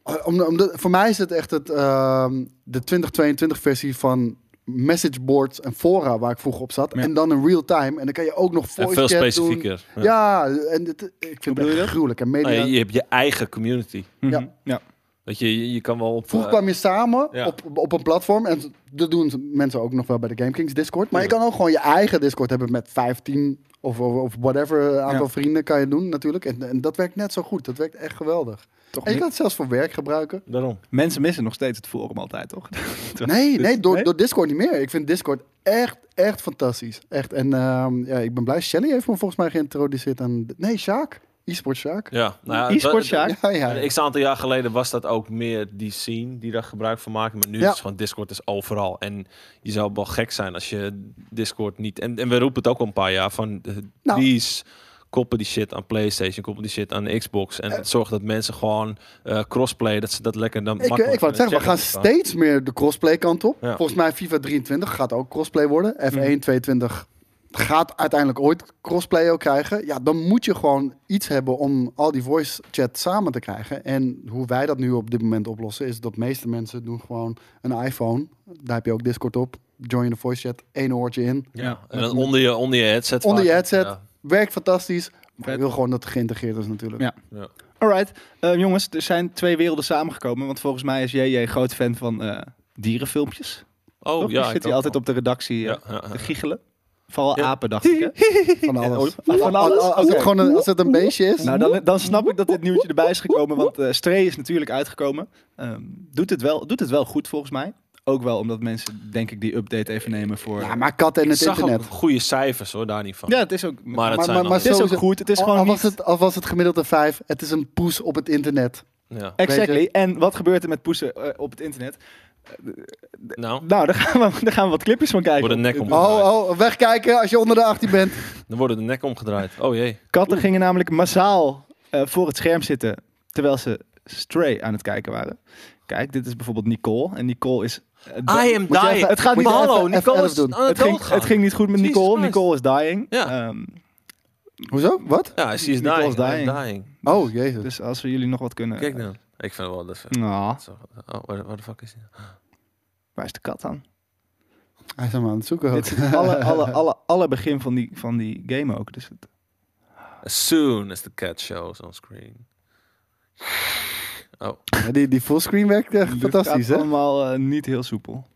Eh, Om, om de- voor mij is het echt het, ehm, de 2022-versie van messageboards en fora waar ik vroeger op zat.
Ja.
En dan in real time. En dan kan je ook nog voice
En veel
chat doen.
specifieker. Ja.
Ja, en dit, ik vind
bedoel
het
je
echt
dat? Oh,
gruwelijk. En media...
Nee, je hebt je eigen community.
Ja.
Ja.
Mhm. ja.
Dat je, je, je kan wel op...
Vroeger
eh,
kwam je samen
ja.
op, op een platform. En dat doen mensen ook nog wel bij de Game Kings Discord. Maar je kan ook gewoon je eigen Discord hebben met 15 of, of, of whatever aantal
Ja.
vrienden kan je doen natuurlijk. En, en dat werkt net zo goed. Dat werkt echt geweldig.
Toch
En je
mi-
kan het zelfs voor werk gebruiken.
daarom.
Mensen missen nog steeds het forum altijd, toch?
Nou
Nee, nee, door,
Dus- nee?
door Discord niet meer. Ik vind Discord echt, echt fantastisch. Echt. En ehm, ja, ik ben blij. Shelly heeft me volgens mij geïntroduceerd aan... Nee, Sjaak. E-sport Sjaak.
Ja, nou ja, het-
E-sport,
het-
ja.
Ja, ja.
Een x aantal jaar geleden was dat ook meer die scene die daar gebruik van maakte. Maar nu
Ja.
is het gewoon Discord is overal. En je zou wel gek zijn als je Discord niet. En, en we roepen het ook al een paar jaar van. eh,
Nou.
Please, koppel die shit aan PlayStation, koppel die shit aan de Xbox. En zorg dat mensen gewoon eh, crossplay, dat ze dat lekker dan.
Eh. Ik,
makkelijk
ik wou het zeggen,
kunnen
we gaan
checken.
steeds meer de crossplay kant op.
Ja.
Volgens mij FIFA 23 gaat ook crossplay worden. F1 22 gaat uiteindelijk ooit crossplay ook krijgen. Ja, dan moet je gewoon iets hebben om al die voice chat samen te krijgen. En hoe wij dat nu op dit moment oplossen is dat meeste mensen doen gewoon een iPhone. Daar heb je ook Discord op. Join de voice chat, één oortje in.
Ja, en dan onder je, onder je headset.
Onder je
vaak.
headset.
Ja.
Werkt fantastisch. Maar
Vet.
je wil gewoon dat het geïntegreerd is natuurlijk.
Ja.
Ja.
Alright, Eh, jongens, er zijn twee werelden samengekomen. Want volgens mij is JJ groot fan van eh, dierenfilmpjes.
Oh
Toch?
ja,
Dan zit hij altijd op de redactie eh,
Ja, ja, ja.
te giechelen. Vooral
Ja.
apen, dacht ik. Hè?
Van alles.
Ja, van alles?
Als, als
Oké.
het gewoon een, als het een beestje is.
Nou, dan, dan snap ik dat dit nieuwtje erbij is gekomen. Want eh Stray is natuurlijk uitgekomen. Ehm, doet, het wel, doet het wel goed volgens mij. Ook wel omdat mensen, denk ik, die update even nemen voor.
ja, maar katten en
Ik
het
zag
internet.
ook goede cijfers hoor, daar niet van.
Ja, het is ook.
Maar het
Maar-
zijn
maar- maar
het is ook
sowieso-
goed. Het is
al,
gewoon.
al was
niet-
het, al was het gemiddelde 5, het is een poes op het internet.
ja.
Exactly.
Weet
En wat gebeurt er met poezen eh, op het internet?
Nou,
Nou, daar gaan we, daar gaan we wat clipjes van kijken.
Wordt een nek om.
Oh, oh, wegkijken als je onder de 18 bent.
dan worden de nek omgedraaid. Oh jee.
Katten gingen namelijk massaal eh, voor het scherm zitten terwijl ze Stray aan het kijken waren. Kijk, dit is bijvoorbeeld Nicole. En Nicole is. eh, da-
I am
Moet je
dying.
even-
het gaat
moet
niet-
maar
je
hallo,
even-
Nicole
even
is
doen.
aan het,
het, ging,
doodgaan.
het ging niet goed met
Jesus
Nicole.
Christ.
Nicole is dying.
Ja.
Ehm,
Hoezo? Wat?
Ja, she is
Nicole
dying.
is
I'm
dying.
dying.
Oh, jezus.
dus als we jullie nog wat kunnen.
Kijk nou. Ik vind wel dat... ze-
Nou,
Zo- Oh, waar waar de fuck is die?
waar is de kat dan?
Hij is hem aan het zoeken ook.
Dit is het alle, alle, alle, alle begin van die, van die game ook. Dus het,
As soon as the cat shows on screen. Oh,
Ja, Die, die fullscreen werkt echt
het
fantastisch,
gaat
hè?
allemaal eh, niet heel soepel.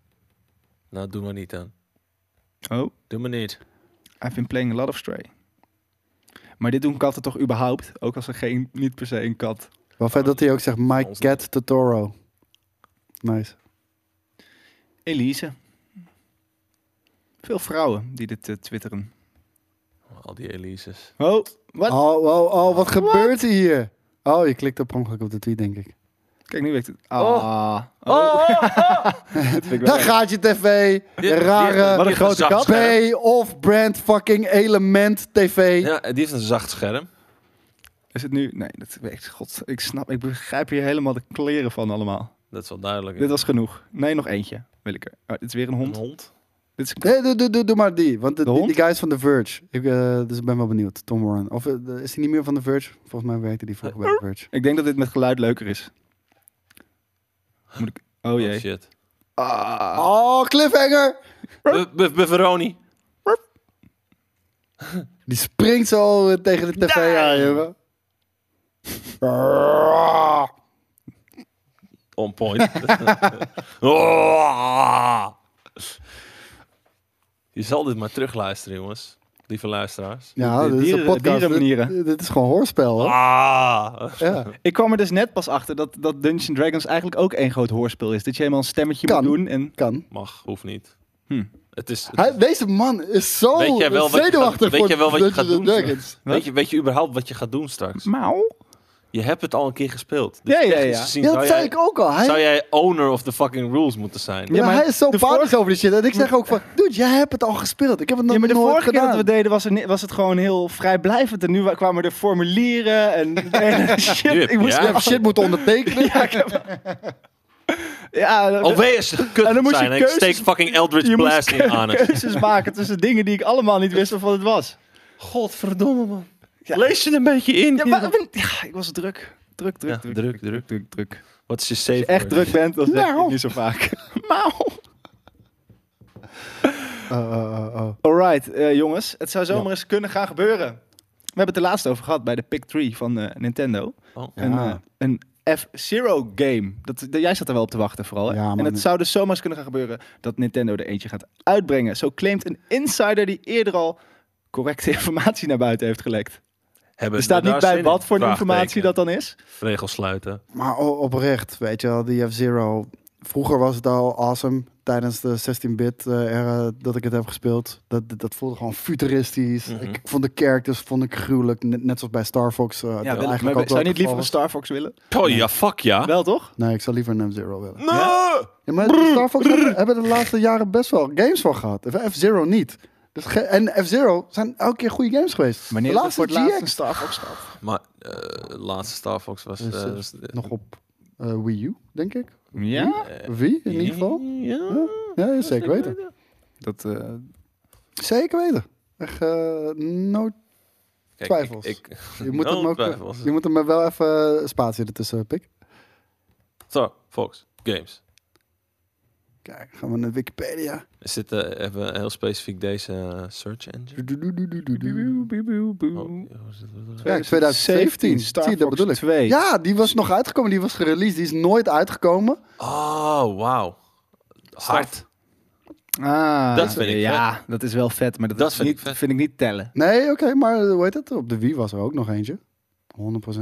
nou doe maar niet dan.
Oh,
Doe maar niet.
I've been playing a lot of Stray. Maar dit doen katten toch überhaupt? Ook als er geen, niet per se een kat...
Wel vet dat hij ook zegt, my
Ons-
cat Totoro. Nice.
Elise. Veel vrouwen die dit eh, twitteren.
Al die Elises.
Oh, wat?
Oh, oh, oh, wat gebeurt er hier? Oh, je klikt op per ongeluk op de tweet, denk ik.
Kijk, nu weet ik het. Ah.
Oh.
Oh. Dat vind ik wel
Daar gaat je tv, je
Wat
rare
een grote kat.
B-off-brand fucking element tv.
Ja, die heeft een zacht scherm.
Is het nu? Nee, dat weet ik. God, ik snap, ik begrijp hier helemaal de kleren van allemaal.
Dat is wel duidelijk.
Dit was genoeg. Nee, nog eentje wil ik er. Oh, dit is weer een
een
hond.
hond.
Dit is een
Nee, doe, doe, doe, doe maar die, want de,
De
die,
hond?
die guy is van The Verge. Ik, eh, dus ik ben wel benieuwd, Tom Warren. Of eh, is hij niet meer van The Verge? Volgens mij werkte die vroeger bij The Verge.
Ik denk dat dit met geluid leuker is. Moet ik... Oh
Oh,
jee.
shit.
Ah.
Oh, cliffhanger!
Bu- bu- Bufferoni.
Die springt zo eh, tegen de tv aan, jongen.
On point. Oh. Je zal dit maar terugluisteren, jongens. Lieve luisteraars.
Ja, dit is een
dieren-
podcast.
dierenmanieren.
Dit, dit is gewoon hoorspel, hoor.
Ah.
Ja.
Ik kwam er dus net pas achter dat, dat Dungeons and Dragons eigenlijk ook één groot hoorspel is. Dat je helemaal een stemmetje
Kan.
moet doen en...
Kan.
Mag, hoeft niet.
Hm.
Het is, het
Hij, deze man is
Oh,
zo
Weet jij wel wat je gaat-
zenuwachtig
weet
voor
jij wel wat je gaat
Dungeons
doen?
and Dragons.
Weet je, weet je überhaupt wat je gaat doen straks?
Mauw.
Je hebt het al een keer gespeeld. Dus
Ja, ja,
technisch
ja.
gezien
Ja,
zou,
dat
jij,
zei ik ook al. Hij,
zou jij owner of the fucking rules moeten zijn.
ja, maar
maar
hij is zo
de
paardig over die shit. En ik zeg ook van, dude, jij hebt het al gespeeld. Ik heb het nog
Ja, maar de
nooit
vorige keer
gedaan.
dat we deden was, er, ni- was het gewoon heel vrijblijvend. En nu wa- kwamen er formulieren en, en
Nu
shit.
heb
Ik moest,
je-
ja.
ja, shit moet ondertekenen.
dat-
Alweer kut
En dan moet je
zijn. Ik
keuzes-
steek fucking Eldritch
je moest
Blast in
keu-
aan het.
keuzes maken tussen dingen die ik allemaal niet wist of wat het was.
Godverdomme, man. Lees je een beetje in.
Ja,
hier.
maar- ja, ik was druk. Druk, druk,
Ja,
druk,
druk,
druk,
druk.
druk, druk, druk.
Wat is je
Als
safe
je echt
word?
druk bent, dan zeg ik
Nou.
het niet zo vaak. Mauw.
Oh, oh, oh, oh.
Alright, eh, jongens. Het zou zomaar
Ja.
eens kunnen gaan gebeuren. We hebben het er laatst over gehad bij de Pick 3 van eh, Nintendo.
Oh.
Ja.
Een, eh, een F-Zero game. Dat, dat- jij zat er wel op te wachten vooral. Hè?
Ja,
en
man.
het zou dus zomaar eens kunnen gaan gebeuren dat Nintendo er eentje gaat uitbrengen. Zo claimt een insider die eerder al correcte informatie naar buiten heeft gelekt.
Hebben
Er staat
we
niet
daar
bij
zin in?
wat voor informatie dat
Vraagteken.
dan is.
Regels sluiten.
Maar o- oprecht, weet je wel, die F-Zero. Vroeger was het al awesome tijdens de 16-bit eh, era dat ik het heb gespeeld. Dat, dat- dat voelde gewoon futuristisch.
Mhm.
Ik vond de characters vond ik gruwelijk. Net, net zoals bij Star Fox. eh, dat
Ja,
eigenlijk
maar
ook
zou
wel
je niet liever
het
een
geval
Star Fox willen?
Oh ja, fuck ja.
Wel toch?
was. Nee, ik zou liever een F-Zero willen.
Nee!
Ja, maar Star Fox hebben, hebben de laatste jaren best wel games van gehad. F-Zero niet. Dus ge- en F-Zero zijn elke keer goede games geweest.
Wanneer
de
is het
laatste
voor het laatst een
GX
Star Fox gehad?
Maar eh, de laatste Star Fox was... eh,
Is, eh,
was-
nog op eh, Wii U, denk ik.
Ja,
eh,
Wie, in ieder geval.
Ja.
Ja, zeker weten.
dat, eh,
Zeker weten. Echt, eh, no,
Kijk,
Twijfels.
Ik, ik,
je, moet
No
hem ook, eh,
twijfels.
je moet hem er wel even eh, spatie ertussen pik.
Star Fox Games.
Kijk, gaan we naar Wikipedia.
Er zit eh, even heel specifiek deze eh, search engine. Mm. Oh, hoe is het?
Ja, 2017.
Star
Zie je, dat
Fox
bedoel ik.
2.
Ja, die was nog uitgekomen. Die was gereleased. Die is nooit uitgekomen.
Oh, wauw. Hard.
Ah,
Dat vind ik
ja, dat is wel vet, maar dat,
Dat
is
vind ik
niet,
vet.
vind ik niet tellen.
Nee, oké, maar eh, hoe heet het? Op de Wii was er ook nog eentje. 100%.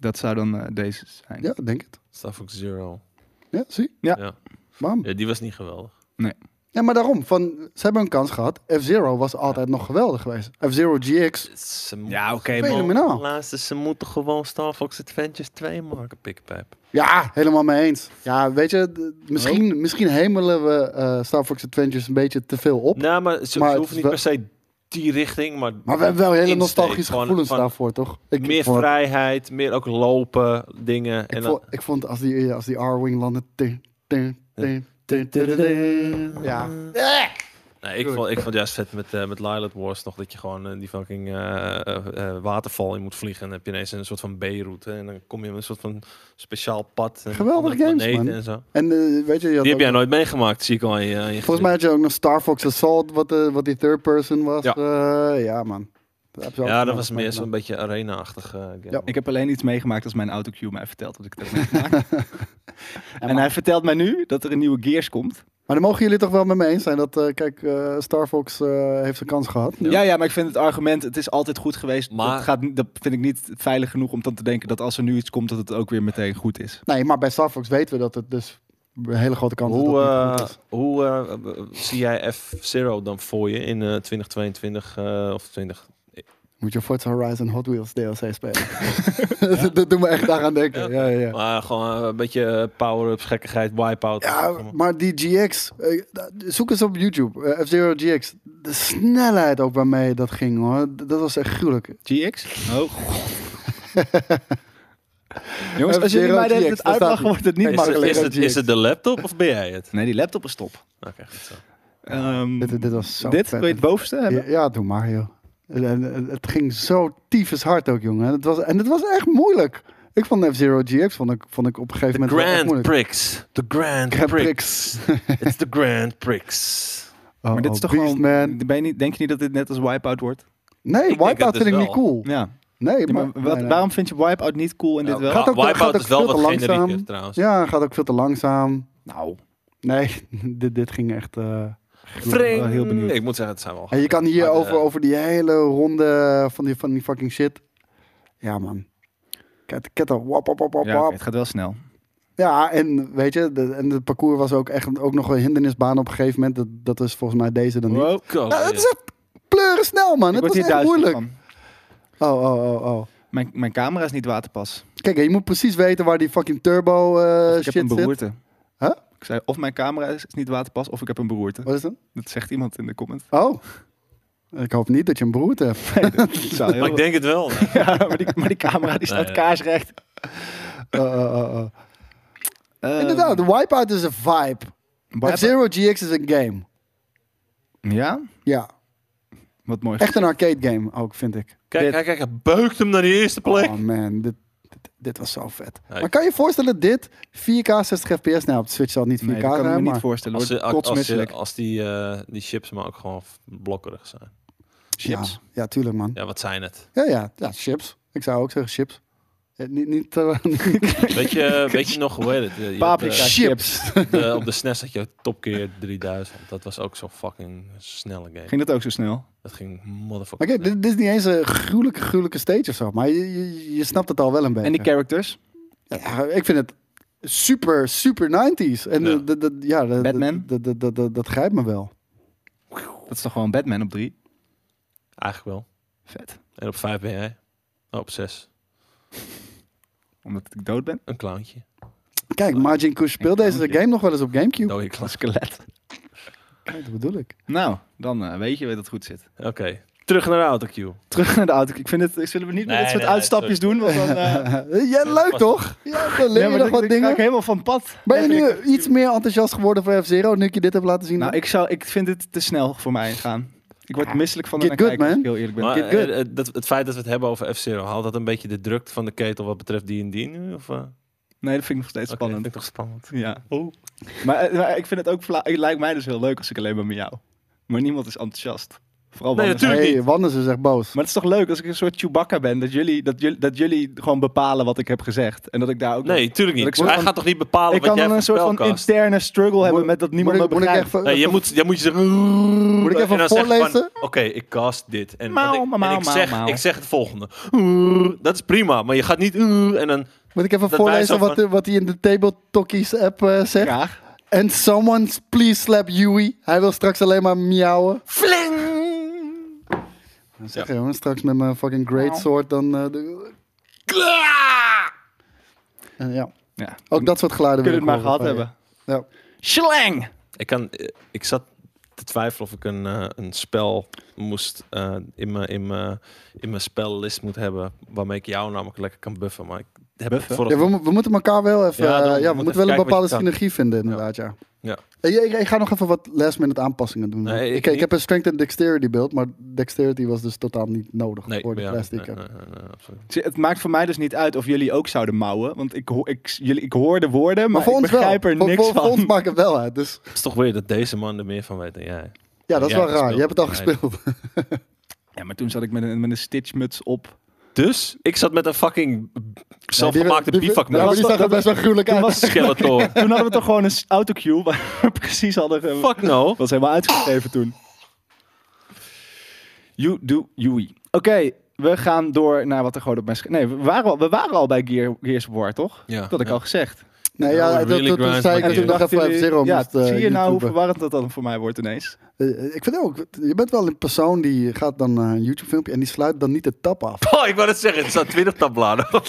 Dat zou dan eh, deze zijn.
Ja, denk het.
Star Fox Zero.
Ja, zie.
Ja.
Ja.
Bam.
Ja, die was niet geweldig.
Ja, maar daarom. Van, ze hebben een kans gehad. F-Zero was altijd nog geweldig geweest. F-Zero GX.
Ze
Ja, oké,
moeten-
man.
Fenomenaal.
Luister, ze moeten gewoon Star Fox Adventures 2 maken, pikpijp.
Ja, helemaal mee eens. Ja, weet je, d- misschien,
Oh.
misschien hemelen we eh, Star Fox Adventures een beetje te veel op.
Nou, maar ze,
Maar
ze
het
hoeven
is
niet
wel-
per se die richting, maar...
Maar we hebben wel hele
Insteek
nostalgische
van-
gevoelens
van
daarvoor, toch? Ik,
meer
ik vond,
vrijheid, meer ook lopen, dingen.
Ik
en
vond, ik vond als die, als die R-Wing landde... tin, tin, tin, tin, tin, tin, tin. Ja.
Nee, ik, vond, ik vond juist vet met, eh met Lilith Wars nog dat je gewoon eh, die fucking eh, eh, eh, waterval in moet vliegen. En dan heb je ineens een soort van B-route. En dan kom je met een soort van speciaal pad. en
Geweldige
andere
games,
planeten
man.
En zo.
En eh, weet je, je had
Die heb
ook-
jij nooit meegemaakt, zie ik al. aan je- aan je
Volgens mij had je ook nog Star Fox Assault, wat, eh, wat die third person was.
Ja.
Eh, ja man. Dat heb je ook
Ja, dat
nog
was meer
meegemaakt.
zo'n beetje arena-achtig. eh, game.
Ja.
Ik heb alleen iets meegemaakt als mijn autocue mij vertelt dat ik het heb meegemaakt. en
maar-
hij vertelt mij nu dat er een nieuwe Gears komt.
Maar dan mogen jullie toch wel met me eens zijn dat, eh, kijk, eh, Star Fox eh, heeft zijn kans gehad.
Ja. ja, maar ik vind het argument, het is altijd goed geweest.
Maar-
Dat, gaat, niet- dat vind ik niet veilig genoeg om dan te denken dat als er nu iets komt, dat het ook weer meteen goed is.
Nee, maar bij Star Fox weten we dat het dus een hele grote kans is
Hoe,
dat het
eh,
niet goed is.
hoe eh, eh, zie jij F-Zero dan voor je in eh, 2022 eh, of 20?
Moet je Forza Horizon Hot Wheels DLC spelen. dat, dat doet me echt daaraan denken. Ja, ja, ja.
Maar gewoon eh, een beetje power-ups, gekkigheid, wipeout.
Ja, maar die GX, eh, da- zoek eens op YouTube, eh, F-Zero GX. De snelheid ook waarmee dat ging hoor, D- dat was echt gruwelijk.
GX? Oh, god. Jongens, als jullie
F-Zero
mij de hele tijd
GX, daar staat
uitlachen,
hij.
wordt het niet
is, het,
makkelijk.
is, het, is het de laptop of ben jij het?
Nee, die laptop is top.
Oké, goed zo.
Ehm,
Dit, dit was zo
dit,
vet.
wil je het bovenste hebben?
Ja, ja, doe maar joh. En, en, en het ging zo tyfus hard ook jongen. En het was, en het was echt moeilijk. Ik vond F-Zero GX vond ik, vond ik op een
The
gegeven moment wel echt
Grand
moeilijk.
Prix. The Grand
Grand
Prix. It's the Grand Prix.
Oh,
Maar dit is
oh,
toch
Beast
gewoon...
Man.
Ben je niet, denk je niet dat dit net als Wipeout wordt?
Nee,
Ik denk het
Wipeout
dus
vind ik
wel.
niet cool.
Ja.
Nee,
Ja,
maar...
maar wat,
nee, nee.
waarom vind je Wipeout niet cool en dit wel?
Gaat ook-
Wipeout
gaat ook
Nou, is wel
veel
wat
te langzaam.
generieker trouwens.
Ja, gaat ook veel te langzaam.
Nou,
Nee, dit, dit ging echt... eh,
Vring.
heel benieuwd.
Ik moet zeggen, het zijn wel.
En Ah, je kan hier
Maar,
over,
eh,
over die hele ronde van die, van die fucking shit. Ja, man. Ket- Ketter, wap, wap, wap, wap,
ja, oké,
wap.
het gaat wel snel.
Ja, en weet je, de, en het parcours was ook echt ook nog een hindernisbaan op een gegeven moment. Dat, dat is volgens mij deze dan niet.
Wow.
Koos,
Nou, dat
ja.
is echt pleuren snel, man.
Ik
Het
word
was
hier
echt
duizelig
moeilijk.
van.
Oh, oh, oh, oh.
Mijn, mijn camera is niet waterpas. Dus
Kijk, je moet precies weten waar die fucking turbo eh,
ik
shit
heb een
zit.
beroerte.
Huh?
Ik zei, of mijn camera is, is niet waterpas, of ik heb een beroerte.
Wat is dat?
Dat zegt iemand in de comment.
Oh. Ik hoop niet dat je een beroerte
Ehm.
hebt.
Dat zou heel-
Maar ik denk het wel. nee.
Ja, maar, die, maar die camera die staat
Nee.
kaarsrecht.
Oh, oh, oh, oh.
Eh,
Inderdaad, de Wipeout is een vibe.
Wipeout-
Zero GX is een game.
Ja?
Ja,
Wat mooi.
echt een arcade game ook, vind ik.
Kijk,
Dit-
kijk, kijk, hij beukt hem naar die eerste plek.
Oh man, dit, dit, dit was zo vet.
Nee.
Maar kan je voorstellen dit 4K 60 fps? Nou, op de Switch zal het niet 4K
Nee, dat kan ik me
zijn,
niet
maar-
voorstellen.
Als,
Als,
ze-
wordt
als, als, ze-
kotsmisselijk.
als die, eh, die chips maar ook gewoon f- blokkerig zijn.
Chips.
Ja, ja, tuurlijk man.
Ja, wat zijn het?
Ja, ja, ja, chips. Ik zou ook zeggen chips. Eh, niet, niet, eh,
Weet je, weet je nog, hoe heet het? Je- je had,
Paprika
eh,
chips.
de- op de SNES had je Top Gear 3000. Dat was ook zo'n fucking snelle game.
Ging dat ook zo snel?
Dat ging motherfucker.
maar kijk,
snel.
dit, dit is niet eens een gruwelijke, gruwelijke stage of zo. Maar je, je, je snapt het al wel een beetje.
En die characters?
ja, ik vind het super, super 90s. En
Ja.
dat- dat- dat- ja, dat-
Batman?
dat- dat- dat- dat- dat grijpt me wel.
Dat is toch gewoon Batman op drie?
Eigenlijk wel.
Vet.
En op vijf ben jij. Oh, op zes.
Omdat ik dood ben?
Een clowntje.
Kijk, Margin Kush speelt deze
dank je.
game nog wel eens op Gamecube.
Dode
Een
clown.
skelet.
Kijk, dat bedoel ik.
Nou, dan eh, weet je dat het goed zit.
Oké. Terug naar de autocue.
Terug naar de auto. Ik vind het, ik zullen we niet meer
Nee,
dit soort
nee, nee,
uitstapjes doen, want dan... eh,
Ja, leuk
was-
toch? Ja, dan leer
ja,
je
maar dan-
nog wat
dan ga
dingen.
ik helemaal van pad.
Ben je nu iets meer enthousiast geworden voor F-Zero, nu ik je dit heb laten zien?
Nou, ik, zou, ik vind het te snel voor mij gaan. Ik word misselijk van de
Get good,
kijken, als
man.
ik heel eerlijk ben.
Maar
Get good.
eh, eh, dat, het feit dat we het hebben over F-Zero, haalt dat een beetje de drukte van de ketel wat betreft die en die nu? Of, eh? Oké,
Nee, dat vind ik nog steeds
vind
spannend.
ik toch spannend.
Ja.
Oh.
Maar, eh, maar ik vind het ook, vla- het lijkt mij dus heel leuk als ik alleen maar met jou. Maar niemand is enthousiast. Vooral
Nee,
Wannes.
natuurlijk.
hey,
niet.
Wannes is echt boos.
Maar het is toch leuk als ik een soort Chewbacca ben, dat jullie, dat jullie, dat jullie gewoon bepalen wat ik heb gezegd. En dat ik daar ook...
Nee, tuurlijk
Dat ik
niet.
soort
Hij
van-
gaat toch niet bepalen
ik
wat
kan
jij
dan
voor
een soort van
spelkast-
interne struggle hebben met dat niemand
moet,
me
ik- moet ik
begrijpt.
echt
Nee, je moet, je moet je zeggen...
Moet ik even
en dan zeg je van,
voorlezen?
Oké, ik cast dit. En,
Mauw,
wat ik, en
mauw,
ik, zeg,
mauw, mauw.
ik zeg het volgende. Dat is prima, maar je gaat niet... En dan...
Moet ik even
Dat wij zo
voorlezen wat, eh, wat hij in de Table Talkies app eh, zegt?
Graag.
And someone please slap Yui. Hij wil straks alleen maar miauwen.
Fling!
Dan zeg je, jongen, straks met mijn fucking great sword dan... eh, de- En ja,
Ja.
ook Oh, dat soort geluiden
Kunnen we het maar
wil ik
gehad
horen Oh,
hebben.
van je. Ja.
Slang!
Ik, kan, eh, ik zat te twijfelen of ik een, eh, een spel moest eh, in mijn in mijn- in mijn spellist moet hebben waarmee ik jou namelijk lekker kan buffen. Maar ik hebben we
Buffen.
vorige
Ja, we, mo- we moeten elkaar wel even.
Ja,
eh, Ja,
dan
we
moet
moeten
even
wel een
kijken wat
bepaalde
je kan.
synergie vinden, inderdaad. Ja.
Ja.
Eh, Ik, ik ga nog even wat last minute aanpassingen doen.
Nee, ik
ik, ik,
niet.
heb een strength en dexterity build, maar dexterity was dus totaal niet nodig
Nee,
voor de
ja,
plastic.
nee, nee, nee, nee, absoluut.
Zie, Het maakt voor mij dus niet uit of jullie ook zouden mouwen. Want ik, ho- ik, jullie, ik hoor de woorden, maar,
Maar voor
ik
ons wel.
begrijp er
Voor-
niks
voor,
van.
voor ons maakt het wel uit. Dus
Het is toch weer dat deze man er meer van weet dan jij.
ja, dat is
Ja,
wel raar.
gespeeld.
Je hebt het al
Ja,
gespeeld.
Ja, maar toen zat ik met een, met een stitchmuts op.
Dus ik zat met een fucking zelfgemaakte
die- die- Ja, maar
bivakmuts.
die zag er best wel gruwelijk
Toen,
uit.
was,
Skeletor.
toen hadden we toch gewoon een s- autocue waar we precies hadden... ge-
Fuck no.
was helemaal uitgegeven toen. You do Yui. Oké, we gaan door naar wat er gewoon op mijn... scherm- Nee, we waren al, we waren al bij Gear, Gears of War, toch?
Ja,
dat had ik
ja.
al gezegd.
Nee, Nou ja,
Oh,
dat-
really
dat- toen
grind
zei ik
my
dat toen
gear.
nog even
jullie-
zero
ja,
moest eh,
Zie je nou hoe
YouTuben.
verwarrend dat dan voor mij wordt ineens?
Eh, Ik vind ook, je bent wel een persoon die gaat dan eh, een YouTube filmpje en die sluit dan niet de tap af.
Oh, ik wou het zeggen. Er staan 20 tabbladen op.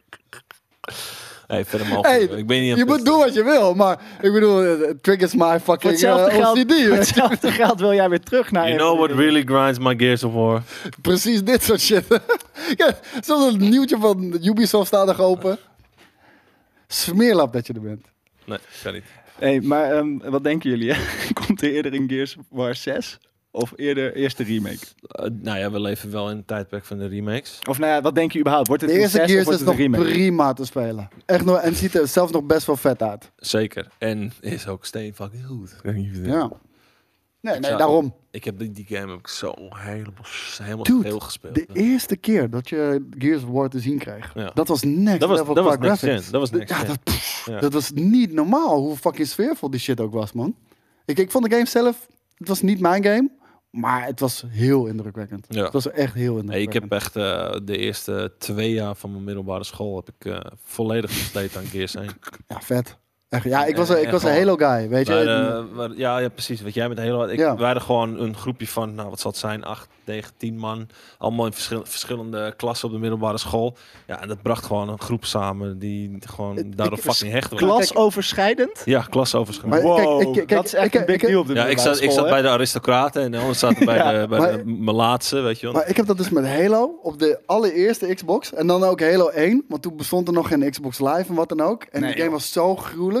hey, verder mogen
Hey,
we. Ik ben niet aan
Je
het
moet doen wat je wil, maar ik bedoel, eh, it triggers my
Voor
fucking
hetzelfde,
eh,
geld,
OCD.
voor
weet je.
hetzelfde geld wil jij weer terug naar...
You
je-
know what really grinds my gears of war?
Precies dit soort shit. ja, zoals een nieuwtje van Ubisoft staat nog open. Smeerlap dat je er bent.
Nee, kan niet.
Hey, maar ehm, wat denken jullie? Hè? Komt er eerder een Gears of War 6? Of eerder eerst de remake?
Eh, nou ja, we leven wel in het tijdperk van de remakes.
Of nou ja, wat denk je überhaupt? Wordt het
De eerste
een 6 of
Gears
wordt
is
het een
nog
remake?
prima te spelen. Echt nog, en ziet er zelfs nog best wel vet uit.
Zeker. En is ook steen fucking goed. Ik weet niet of je-
Ja. Nee,
Ik
nee,
zou-
daarom.
Ik heb die, die game heb ik zo helemaal, helemaal
Dude,
veel gespeeld.
De eerste keer dat je Gears of War te zien kreeg,
Ja.
dat was next
Dat was,
level
dat was
qua
next gen.
graphics.
Dat was next
ja,
gen.
dat, pff,
Ja.
dat was niet normaal hoe fucking sfeervol die shit ook was, man. Ik, ik vond de game zelf, het was niet mijn game, maar het was heel indrukwekkend.
Ja.
Het was echt heel indrukwekkend.
Nee, ik heb echt eh, de eerste twee jaar van mijn middelbare school heb ik eh, volledig besteed aan Gears 1.
Ja, vet. Echt, ja, ik was,
Eh,
een- ik
echt
was een
gewoon.
Halo guy, weet je.
Wij, eh, wij- ja, ja, precies. Wat jij met Halo... Ik,
Ja.
Wij hadden gewoon een groepje van, nou wat zal het zijn, acht, negen, tien man. Allemaal in verschil- verschillende klassen op de middelbare school. Ja, en dat bracht gewoon een groep samen die gewoon
Het-
daarop
ik-
fucking hecht was.
Klasoverschrijdend?
Ja, klasoverschrijdend.
Maar
Wow,
kijk, ik- kijk,
dat is echt
ik-
een big
ik- ik-
deal op de
Ja, ik
middelbare
zat, ik
school,
zat
hè?
bij de aristocraten en de anderen zaten bij de, bij
maar-
de melaatse, weet je wel.
maar ik heb dat dus met Halo op de allereerste Xbox. En dan ook Halo 1, want toen bestond er nog geen Xbox Live en wat dan ook. En
Nee,
die game
joh.
was zo gruwelijk.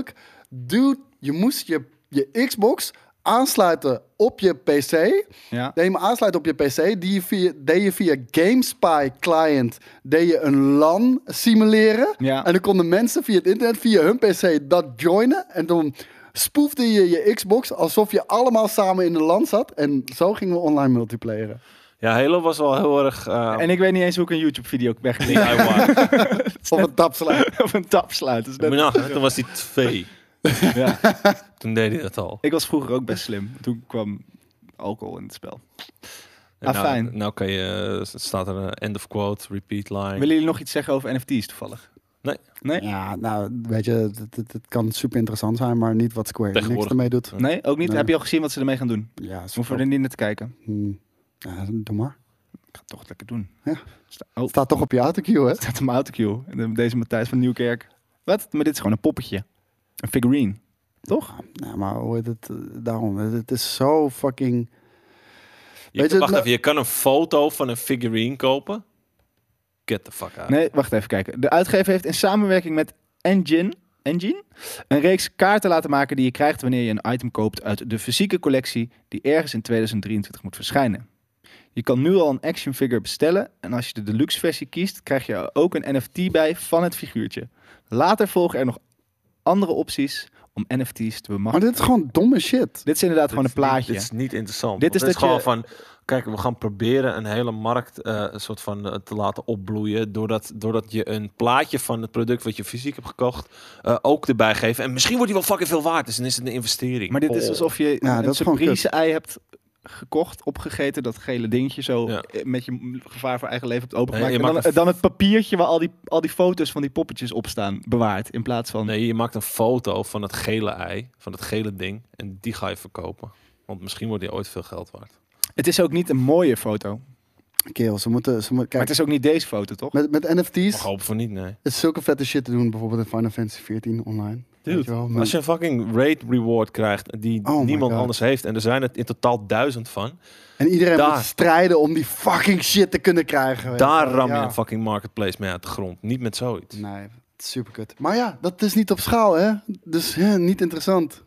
Dude, je moest je, je Xbox aansluiten op je PC.
Ja.
Deed je hem aansluiten op je PC, die je via, deed je via GameSpy client deed je een LAN simuleren.
Ja.
En dan konden mensen via het internet, via hun PC, dat joinen. En toen spoefde je je Xbox alsof je allemaal samen in de LAN zat. En zo gingen we online multiplayeren.
Ja, Halo was wel heel erg... eh,
En ik weet niet eens hoe ik een YouTube-video wegklik
DIY.
Of een tapsluit.
of een tap sluit. Dus dat-
Maar nou, toen was hij twee.
ja.
Toen deed hij dat al.
Ik was vroeger ook best slim. Toen kwam alcohol in het spel.
Ah,
En nou,
fijn.
Nou kan je, eh, staat er een end of quote, repeat line.
Willen jullie nog iets zeggen over NFT's toevallig?
Nee.
Nee?
Ja, nou, weet je, het, het- het kan super interessant zijn, maar niet wat Square Enix
Tegenwoordig. Hm.
ermee doet.
Nee, ook niet.
Nee.
Heb je al gezien wat ze ermee gaan doen?
Ja,
Ze
super.
hoeven er niet naar te kijken.
Hmm. Ja, doe maar.
Ik ga het toch lekker doen.
Ja.
Sta- Oh,
Staat toch op je autocue, hè?
staat op mijn autocue. En dan Deze Matthijs van Nieuwkerk. Wat? Maar dit is gewoon een poppetje. Een figurine. Toch?
Nou, maar hoe heet het? eh, Daarom, het- het is zo fucking...
Je,
Weet je,
wacht
nou-
even, je kan een foto van een figurine kopen. Get the fuck out.
Nee, wacht even kijken. De uitgever heeft in samenwerking met Engine, Engine een reeks kaarten laten maken die je krijgt wanneer je een item koopt uit de fysieke collectie die ergens in 2023 moet verschijnen. Je kan nu al een action figure bestellen en als je de deluxe versie kiest, krijg je er ook een NFT bij van het figuurtje. Later volgen er nog andere opties om NFT's te
Maar
bemachtigen.
dit is gewoon domme shit.
Dit is inderdaad gewoon een plaatje.
Dit is niet interessant.
Dit
Dit
is
is,
dat
gewoon
je-
van... Kijk, we gaan proberen een hele markt eh, een soort van eh, te laten opbloeien. Doordat, doordat je een plaatje van het product wat je fysiek hebt gekocht eh, ook erbij geeft. En misschien wordt die wel fucking veel waard. Dus dan is het een investering.
Maar dit is dus
Oh.
alsof je
Ja,
een
dat is gewoon kut.
surprise-ei hebt gekocht, opgegeten, dat gele dingetje zo
Ja.
eh, met je m- gevaar voor eigen leven hebt opengemaakt.
Nee, je
en dan,
maakt een
eh, dan het papiertje waar al die, al die foto's van die poppetjes op staan bewaard, in plaats van...
Nee, je maakt een foto van het gele ei, van het gele ding. En die ga je verkopen. Want misschien wordt die ooit veel geld waard.
Het is ook niet een mooie foto, maar
Kerel, ze moeten... Ze moeten
het
kijk,
is ook niet deze foto, toch?
met, met
Mag
NFT's
hopen van niet, nee.
is zulke vette shit te doen. Bijvoorbeeld in Final Fantasy 14 online. Weet je wel,
Dude,
maar-
als je een fucking raid reward krijgt die
Oh my
niemand
God.
anders heeft en er zijn er in totaal duizend van,
En iedereen
Daar.
moet strijden om die fucking shit te kunnen krijgen. weet
daar
je wel.
ram je
Ja.
een fucking marketplace mee uit de grond, niet met zoiets.
Nee, super kut. Maar ja, dat is niet op schaal, hè? Dus hè, niet interessant.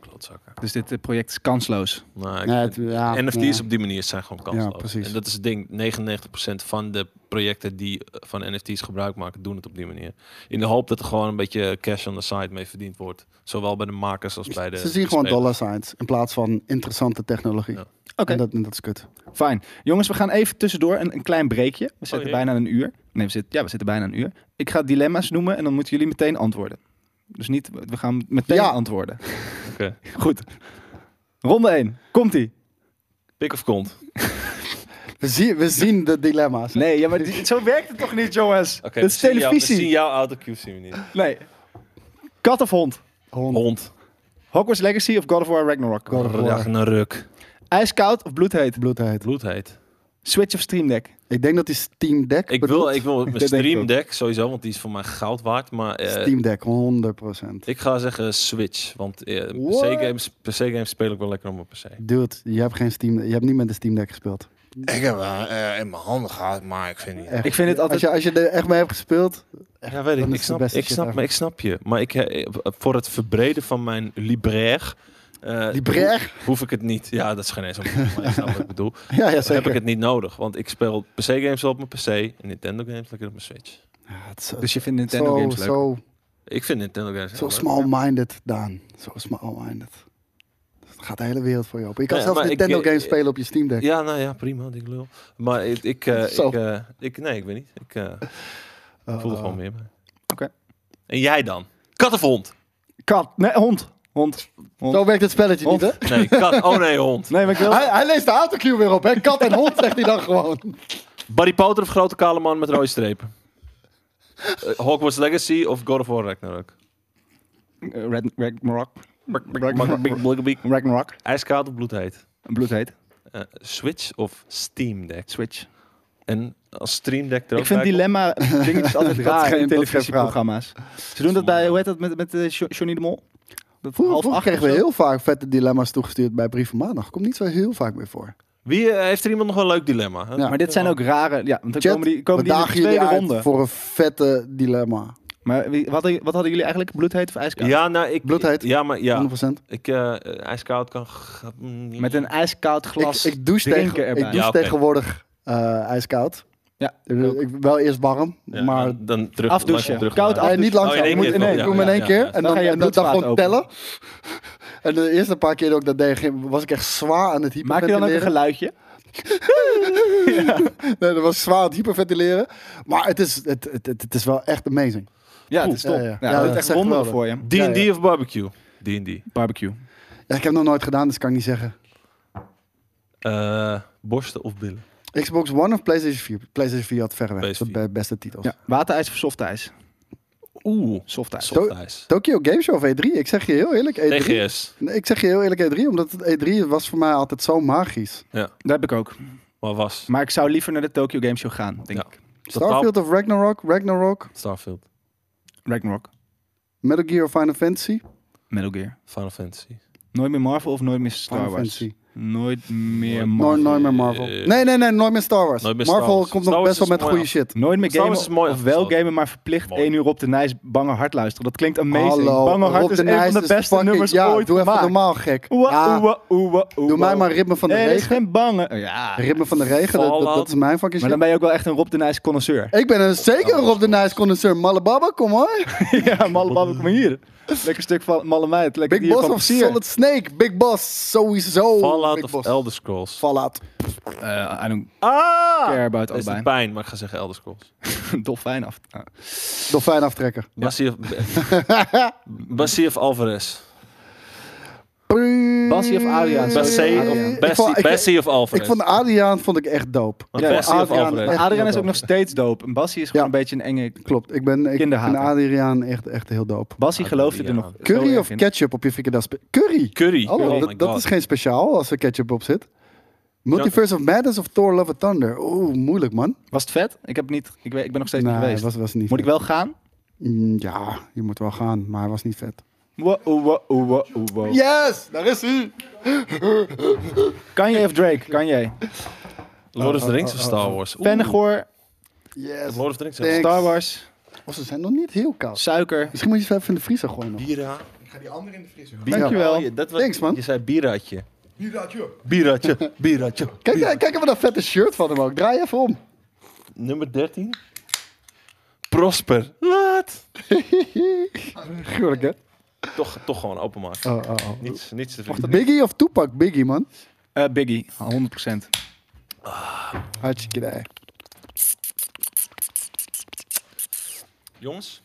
Klootzakken.
Dus dit eh, project is kansloos.
Nee, ik-
Nee, het- ja,
NFT's
ja.
op die manier zijn gewoon kansloos.
Ja, precies.
En dat is het ding, 99% van de projecten die eh, van NFT's gebruik maken, doen het op die manier. In de hoop dat er gewoon een beetje cash on the side mee verdiend wordt. Zowel bij de makers als bij de
Ze zien gewoon
spelers.
dollar signs in plaats van interessante technologie.
Ja.
Oké.
En, dat, en dat is kut.
Fijn. Jongens, we gaan even tussendoor een, een klein breekje. We zitten
jee.
bijna een uur. Nee, we zitten, ja, we zitten bijna een uur. Ik ga dilemma's noemen en dan moeten jullie meteen antwoorden. Dus niet, we gaan meteen
Ja.
antwoorden.
Oké.
Goed. Ronde 1. Komt-ie.
Pik of kont?
We, zien we zien de dilemma's.
Nee, ja, maar dit- zo werkt het toch niet, jongens?
Oké,
Dit is
we zien jou-
televisie.
we zien jouw autocue zien we niet.
Nee. Kat of hond?
Hond.
Hond.
Hogwarts Legacy of God of War Ragnarok?
God of War.
Ja, een ruk.
IJskoud of bloedheet?
Bloedheid.
Bloedheet.
Switch of Stream Deck?
Ik denk dat die Steam Deck
Ik
bedoelt.
wil, ik wil mijn
Dat denk ik
stream
ook.
deck sowieso, want die is voor mij goud waard. Maar eh,
Steam Deck, 100%.
ik ga zeggen Switch. Want eh,
What?
PC-games PC games speel ik wel lekker op mijn PC.
Dude, je hebt, geen Steam, je hebt niet met de Steam Deck gespeeld.
Ik heb eh, in mijn handen gehad, maar ik vind
Echt.
Ik vind dit
Als
altijd...
je, als je er echt mee hebt gespeeld,
Ja, weet ik. Ik
Dan is het
snap,
de beste
ik,
shit
snap, ik snap je. Maar ik, eh, voor het verbreden van mijn libraire... eh,
die breg.
ho- Hoef ik het niet. Ja, dat is geen eens een probleem, maar ik snap wat ik bedoel.
Ja, ja,
Dan heb
zeker.
ik het niet nodig. Want ik speel PC-games op mijn PC en Nintendo-games lekker op mijn Switch.
Ja, het is zo-
Dus je vindt Nintendo
zo,
games leuk?
zo,
Ik vind Nintendo-games
zo small-minded, Daan. Zo small-minded. Het gaat de hele wereld voor je open. Je kan
Ja,
zelfs
maar ik-
Nintendo games
eh,
spelen op je Steam Deck.
Ja, nou ja, prima, die lul. Maar ik, ik, eh,
Zo.
ik, eh, ik nee, ik weet niet. Ik eh,
Eh,
voel er gewoon meer bij.
Oké.
En jij dan? Kat of hond?
Kat. Nee, hond. Hond. Hond.
Zo werkt het spelletje
Hond.
niet, hè?
Nee, kat. Oh nee, hond.
Nee, maar ik wil...
Hij, hij leest de autocue weer op, hè? Kat en hond zegt hij dan gewoon.
Barry Potter of grote kale man met rode strepen? Eh, Hogwarts Legacy of God of War Ragnarok?
Eh, Rag- Ragnarok.
Big Big Big.
Ragnarok.
Ijskoud of bloedheet?
Bloedheet.
Eh, Switch of Steam Deck?
Switch.
En als Stream Deck er ook
Ik vind
bij komt?
dilemma dingetjes altijd
Dat
raar
geen-
in
dat geen
televisieprogramma's. Ze doen dat bij, hoe heet dat, met, met eh, Jo- Johnny de Mol? Dat
Vroeger,
half
vroeger
acht
kregen we
of zo.
heel vaak vette dilemma's toegestuurd bij Brieven Maandag. Komt niet zo heel vaak meer voor.
Wie eh, heeft er iemand nog een leuk dilemma? Hè?
Ja.
Maar dit zijn ook rare, ja, want dan
Chat,
komen die, komen
we
die in de
dagen
tweede
jullie uit
ronde.
voor een vette dilemma.
Maar wie- wat, hadden- wat hadden jullie eigenlijk? Bloedheet of ijskoud?
Ja, nou, ik,
Bloedheet.
Ja, maar ja.
100%.
Ik, eh ijskoud kan... g-
Met een ijskoud glas
ik, ik douche,
drinken
tegen, ik
erbij.
douche
Ja, oké.
tegenwoordig eh, ijskoud.
Ja,
Ik bedoel, ik, wel eerst warm,
Ja,
maar
dan- dan terug,
Afdouchen.
langzaam terug
Koud
naar-
af-
nee, niet
Oh,
langzaam.
in
je
één
moet
keer
in één,
wel,
doe
ja,
hem in
ja,
één keer.
ja.
En dan,
Dan ga je
en dan, dan
bloedvaat
gewoon
open.
tellen. En de eerste paar keer dat ik dat deed, ging- was ik echt zwaar aan het
Maak je dan ook een
hyperventileren.
geluidje?
Nee, dat was zwaar aan het hyperventileren. Maar het is, het, het, het, het is wel echt amazing.
Ja, het is
Ja,
top.
ja.
Ja,
Ja,
dat
dat
is echt
zegt
wonderen
wel
voor je.
D&D
Ja, ja.
of barbecue? D&D.
Barbecue.
Ja, ik heb nog nooit gedaan, dus kan ik niet zeggen.
Eh, borsten of billen?
Xbox One of PlayStation 4? PlayStation 4 had verreweg
PS4.
de be- beste titels.
Ja, waterijs of softijs?
Oeh,
Softijs.
Zo-
softijs.
Tokyo Game Show of E3. Ik zeg je heel eerlijk, E3.
TGS.
Nee, ik zeg je heel eerlijk E3, omdat het E3 was voor mij altijd zo magisch.
Dat heb ik ook.
Maar was
Maar ik zou liever naar de Tokyo Game Show gaan, denk
Ja.
ik.
Starfield of Ragnarok, Ragnarok,
Starfield,
Ragnarok,
Metal Gear of Final Fantasy.
Metal Gear.
Final Fantasy.
Oh,
Nooit meer Marvel of nooit meer Star
Final
Wars?
Fantasy.
Nooit meer
Nooit-
Marvel.
Nooit, nooit meer Marvel.
Eh,
Nee, nee, nee, nooit meer Star Wars.
Nooit meer Star
Marvel
Wars.
komt
Star
nog
Wars
best wel
is
met
mooi
goede
af.
shit.
Nooit meer
Star
gamen
Wars is mooi
of wel
afgesloten.
gamen, maar verplicht
Mooi.
één uur op de Nijs Bange Hart luisteren. Dat klinkt amazing.
Hallo,
Bange Hart
Rob
is
de
een
Nijs
van de
is
beste
fucking-
nummers
ja,
ooit
doe even
gemaakt.
normaal gek.
Oeh,
Ja,
oeh, oeh, oeh.
doe mij maar ritme van de
Er is
regen.
geen bange. oh, Ja.
Ritme van de regen, dat, dat- dat is mijn fucking
Maar
shit.
dan ben je ook wel echt een Rob de Nijs connoisseur.
Ik ben een zeker een Rob de Nijs condenseur. Malababa, kom hoor.
ja, malle babbel, kom maar hier. Lekker stuk van malle meid. Lekker
Big
dier
Boss
van
of
plezier.
Solid Snake. Big Boss, sowieso.
Fallout
Big
of
Boss.
Elder Scrolls?
Fallout.
Eh, I don't
Ah!
care about
Dat is het
allebei.
pijn, maar ik ga zeggen Elder Scrolls.
Dolfijn af. Ah.
Dolfijn aftrekken.
Basie of, Basie of Alvarez.
Basie of Adriaan?
Basie of,
Ik vond-
Basie,
ik-
Basie of
Ik
Alvarez.
vond Adriaan vond ik echt dope.
Want
Ja,
Basie of
Adriaan-
Alvarez.
Maar
Echt
Adriaan is
heel
ook nog steeds dope. En Bassie is gewoon
Ja.
een beetje een enge...
Klopt, ik ben ik vind
Kinderhater.
Adriaan echt, echt heel dope.
Ah, Bassie geloofde er
Adriaan.
nog.
Curry
zo
of
erg in.
ketchup op je frikandel? spe- Curry!
Curry.
Oh,
Oh my
dat, dat
God.
is geen speciaal als er ketchup op zit. Multiverse of Madness of Thor Love and Thunder? Oeh, moeilijk man.
Was het vet? Ik, heb niet, ik, weet, ik ben nog steeds
Nee,
niet geweest.
was, was niet.
Moet ik wel gaan?
Mm, Ja, je moet wel gaan, maar hij was niet vet.
Wow, wow, wow, wow.
Yes, daar is hij.
Kanye of Drake? Kanye.
Lord of the Rings
Oh,
of Star Wars. Oeh,
Pennengoor,
Yes.
Lord of the Rings.
Thanks.
Star Wars,
Oh, ze zijn nog niet heel koud.
suiker.
Misschien moet je ze even in de vriezer gooien nog.
Bira.
Ja.
Dankjewel.
Oh, je- dat was-
Thanks, man.
Je zei bieratje. Bieratje. Bieratje. Bieratje.
Kijk, kijk, kijk even dat vette shirt van hem ook. Draai even om.
Nummer 13. Prosper. Wat?
Gruwelijk, hè?
Toch, toch gewoon openmaken.
Oh, oh, oh.
Niets, niets te
Wacht,
vinden.
Biggie of Tupac? Biggie, man.
Eh, Biggie, 100%.
Hartstikke idee.
Jongens,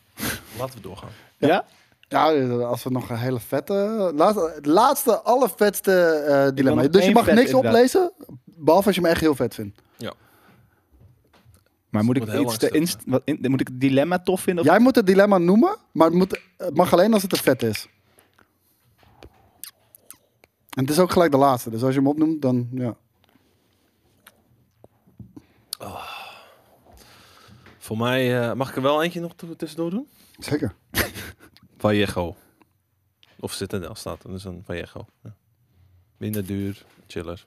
laten we doorgaan.
Ja?
Ja, dus, eh, als we nog een hele vette... Laatste, het laatste, allervetste eh, dilemma.
nog
Dus je
één
mag
vet,
niks
inderdaad.
oplezen, behalve als je hem echt heel vet vindt.
Maar moet ik,
Wordt heel
iets
lang
te
stil,
inst- wat in- moet ik het dilemma tof vinden? Of
Jij moet het dilemma noemen, maar het, moet, het mag alleen als het te vet is. En het is ook gelijk de laatste, dus als je hem opnoemt, dan ja.
Voor mij, eh, mag ik er wel eentje nog t- tussendoor doen?
Zeker.
Vallejo. Of Citadel staat er, dus een Vallejo. Ja. Minder duur, chiller.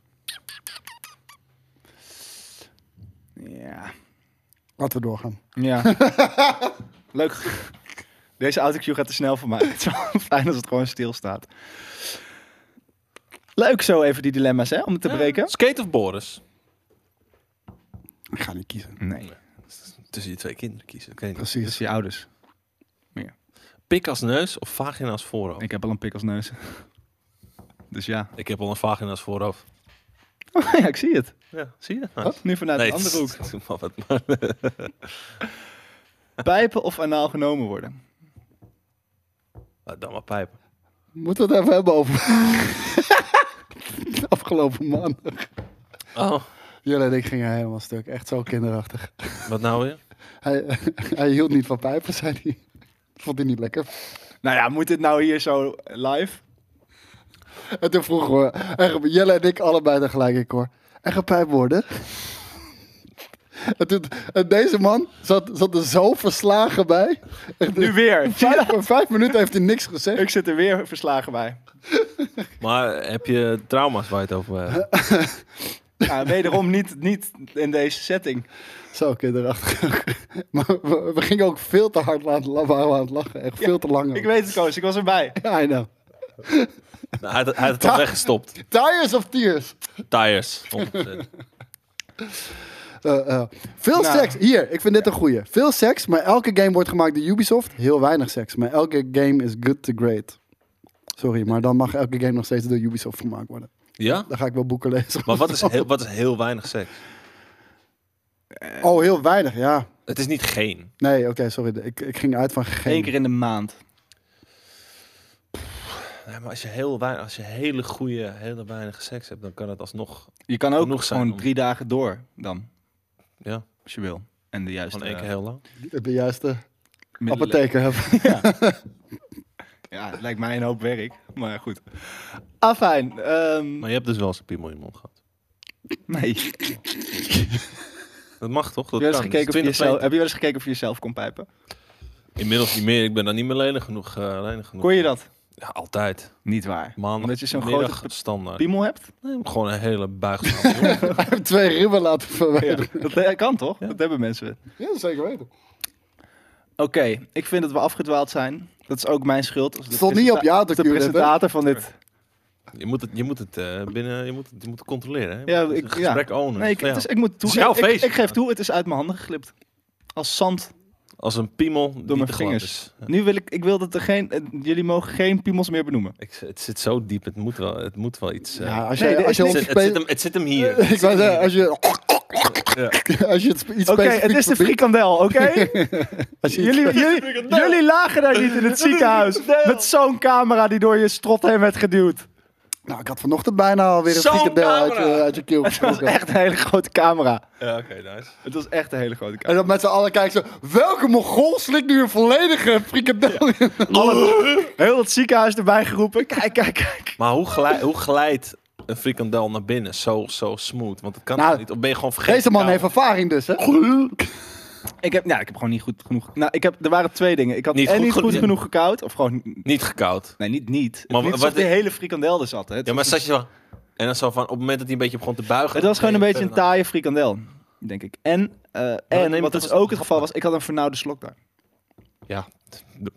Ja.
Laten we doorgaan.
ja. Leuk. Deze autocue gaat te snel voor mij. Het is wel fijn als het gewoon stilstaat. Leuk zo even die dilemma's, hè? Om het te breken.
Skate of Boris?
Ik ga niet kiezen.
Nee,
Tussen je twee kinderen kiezen. oké.
dat is
Precies.
je ouders.
Pik als neus of vagina als voorhoofd? Ik,
Ik heb al een pik als neus. Dus ja.
heb al een vagina als voorhoofd.
ja, ik zie het.
Ja, zie je? Nice.
Nu vanuit
Nee,
de andere hoek.
doe maar wat, maar.
Pijpen of anaal genomen worden?
Laat Dan maar pijpen.
Moeten we het even hebben over... Afgelopen maandag.
Oh,
Jullie en ik gingen helemaal stuk. Echt zo kinderachtig.
wat nou weer?
Hij, hij hield niet van pijpen, zei hij. Vond hij niet lekker.
Nou ja, moet dit nou hier zo live?
En toen vroegen we, echt, Jelle en ik allebei tegelijk, ik hoor, echt een pijp worden? En, toen, en deze man zat, zat er zo verslagen bij. Echt,
Nu weer. Zie je?
Vijf, vijf minuten heeft hij niks gezegd.
Ik zit er weer verslagen bij.
Maar heb je trauma's waar je het over eh, hebt?
Ja, wederom niet, niet in deze setting.
Zo kinderachtig. Maar we, we gingen ook veel te hard aan, waren we aan het lachen. Echt veel te lang.
Ik
ook.
weet het, Koos. Ik was erbij.
Ja, I know.
Nou, hij, had- hij had het al weggestopt.
Tires of tears.
Tires. 100%.
Eh, eh, Veel
Nou.
seks. Hier, ik vind dit een goeie. Veel seks, maar elke game wordt gemaakt door Ubisoft. Heel weinig seks, maar elke game is good to great. Sorry, maar dan mag elke game nog steeds door Ubisoft gemaakt worden.
Ja?
Dan ga ik wel boeken lezen.
Maar wat is, heel, wat is heel weinig seks?
Oh, heel weinig, ja.
Het is niet geen.
Nee, oké, sorry. Ik, ik ging uit van geen.
Eén keer in de maand.
Nee, maar als je, heel weinig, als je hele goede, hele weinig seks hebt, dan kan het alsnog
Je kan ook
Genoeg zijn
gewoon
om-
drie dagen door dan,
ja,
als je wil. En de juiste...
gewoon één keer heel lang.
De juiste
eh, middelen.
apotheker hebben.
Ja, het lijkt mij een hoop werk. Maar goed. Afijn. ehm,
Maar je hebt dus wel eens een piemel in je mond gehad.
nee.
Dat mag toch? Dat
Heb je, wel eens
kan.
gekeken of je
20,
jezelf, heb je wel eens gekeken of je jezelf kon pijpen?
Inmiddels niet meer. Ik ben daar niet meer lenig genoeg. eh lenig genoeg.
Kon je dat?
Ja, altijd.
Niet waar.
Maandag,
Omdat je zo'n
middag,
grote
standaard.
piemel hebt?
Nee, maar gewoon een hele buigzaam. jongen.
Hij heeft twee ribben laten verwijderen.
Dat eh, kan toch? Dat hebben mensen.
Ja, zeker weten.
Oké, ik vind dat we afgedwaald zijn. Dat is ook mijn schuld. Als de
Stond niet op je
presenta-
autocue,
als De
dit, hè?
presentator van dit.
je moet het, je moet het eh, binnen, je moet, het- je moet het controleren. Hè?
Ja,
Het is
ik-
een
ja.
gesprek ownen.
Nee, ik,
Van
het is,
jou.
ik moet
jouw
toegeven. Ik,
feest.
ik geef toe, het is uit mijn handen geglipt. Als zand
Als een piemel die
door mijn
te glad
vingers.
is. Ja.
Nu wil ik, ik wil dat er geen, eh, jullie mogen geen piemels meer benoemen.
Ik, het zit zo diep. Het moet wel, het moet wel iets. eh,
Ja, als
Nee,
je,
er
als
is
je
niks.
het,
ons
zit, het, zit
spe-
hem, het zit hem hier.
Ik wou zeggen, als je...
Ja.
Als je het spe- iets
Oké,
specifieks
het is de
verbiekt-
frikandel, oké?
als je iets
jullie, jullie, jullie lagen daar niet in het ziekenhuis. Met zo'n camera die door je strot heen werd geduwd.
Nou, ik had vanochtend bijna alweer een
Zo'n
frikandel uit, je-
camera.
uit je keel
Het was
gesproken.
echt een hele grote camera.
Ja, oké, nice.
Het was echt een hele grote camera.
En dan met z'n allen kijken ze, welke mogol slikt nu een volledige frikandel in?
Alle, heel het ziekenhuis erbij geroepen. Kijk, kijk, kijk.
Maar hoe glijdt, hoe glijdt een frikandel naar binnen zo, zo smooth? Want het kan
Nou,
Nou. toch niet. Of ben je gewoon vergeten?
Deze man heeft ervaring dus, hè?
Ik heb, nou, ik heb gewoon niet goed genoeg. Nou, ik heb, er waren twee dingen. Ik had
Niet
en
goed
niet
geno-
goed genoeg gekauwd, of gewoon.
Niet gekoud.
Nee, niet niet.
Maar
Maar niet
wa-
wat
wat-
de hele frikandel er zat. Hè. Het,
Ja, maar
was,
zat je zo... En dan zo van, op het moment dat hij een beetje begon te buigen...
het was gewoon een
dan
beetje een
deed je
taaie frikandel, denk ik. En, eh,
nee,
en wat
maar dat
dus
was
ook het geval
grappig.
was, ik had een vernauwde slokdarm.
verder. Ja,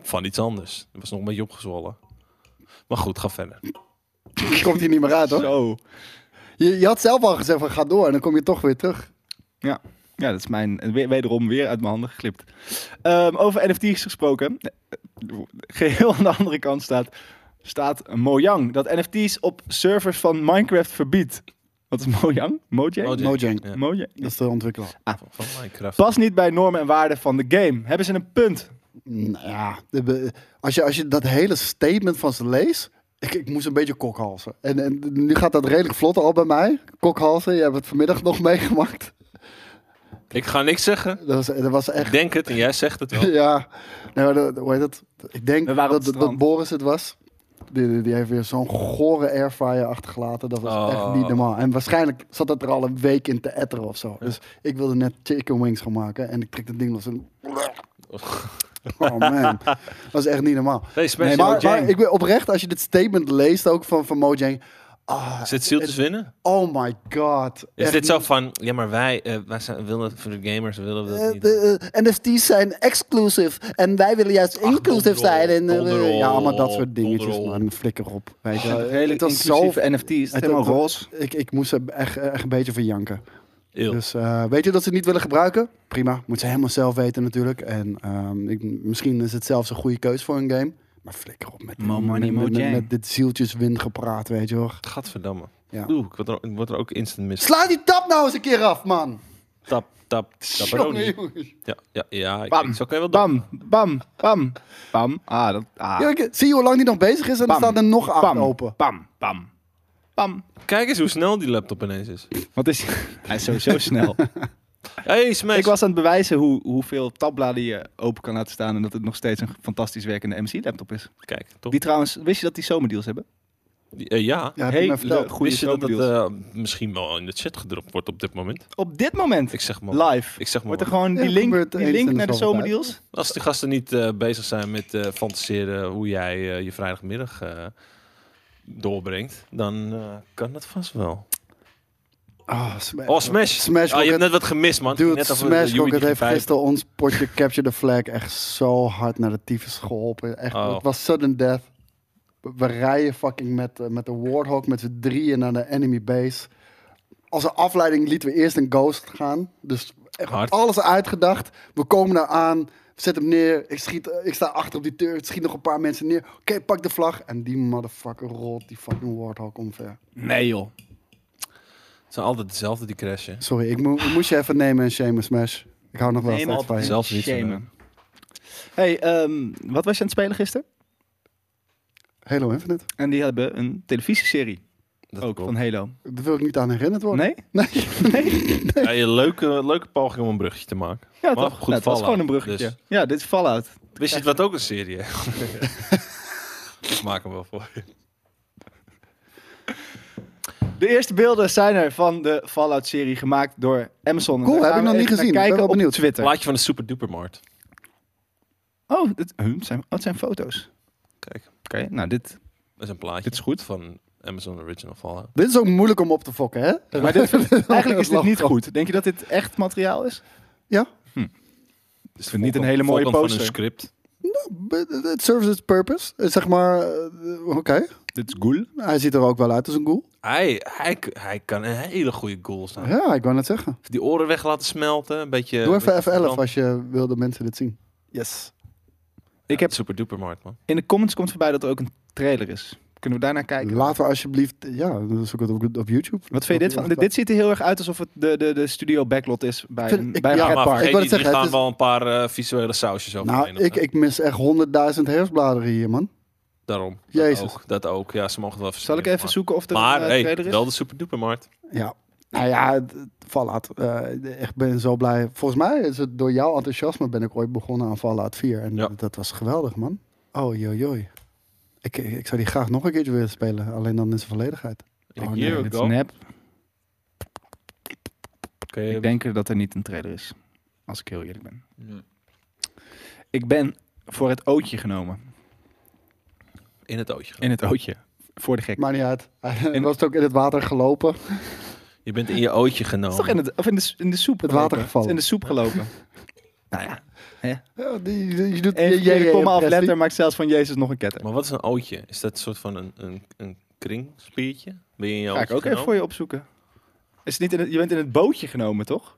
van iets anders. Het was nog een beetje opgezwollen. Maar goed, ga verder.
Je komt hier niet meer uit hoor.
Zo.
Je, je had zelf al gezegd van ga door en dan kom je toch weer terug.
Ja, dat is mijn we- wederom weer uit mijn handen geglipt. Ehm, over NFT's gesproken. eh, Geheel aan de andere kant staat, staat Mojang. Dat NFT's op servers van Minecraft verbiedt. Wat is Mojang? Mojang?
Mojang. Ja.
Mojang,
Ja.
Mojang?
dat is de ontwikkelaar.
Van, van Minecraft.
Pas niet bij normen en waarden van de game. Hebben ze een punt?
Nou ja, de be- als je, als je dat hele statement van ze leest... Ik, ik moest een beetje kokhalzen. En, en nu gaat dat redelijk vlot al bij mij. Kokhalzen, je hebt het vanmiddag nog meegemaakt.
Ik ga niks zeggen.
Dat was, dat was echt...
Ik denk het en jij zegt het wel.
Ja, nou, maar dat, hoe heet dat? Ik denk
We waren op
dat,
het
dat,
strand.
Boris het was. Die, die, die heeft weer zo'n gore airfryer achtergelaten. Dat was
Oh.
echt niet normaal. En waarschijnlijk zat dat er al een week in te etteren of zo. Dus ik wilde net chicken wings gaan maken. En ik trek dat ding los en... Oh man, dat was echt niet normaal.
Hey,
Nee,
Smash
maar,
Mojang.
maar ik ben oprecht, als je dit statement leest ook van, van Mojang... Ah,
Is dit zieltjes winnen?
oh my god.
Is
Echt
dit zo van, ja maar wij, eh, wij zijn, willen, voor de gamers willen we dat
Eh,
niet.
de, eh, NFT's zijn exclusive en wij willen juist inclusive
donder op,
zijn. En, eh,
donder op,
ja, allemaal dat soort dingetjes,
donder op.
man. Flikker op. Weet je. wel.
Redelijk
Het was zo...
NFT's.
het-
Helemaal
het-
roze.
Ik, ik moest er echt, echt een beetje van janken.
Eeuw.
Dus eh, weet je dat ze het niet willen gebruiken? Prima, moeten ze helemaal zelf weten natuurlijk. En ehm, ik, misschien is het zelfs een goede keus voor een game. Maar flikker op met, dit-
Mo
met,
money,
met-
mo
met-
jam.
met dit zieltjeswind gepraat, weet je hoor.
Gadverdamme.
Ja.
Oeh, ik word, er, ik word er ook instant mis.
Sla die tap nou eens een keer af, man.
Tap, tap,
Jongen,
taparoni.
jongen.
Ja, ja, ja. Ik,
Bam.
ik- zo kan je wel doen.
Bam, bam, bam, bam. Ah, dat, ah.
Ja, ik- Zie je hoe lang die nog bezig is en er
Bam.
staan er nog acht
bam,
open.
bam, bam, bam.
Kijk eens hoe snel die laptop ineens is.
Wat is hij is sowieso snel.
Hey, Smash.
Ik was aan het bewijzen hoe, hoeveel tabbladen je open kan laten staan en dat het nog steeds een fantastisch werkende MC-laptop is.
Kijk, toch?
Die trouwens, wist je dat die zomerdeals hebben?
Die- eh, ja.
Ja, heb je
Hele
mij verteld.
goede
Wist je dat dat
zomerdeals.
eh, misschien wel in de chat gedropt wordt op dit moment?
Op dit moment,
Ik zeg maar.
live,
Ik zeg maar.
wordt er gewoon die
Ja,
link,
gebeurt
die
eens
link
in de
naar de
zoveel
zomerdeals.
Als de gasten niet eh, bezig zijn met eh, fantaseren hoe jij eh, je vrijdagmiddag eh, doorbrengt, dan eh, kan dat vast wel.
Oh, smash.
Oh, Smash!
Smash
Ah, je
Rocket.
hebt net wat gemist, man.
Dude,
net als
Smash
de Unity
Rocket heeft
vijf.
gisteren ons potje Capture the Flag echt zo hard naar de tyfus geholpen. Echt,
Oh.
Het was sudden death. We, we rijden fucking met, eh, met de Warhawk met z'n drieën naar de enemy base. Als een afleiding lieten we eerst een ghost gaan. Dus echt
Hard.
alles uitgedacht. We komen daar aan. Zet hem neer. Ik, schiet, eh, ik sta achter op die deur. Ik schiet nog een paar mensen neer. Oké, pak de vlag. En die motherfucker rolt die fucking Warhawk omver.
Nee joh.
Het zijn altijd dezelfde die crashen.
Sorry, ik, mo- ik moest je even nemen en shamen, Smash. Ik hou nog wel
Neem
steeds van je.
altijd
Zelfs niet
shamen.
van
Hey, ehm, wat was je aan het spelen gisteren?
Halo Infinite.
En die hebben een televisieserie.
Dat
ook
klopt.
van Halo.
Daar wil ik niet aan herinnerd worden.
Nee? Nee.
Ja, je leuke, leuke poging om een bruggetje te maken.
Ja,
Maar
toch?
goed
Nou, het was
Fallout,
gewoon een bruggetje.
dus.
Ja, dit is Fallout.
Wist je het wat ook een serie? is? Ik maak hem wel voor je.
De eerste beelden zijn er van de Fallout-serie gemaakt door Amazon. En
Cool,
daar
heb
gaan
ik
we
nog niet
even naar
gezien.
Kijken
Ben wel
op
benieuwd.
Twitter.
Plaatje van de Super Dupermarkt.
Oh, dit, huh, het zijn, oh, het zijn foto's.
Kijk,
Oké, nou dit.
dat is een plaatje.
Dit is goed.
Van Amazon Original Fallout.
Dit is ook moeilijk om op te fokken, hè?
Maar dit, eigenlijk is dit
Lach.
niet goed. Denk je dat dit echt materiaal is?
Ja.
Dus
vind niet een hele mooie
Van een
poster.
script.
But uh, It serves its purpose. Eh, Zeg maar, eh, oké.
Dit is cool.
Hij ziet er ook wel uit als een ghoul.
Hij, hij, hij kan een hele goede goal staan.
Ja, ik wou net zeggen.
Die oren weg laten smelten. Een beetje.
Doe even
beetje
F11
verbrand.
als je wil dat mensen dit zien. Yes.
Ik heb Super Duper Mart, man.
In de comments komt voorbij dat er ook een trailer is. Kunnen we daarnaar kijken?
Laten we alsjeblieft... Ja, dan zoek het op, op YouTube.
Wat vind je dit van? Dit, dit ziet er heel erg uit alsof het de, de, de studio backlot is bij,
Vind
een-
ik-
bij een
ja,
pretpark.
maar
wou
vergeet
het
niet, er
zeggen,
gaan
het is-
wel een paar eh, visuele sausjes over.
Nou, ik, ik mis echt honderdduizend herfstbladeren hier, man.
Daarom. Dat
Jezus.
ook, dat ook. Ja, ze mogen het wel
Zal ik
verzinnen,
even zoeken of er
Maar,
een eh,
maar hey,
trailer is?
wel de Super Duper Mart.
Ja. Nou ja, het- het- Fallout. eh, ik ben zo blij. Volgens mij is het door jouw enthousiasme ben ik ooit begonnen aan Fallout 4. En
Ja.
dat was geweldig, man. Oh, joi, joi. Ik, ik ik zou die graag nog een keertje willen spelen. Alleen dan in zijn volledigheid.
A
Oh, nee,
year
Dit is
ago.
nep.
Oké,
Ik denk er dat er niet een trailer is. Als ik heel eerlijk ben. Ik ben voor het ootje genomen.
In het ootje.
In het ootje. Voor de gek.
Maakt niet uit. En was het ook in het water gelopen.
Je bent in je ootje genomen.
is toch in, het, of in, de, s- in de soep
Het water
gelopen.
gevallen.
Het is in de soep gelopen. nou ja.
Ja, die- die- je doet
Even
je- je- je-
proberen, kom maar af,
impressie.
letter maakt zelfs van Jezus nog een ketter.
Maar wat is een ootje? Is dat een soort van een, een, een kringspiertje? Ben je in je
Ga ik
ootje
ook even voor
genomen?
je opzoeken. Is het niet in het, je bent in het bootje genomen, toch?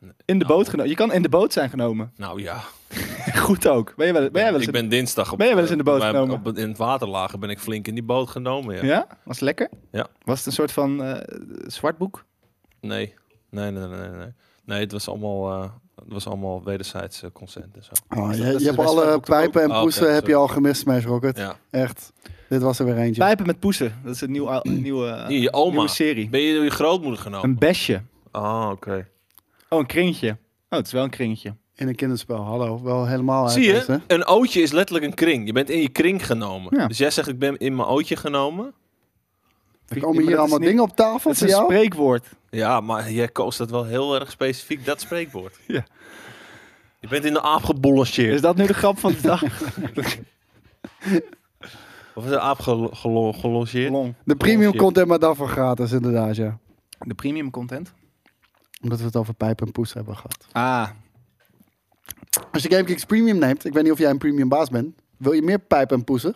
Nee.
In de
Nou.
boot genomen. Je kan in de boot zijn genomen.
Nou ja.
Goed ook. Ben jij wel, ben jij wel eens
ik
in-
ben dinsdag op,
Ben jij wel eens in de boot
bij-
genomen?
Op, in het waterlager ben ik flink in die boot genomen. Ja.
Ja? Was het lekker?
Ja.
Was het een soort van eh, zwart boek?
Nee. Nee, nee, nee, nee, nee. Nee, het was allemaal, eh, het was allemaal wederzijds eh, consent en zo.
Oh,
Is dat- dat
je je
is
hebt
bij Smash
alle
ook toch ook?
pijpen en
Oh, oké,
poezen heb je
sorry.
al gemist, Smash Rocket.
Ja.
Echt. Dit was er weer eentje.
Pijpen met poesen. Dat is een nieuwe, nieuwe, eh,
Hier, je oma.
nieuwe serie.
Ben je door je grootmoeder genomen?
Een besje.
Ah, oké.
Oh, een kringetje. Oh, het is wel een kringetje.
In een kinderspel, hallo. Wel helemaal uit
Zie je?
deze.
Een ootje is letterlijk een kring. Je bent in je kring genomen.
Ja.
Dus jij zegt, ik ben in mijn ootje genomen.
Er
Ja, maar
komen hier
dat
allemaal
is niet-
dingen op tafel
Dat is
voor
een
jou.
spreekwoord.
Ja, maar jij koos dat wel heel erg specifiek, dat spreekwoord.
Ja.
Je bent in de aap gebollanceerd.
Is dat nu de grap van de dag?
Of is de aap gelo- gelo- gelongeerd?
Long.
De premium
Bullshit.
content, maar daarvoor gratis, inderdaad, ja.
De premium content.
Omdat we het over pijpen en poes hebben gehad.
Ah,
Als je GameKings Premium neemt, ik weet niet of jij een premium baas bent. Wil je meer pijpen en poezen?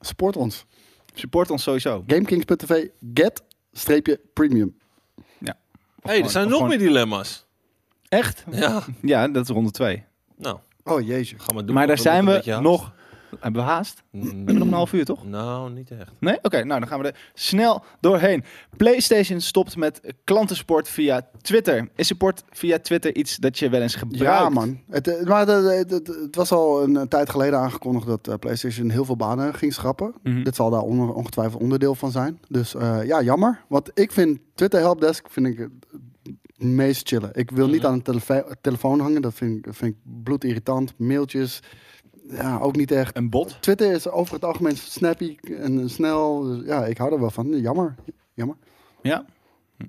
Support ons.
support ons sowieso.
GameKings.tv get streepje premium.
Hé, hey, er
Of
zijn nog
gewoon-
meer dilemma's.
Echt?
Ja,
Ja, dat is ronde 2.
nou,
Oh jeetje.
gaan we doen.
Maar daar
We
zijn
moeten
we
een beetje
nog. Hebben we haast? We
haast.
hebben nog een half uur, toch?
Nou, niet echt.
Nee? Oké, nou dan gaan we er snel doorheen. PlayStation stopt met klantensport via Twitter. Is support via Twitter iets dat je wel eens gebruikt?
Ja, man. Het, eh, maar de- de- de- de- het was al een eh, tijd geleden aangekondigd dat eh, PlayStation heel veel banen ging schrappen.
Mhm.
Dit zal daar onder- ongetwijfeld onderdeel van zijn. Dus eh, ja, jammer. Want ik vind Twitter Helpdesk vind ik het meest chillen. Ik wil niet
Mhm.
aan een telefo- telefoon hangen. Dat vind ik, vind ik bloedirritant. Mailtjes. Ja, ook niet echt.
Een bot?
Twitter is over het algemeen snappy en snel. Dus ja, ik hou er wel van. Jammer. Jammer.
Ja. Hm.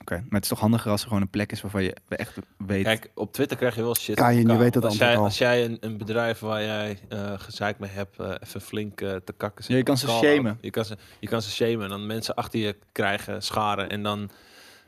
Oké, maar het is toch handiger als er gewoon een plek is waarvan je echt weet...
Kijk, op Twitter krijg je wel shit.
Kan je,
van
je
elkaar.
weet het
als
antwoord
jij,
al.
als jij een, een bedrijf waar jij eh gezeik mee hebt, eh, even flink eh, te kakken zit.
Ja, je kan ze
Call-out.
shamen.
Je kan ze, je kan ze shamen en dan mensen achter je krijgen, scharen en dan,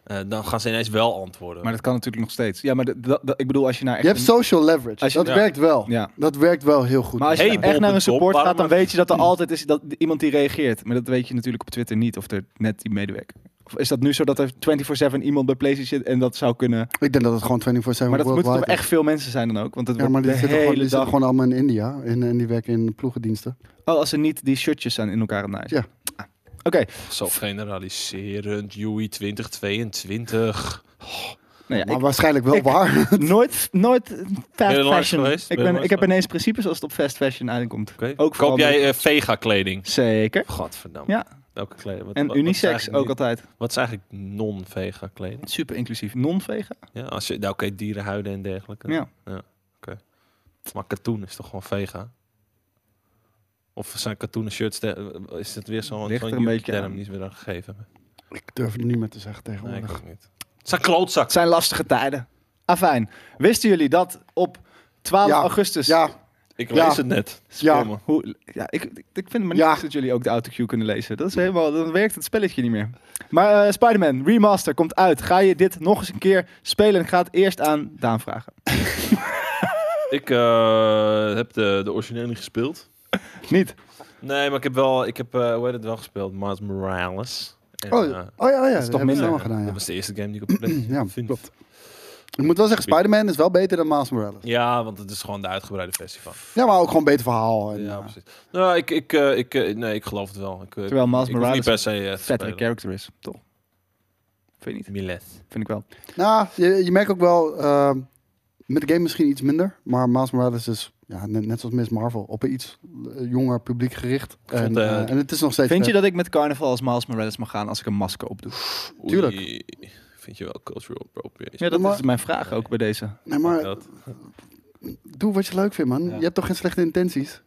eh, dan gaan ze ineens wel antwoorden.
Maar dat kan natuurlijk nog steeds. Ja, maar dat- dat- dat- ik bedoel, als je naar echt...
Je hebt
een-
social leverage.
Als je-
dat
ja.
werkt wel.
Ja.
Dat werkt wel heel goed.
Maar als je
Hey,
nou echt
bol.com,
naar een support
waarom
gaat, dan
mag-
weet je dat er altijd is dat iemand die reageert. Maar dat weet je natuurlijk op Twitter niet, of er net die medewerker. Of is dat nu zo dat er 24-7 iemand bij PlayStation zit en dat zou kunnen...
Ik denk dat het gewoon 24-7 worldwide
Maar dat moeten toch
is.
echt veel mensen zijn dan ook? Want het
Ja, maar
wordt
die
de
zitten, gewoon, die
hele
zitten
dag...
gewoon allemaal in India. En, en die werken in ploegendiensten.
Oh, als ze niet die shirtjes aan in elkaar aan het naaien.
Ja.
Ah. Oké,
Zo generaliserend, Joey 2022.
nou ja,
maar
ik-
waarschijnlijk wel
ik-
waar.
Nooit, nooit eh,
je er
fast
langs
fashion.
geweest?
Ik,
Ben je er
ben,
langs
ik heb
geweest?
ineens principes als het op fast fashion aankomt.
Oké.
Ook
Koop jij
veranderd.
eh, vega-kleding?
Zeker.
Godverdamme.
Ja.
Welke kleding? Wat- wat-
En
wat is
unisex
eigenlijk
ook
niet-
altijd.
Wat is eigenlijk non-vega-kleding?
Super inclusief. Non-vegen?
Ja, als je, nou oké, dierenhuiden en dergelijke.
Ja.
Maar katoen is toch gewoon vega? Of zijn katoenen shirts, de- is het weer zo'n
Ligt
zo'n
er een beetje
term
aan.
die ze weer aan gegeven hebben?
Ik durf het niet meer te zeggen
Nee, ik
tegenwoordig.
ook niet. Het zijn klootzak.
Het zijn lastige tijden. Afijn, wisten jullie dat op 12
Ja.
augustus...
ja,
Ik
Ja.
lees het net.
ja.
Verdomme.
Hoe, ja, ik, ik vind het maar
Ja.
niet dat jullie ook de autocue kunnen lezen. Dat is helemaal, dan werkt het spelletje niet meer. Maar eh Spider-Man Remaster komt uit. Ga je dit nog eens een keer spelen? Ik ga het eerst aan Daan vragen.
Ik eh, heb de, de originele niet gespeeld.
Niet.
Nee, maar ik heb wel, ik heb, eh, hoe heet het wel gespeeld? Miles Morales. En,
Oh,
eh,
ja, oh ja, ja. Dat,
toch
hebben we
minder,
allemaal gedaan, ja.
Dat was de eerste game die ik op Play
Ja,
vind.
klopt. Ik moet wel zeggen, Spider-Man is wel beter dan Miles Morales.
Ja, want het is gewoon de uitgebreide versie van.
Ja, maar ook gewoon beter verhaal. En,
Ja,
eh,
precies. Nou, ik, ik, eh, ik, eh, nee, ik geloof het wel. Ik, eh,
Terwijl Miles
ik hoef niet
Morales
per se eh, te
vettere
spelen.
character is, toch? Vind je niet?
Miles.
Vind ik wel.
nou, je, je merkt ook wel, ehm, met de game misschien iets minder. Maar Miles Morales is, ja, net, net zoals Miss Marvel, op een iets eh, jonger publiek gericht.
vond,
En,
eh,
eh, en het is nog steeds
Vind je
vet.
dat ik met carnaval als Miles Morales mag gaan als ik een masker opdoe?
Oei,
Tuurlijk.
Vind je wel cultural appropriation?
Ja, dat
Maar-
is mijn vraag ook bij deze.
Nee, maar
Dat-
doe wat je leuk vindt, man.
Ja.
Je hebt toch geen slechte intenties?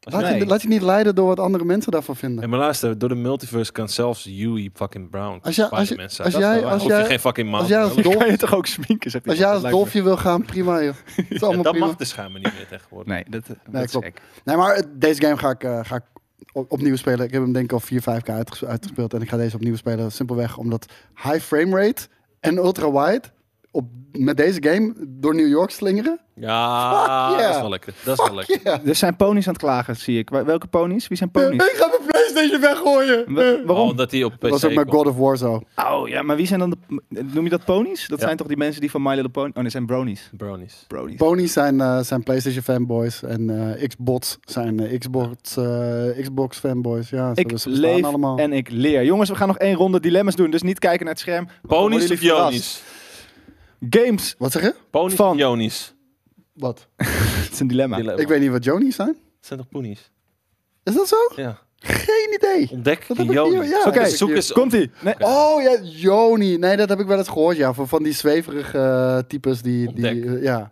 Laat,
Nee.
je, laat je niet leiden door wat andere mensen daarvan vinden.
En maar luister, door de multiverse kan zelfs Yui fucking Brown
Als jij- als
Spider-Man
je-
zijn.
als
Dat is
jij-
wel
als
waar. Hoef je
jij-
geen fucking maan
als jij
te
als
hebben.
Dolf-
Kan je toch ook sminken? Zegt
Als jij
iemand,
als
lijkt me.
dolfje wil gaan, prima joh. Het is allemaal
Dat
prima.
mag dus. de schuimen niet meer tegenwoordig.
Nee, dat, dat is
klopt.
gek.
Nee, maar het- deze game ga ik, eh, ga ik op- opnieuw spelen. Ik heb hem denk ik al 4, 5 keer uitges- uitgespeeld. En ik ga deze opnieuw spelen. Simpelweg omdat high frame rate en ultra wide op, met deze game door New York slingeren.
Ja,
Fuck
dat is
yeah.
wel lekker. Dat is wel lekker.
Ja.
Er zijn ponies aan het klagen, zie ik. Wa- Welke ponies? Wie zijn ponies?
Ik ga mijn Playstation weggooien.
Wa-
Oh,
waarom?
omdat hij op PC
Dat was ook met
komt.
God of War zo.
Oh ja, maar wie zijn dan de. Noem je dat ponies? Dat
Ja.
zijn toch die mensen die van My Little Pony. Oh nee, zijn bronies.
Brownies.
Bronies.
Ponies zijn, eh, zijn PlayStation fanboys. En eh Xbots zijn eh, Xbox, eh, Xbox fanboys. Ja, ze,
Ik
ze bestaan
leef
allemaal.
en ik leer. Jongens, we gaan nog één ronde dilemma's doen. Dus niet kijken naar het scherm. want dan
Ponies
worden
of
jullie
Jonies?
verrast. Games.
Wat zeg je?
Ponies
Van.
of Jonies?
Wat?
Het is een dilemma.
Dilemma.
Nou, Ik weet niet wat Jonies zijn.
Het zijn toch ponies?
Is dat zo?
Ja.
Geen idee.
Ontdek
Dat
de
heb dus ik hier,
Jonies.
ja.
Oké,
zoek eens op.
Komt ie. Nee.
Oh ja, Joni. Nee, dat heb ik wel eens gehoord, ja. Van, van die zweverige eh, types die... die
Ontdek.
eh, ja.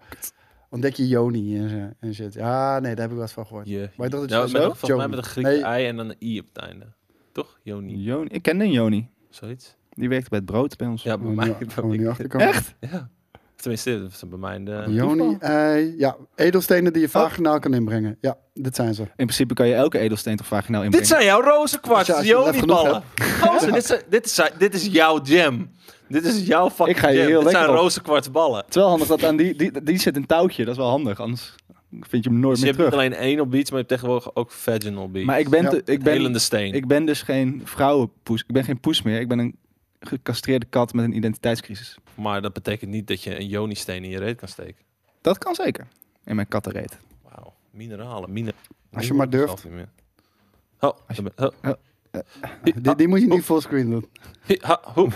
Ontdek je Joni en, zo- en shit. Ja, nee, daar heb ik wel eens van gehoord.
Je.
Maar ik dacht dat
Ja,
je
met
zo-
een- volgens mij
Joni.
met een Griekse
Nee.
ei en dan een i op het einde. Toch? Joni.
Joni. Ik kende een Joni.
Zoiets.
Die werkte bij het brood bij ons.
Ja, bij
Gaan we
mij.
nu- gaan we nu achterkomen.
Echt?
Ja. Tenminste, dat is bij mij in de...
Joni, ei. Ja, edelstenen die je
Oh.
vaginaal kan inbrengen. Ja, dit zijn ze.
In principe kan je elke edelsteen toch vaginaal inbrengen.
Dit zijn jouw rozenkwarts,
Als je- als je lef genoeg
Joni-ballen. Gozer, dit, zijn- dit, is, dit is jouw jam. Dit is jouw fucking
Ik ga hier
jam.
heel
dit zijn
lekker op.
rozenkwartsballen.
Het is wel handig dat aan die, die, die zit een touwtje. Dat is wel handig. Anders vind je hem nooit
Dus je
meer
hebt niet
terug.
alleen anal beats, maar je hebt tegenwoordig ook vaginal beats.
Maar ik ben,
Ja.
te- ik, ben,
Helende steen.
ik ben dus geen vrouwenpoes. Ik ben geen poes meer. Ik ben een gecastreerde kat met een identiteitscrisis.
Maar dat betekent niet dat je een Joni-steen in je reet kan steken.
Dat kan zeker. In mijn kattenreet.
Wauw. Mineralen. Mine
Als je maar durft.
Zelf niet meer. Ho, daar ben- oh, ho,
Die, die moet je niet
Oh.
fullscreen doen.
hi, ha, ho.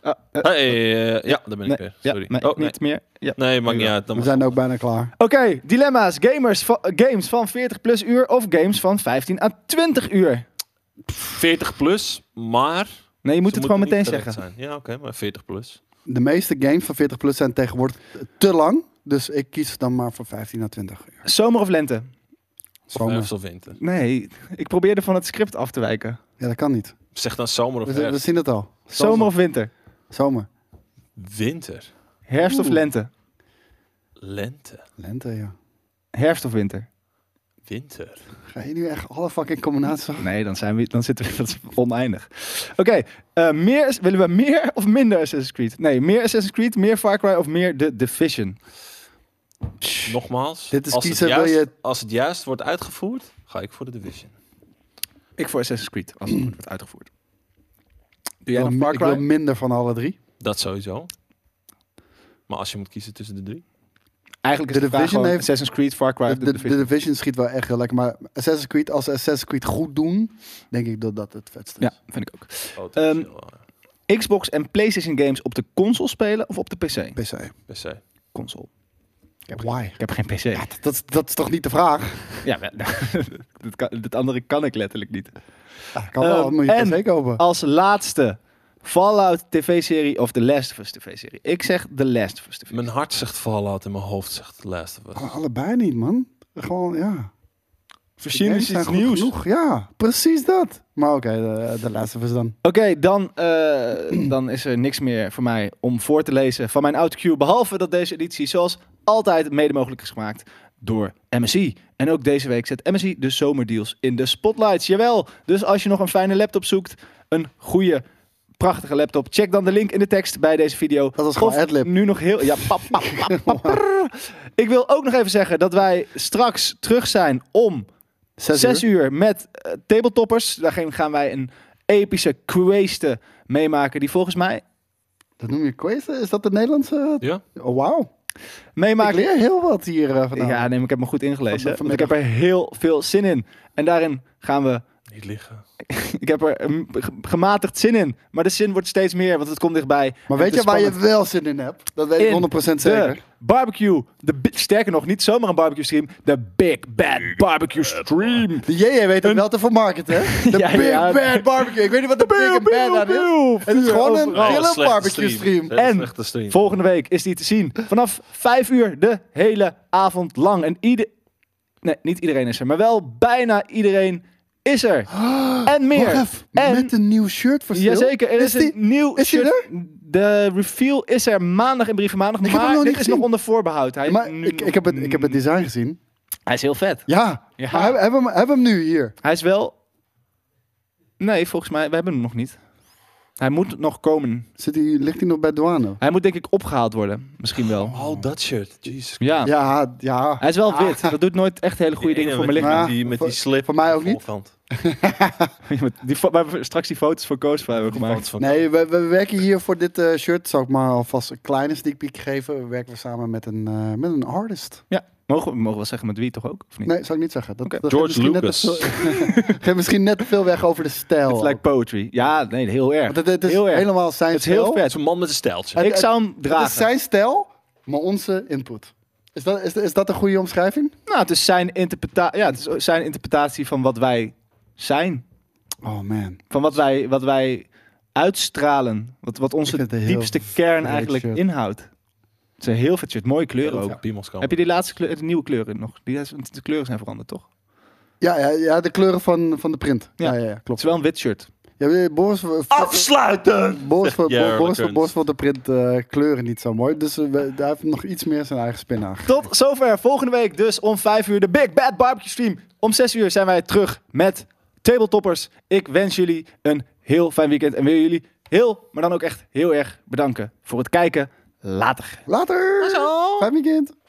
Ah, eh,
Hey, eh, ja, daar ben ik
nee,
weer. Sorry.
Ja, nee,
oh, nee.
niet meer. Ja.
Nee, maakt niet
Jawel.
uit. Dan
We zijn ook bijna klaar.
Oké, dilemma's. Gamers va- eh, games van 40 plus uur of games van 15 à 20 uur?
40 plus, maar...
Nee, je moet
ze
het gewoon
moeten
meteen
niet
zeggen.
correct Zijn. Ja, oké, maar 40 plus.
De meeste games van 40 plus zijn tegenwoordig te lang. Dus ik kies dan maar voor 15 naar 20 uur.
Zomer of lente?
Zomer.
Herfst of winter.
Nee, ik probeerde van het script af te wijken.
Ja, dat kan niet.
Zeg dan zomer of
We, we
herfst.
zien het al.
Zomer of winter?
Zomer.
Winter.
Herfst of
Oeh.
lente?
Lente.
Lente, ja.
Herfst of winter?
Winter.
Ga je nu echt alle fucking combinaties...
Nee, dan, zijn we, dan zitten we dat is oneindig. Oké, eh, meer, willen we meer of minder Assassin's Creed? Nee, meer Assassin's Creed, meer Far Cry of meer The Division?
Nogmaals,
Dit is
als,
kiezen,
het
wil
juist,
je-
als het juist wordt uitgevoerd, ga ik voor de Division.
Ik voor Assassin's Creed, als het goed wordt uitgevoerd. Doe jij
Ik
dan
wil-
Far
ik wil
Cry?
minder van alle drie.
Dat sowieso. Maar als je moet kiezen tussen de drie.
Eigenlijk is
The
de vraag
Division
gewoon
heeft-
Assassin's Creed, Far Cry
De,
of The
de, de
Division.
Division schiet wel echt heel lekker. Maar Assassin's Creed, als ze Assassin's Creed goed doen, denk ik dat dat het vetste is.
Ja, vind ik ook.
Oh, dat is
Ehm,
heel, eh,
Xbox en PlayStation games op de console spelen of op de PC?
PC.
PC.
Console. Ik heb,
Why?
ik heb geen PC.
Ja, dat, dat, is- dat is toch niet de vraag?
Ja, maar- dit, kan- dit andere kan ik letterlijk niet.
Ja, kan wel,
Ehm,
dan moet je
en-
PC kopen.
Als laatste, Fallout TV-serie of The Last of Us TV-serie? Ik zeg The Last of Us TV.
Mijn hart zegt Fallout en mijn hoofd zegt The Last of Us.
Gewoon Allebei niet, man. Gewoon, ja.
Verzin
Games zijn goed genoeg. Ja, precies dat. Maar oké, de, de laatste was dan.
Oké, dan, eh, dan is er niks meer voor mij om voor te lezen van mijn outcue. Behalve dat deze editie zoals altijd mede mogelijk is gemaakt door MSI. En ook deze week zet MSI de zomerdeals in de spotlights. Jawel, dus als je nog een fijne laptop zoekt, een goede, prachtige laptop. Check dan de link in de tekst bij deze video.
Dat was gewoon
Of
ad-lib.
Nu nog heel... Ja, pap, pap, pap, pap, prrr. Ik wil ook nog even zeggen dat wij straks terug zijn om...
Zes,
Zes
uur.
uur, met eh, tabletoppers. Daarin gaan wij een epische queste meemaken. Die volgens mij
Dat noem je quest? Is dat de Nederlandse?
Ja?
Oh, wauw. Ik
meemaken.
leer heel wat hier eh, vandaag.
ja, nee, maar ik heb me goed ingelezen.
Vandaag-
Want ik heb er heel veel zin in. En daarin gaan we.
Niet
Oh,
liggen.
Ik heb er mm, ge- gematigd zin in. Maar de zin wordt steeds meer, want het komt dichtbij.
Maar
En het
weet je
is
waar je
spannend.
wel zin in hebt? Dat weet
In
ik 100% zeker.
De barbecue. De, bi- sterker nog, niet zomaar een barbecue stream. De Big Bad Barbecue Stream.
De JJ weet ook wel te vermarkten, hè? De
Ja,
Big
ja.
Bad Barbecue. Ik weet niet wat de Big Bad aan is. Het is gewoon een
Overal.
grillen
slechte
barbecue stream.
Hele
En
slechte stream.
Volgende week is die te zien. Vanaf 5 uur de hele avond lang. En ieder. Nee, niet iedereen is er. Maar wel bijna iedereen is er. En meer.
Ah, Wacht even,
en,
met een nieuw shirt voor stil?
Jazeker, er is,
die-
een nieuw
is die
shirt. De reveal is er maandag in brieven maandag.
Ik heb hem
Maar
nog
dit
niet
is
gezien.
nog onder voorbehoud. Hij, is
Maar
nu
ik,
nog-
ik, heb het, ik heb het design gezien.
hij is heel vet.
Ja,
Ja.
maar hebben heb, hem, heb hem nu hier.
Hij is wel... Nee, volgens mij, we hebben hem nog niet. Hij moet nog komen.
Zit hij, ligt hij nog bij douane?
Hij moet denk ik opgehaald worden. Misschien wel.
Oh, dat shirt. Jesus.
Ja.
Ja, ja.
Hij is wel wit. Dat doet nooit echt hele goede dingen voor mijn lichaam.
lichaam.
Die, met die
Voor-
slip.
voor mij ook niet.
Volkant.
Die fo- waar we straks die foto's voor Koos van hebben
Volkant
gemaakt.
van-
Nee, we, we werken hier voor dit eh, shirt. Zal ik maar alvast een kleine sneak peek geven. We werken samen met een, eh, met een artist.
Ja. Mogen we, mogen we wel zeggen met wie toch ook? Of niet?
Nee, zou ik niet zeggen. Dat,
Oké.
dat
George
geeft misschien
Lucas.
Net te veel, geeft misschien net te veel weg over de stijl.
It's like poetry. Ja, nee, heel erg.
oh. Want het, het is
heel erg.
helemaal zijn
Het is
stijl.
heel vet.
Het is een man met een stijltje.
Het-
ik zou hem
Het is
dragen.
zijn stijl, maar onze input. Is dat, is, is dat een goede omschrijving?
Nou, het is zijn, interpreta ja, het is zijn interpretatie van wat wij zijn.
Oh man.
Van wat wij, wat wij uitstralen. Wat, wat onze
vind het een heel
diepste kern
vet
eigenlijk
shirt.
inhoudt. Het is een heel vet shirt. Mooie kleuren ook.
Ook Piemelskamp.
Heb je die laatste kleur, de nieuwe kleuren nog? Die, de kleuren zijn veranderd, toch?
Ja, ja, ja de kleuren van, van de print. Ja,
Ja.
ja, ja,
Het is
klopt.
wel een wit shirt.
Ja, Boris,
Afsluiten!
Boris, Boris,
Ja,
Boris,
Raccoons.
Boris vond de print eh, kleuren niet zo mooi. Dus eh, we- daar heeft nog iets meer zijn eigen spin aan.
Tot zover. Volgende week dus om 5 uur de Big Bad Barbecue Stream. Om 6 uur zijn wij terug met Tabletoppers. Ik wens jullie een heel fijn weekend. En wil jullie heel, maar dan ook echt heel erg bedanken voor het kijken. Later.
Later! Fijn weekend!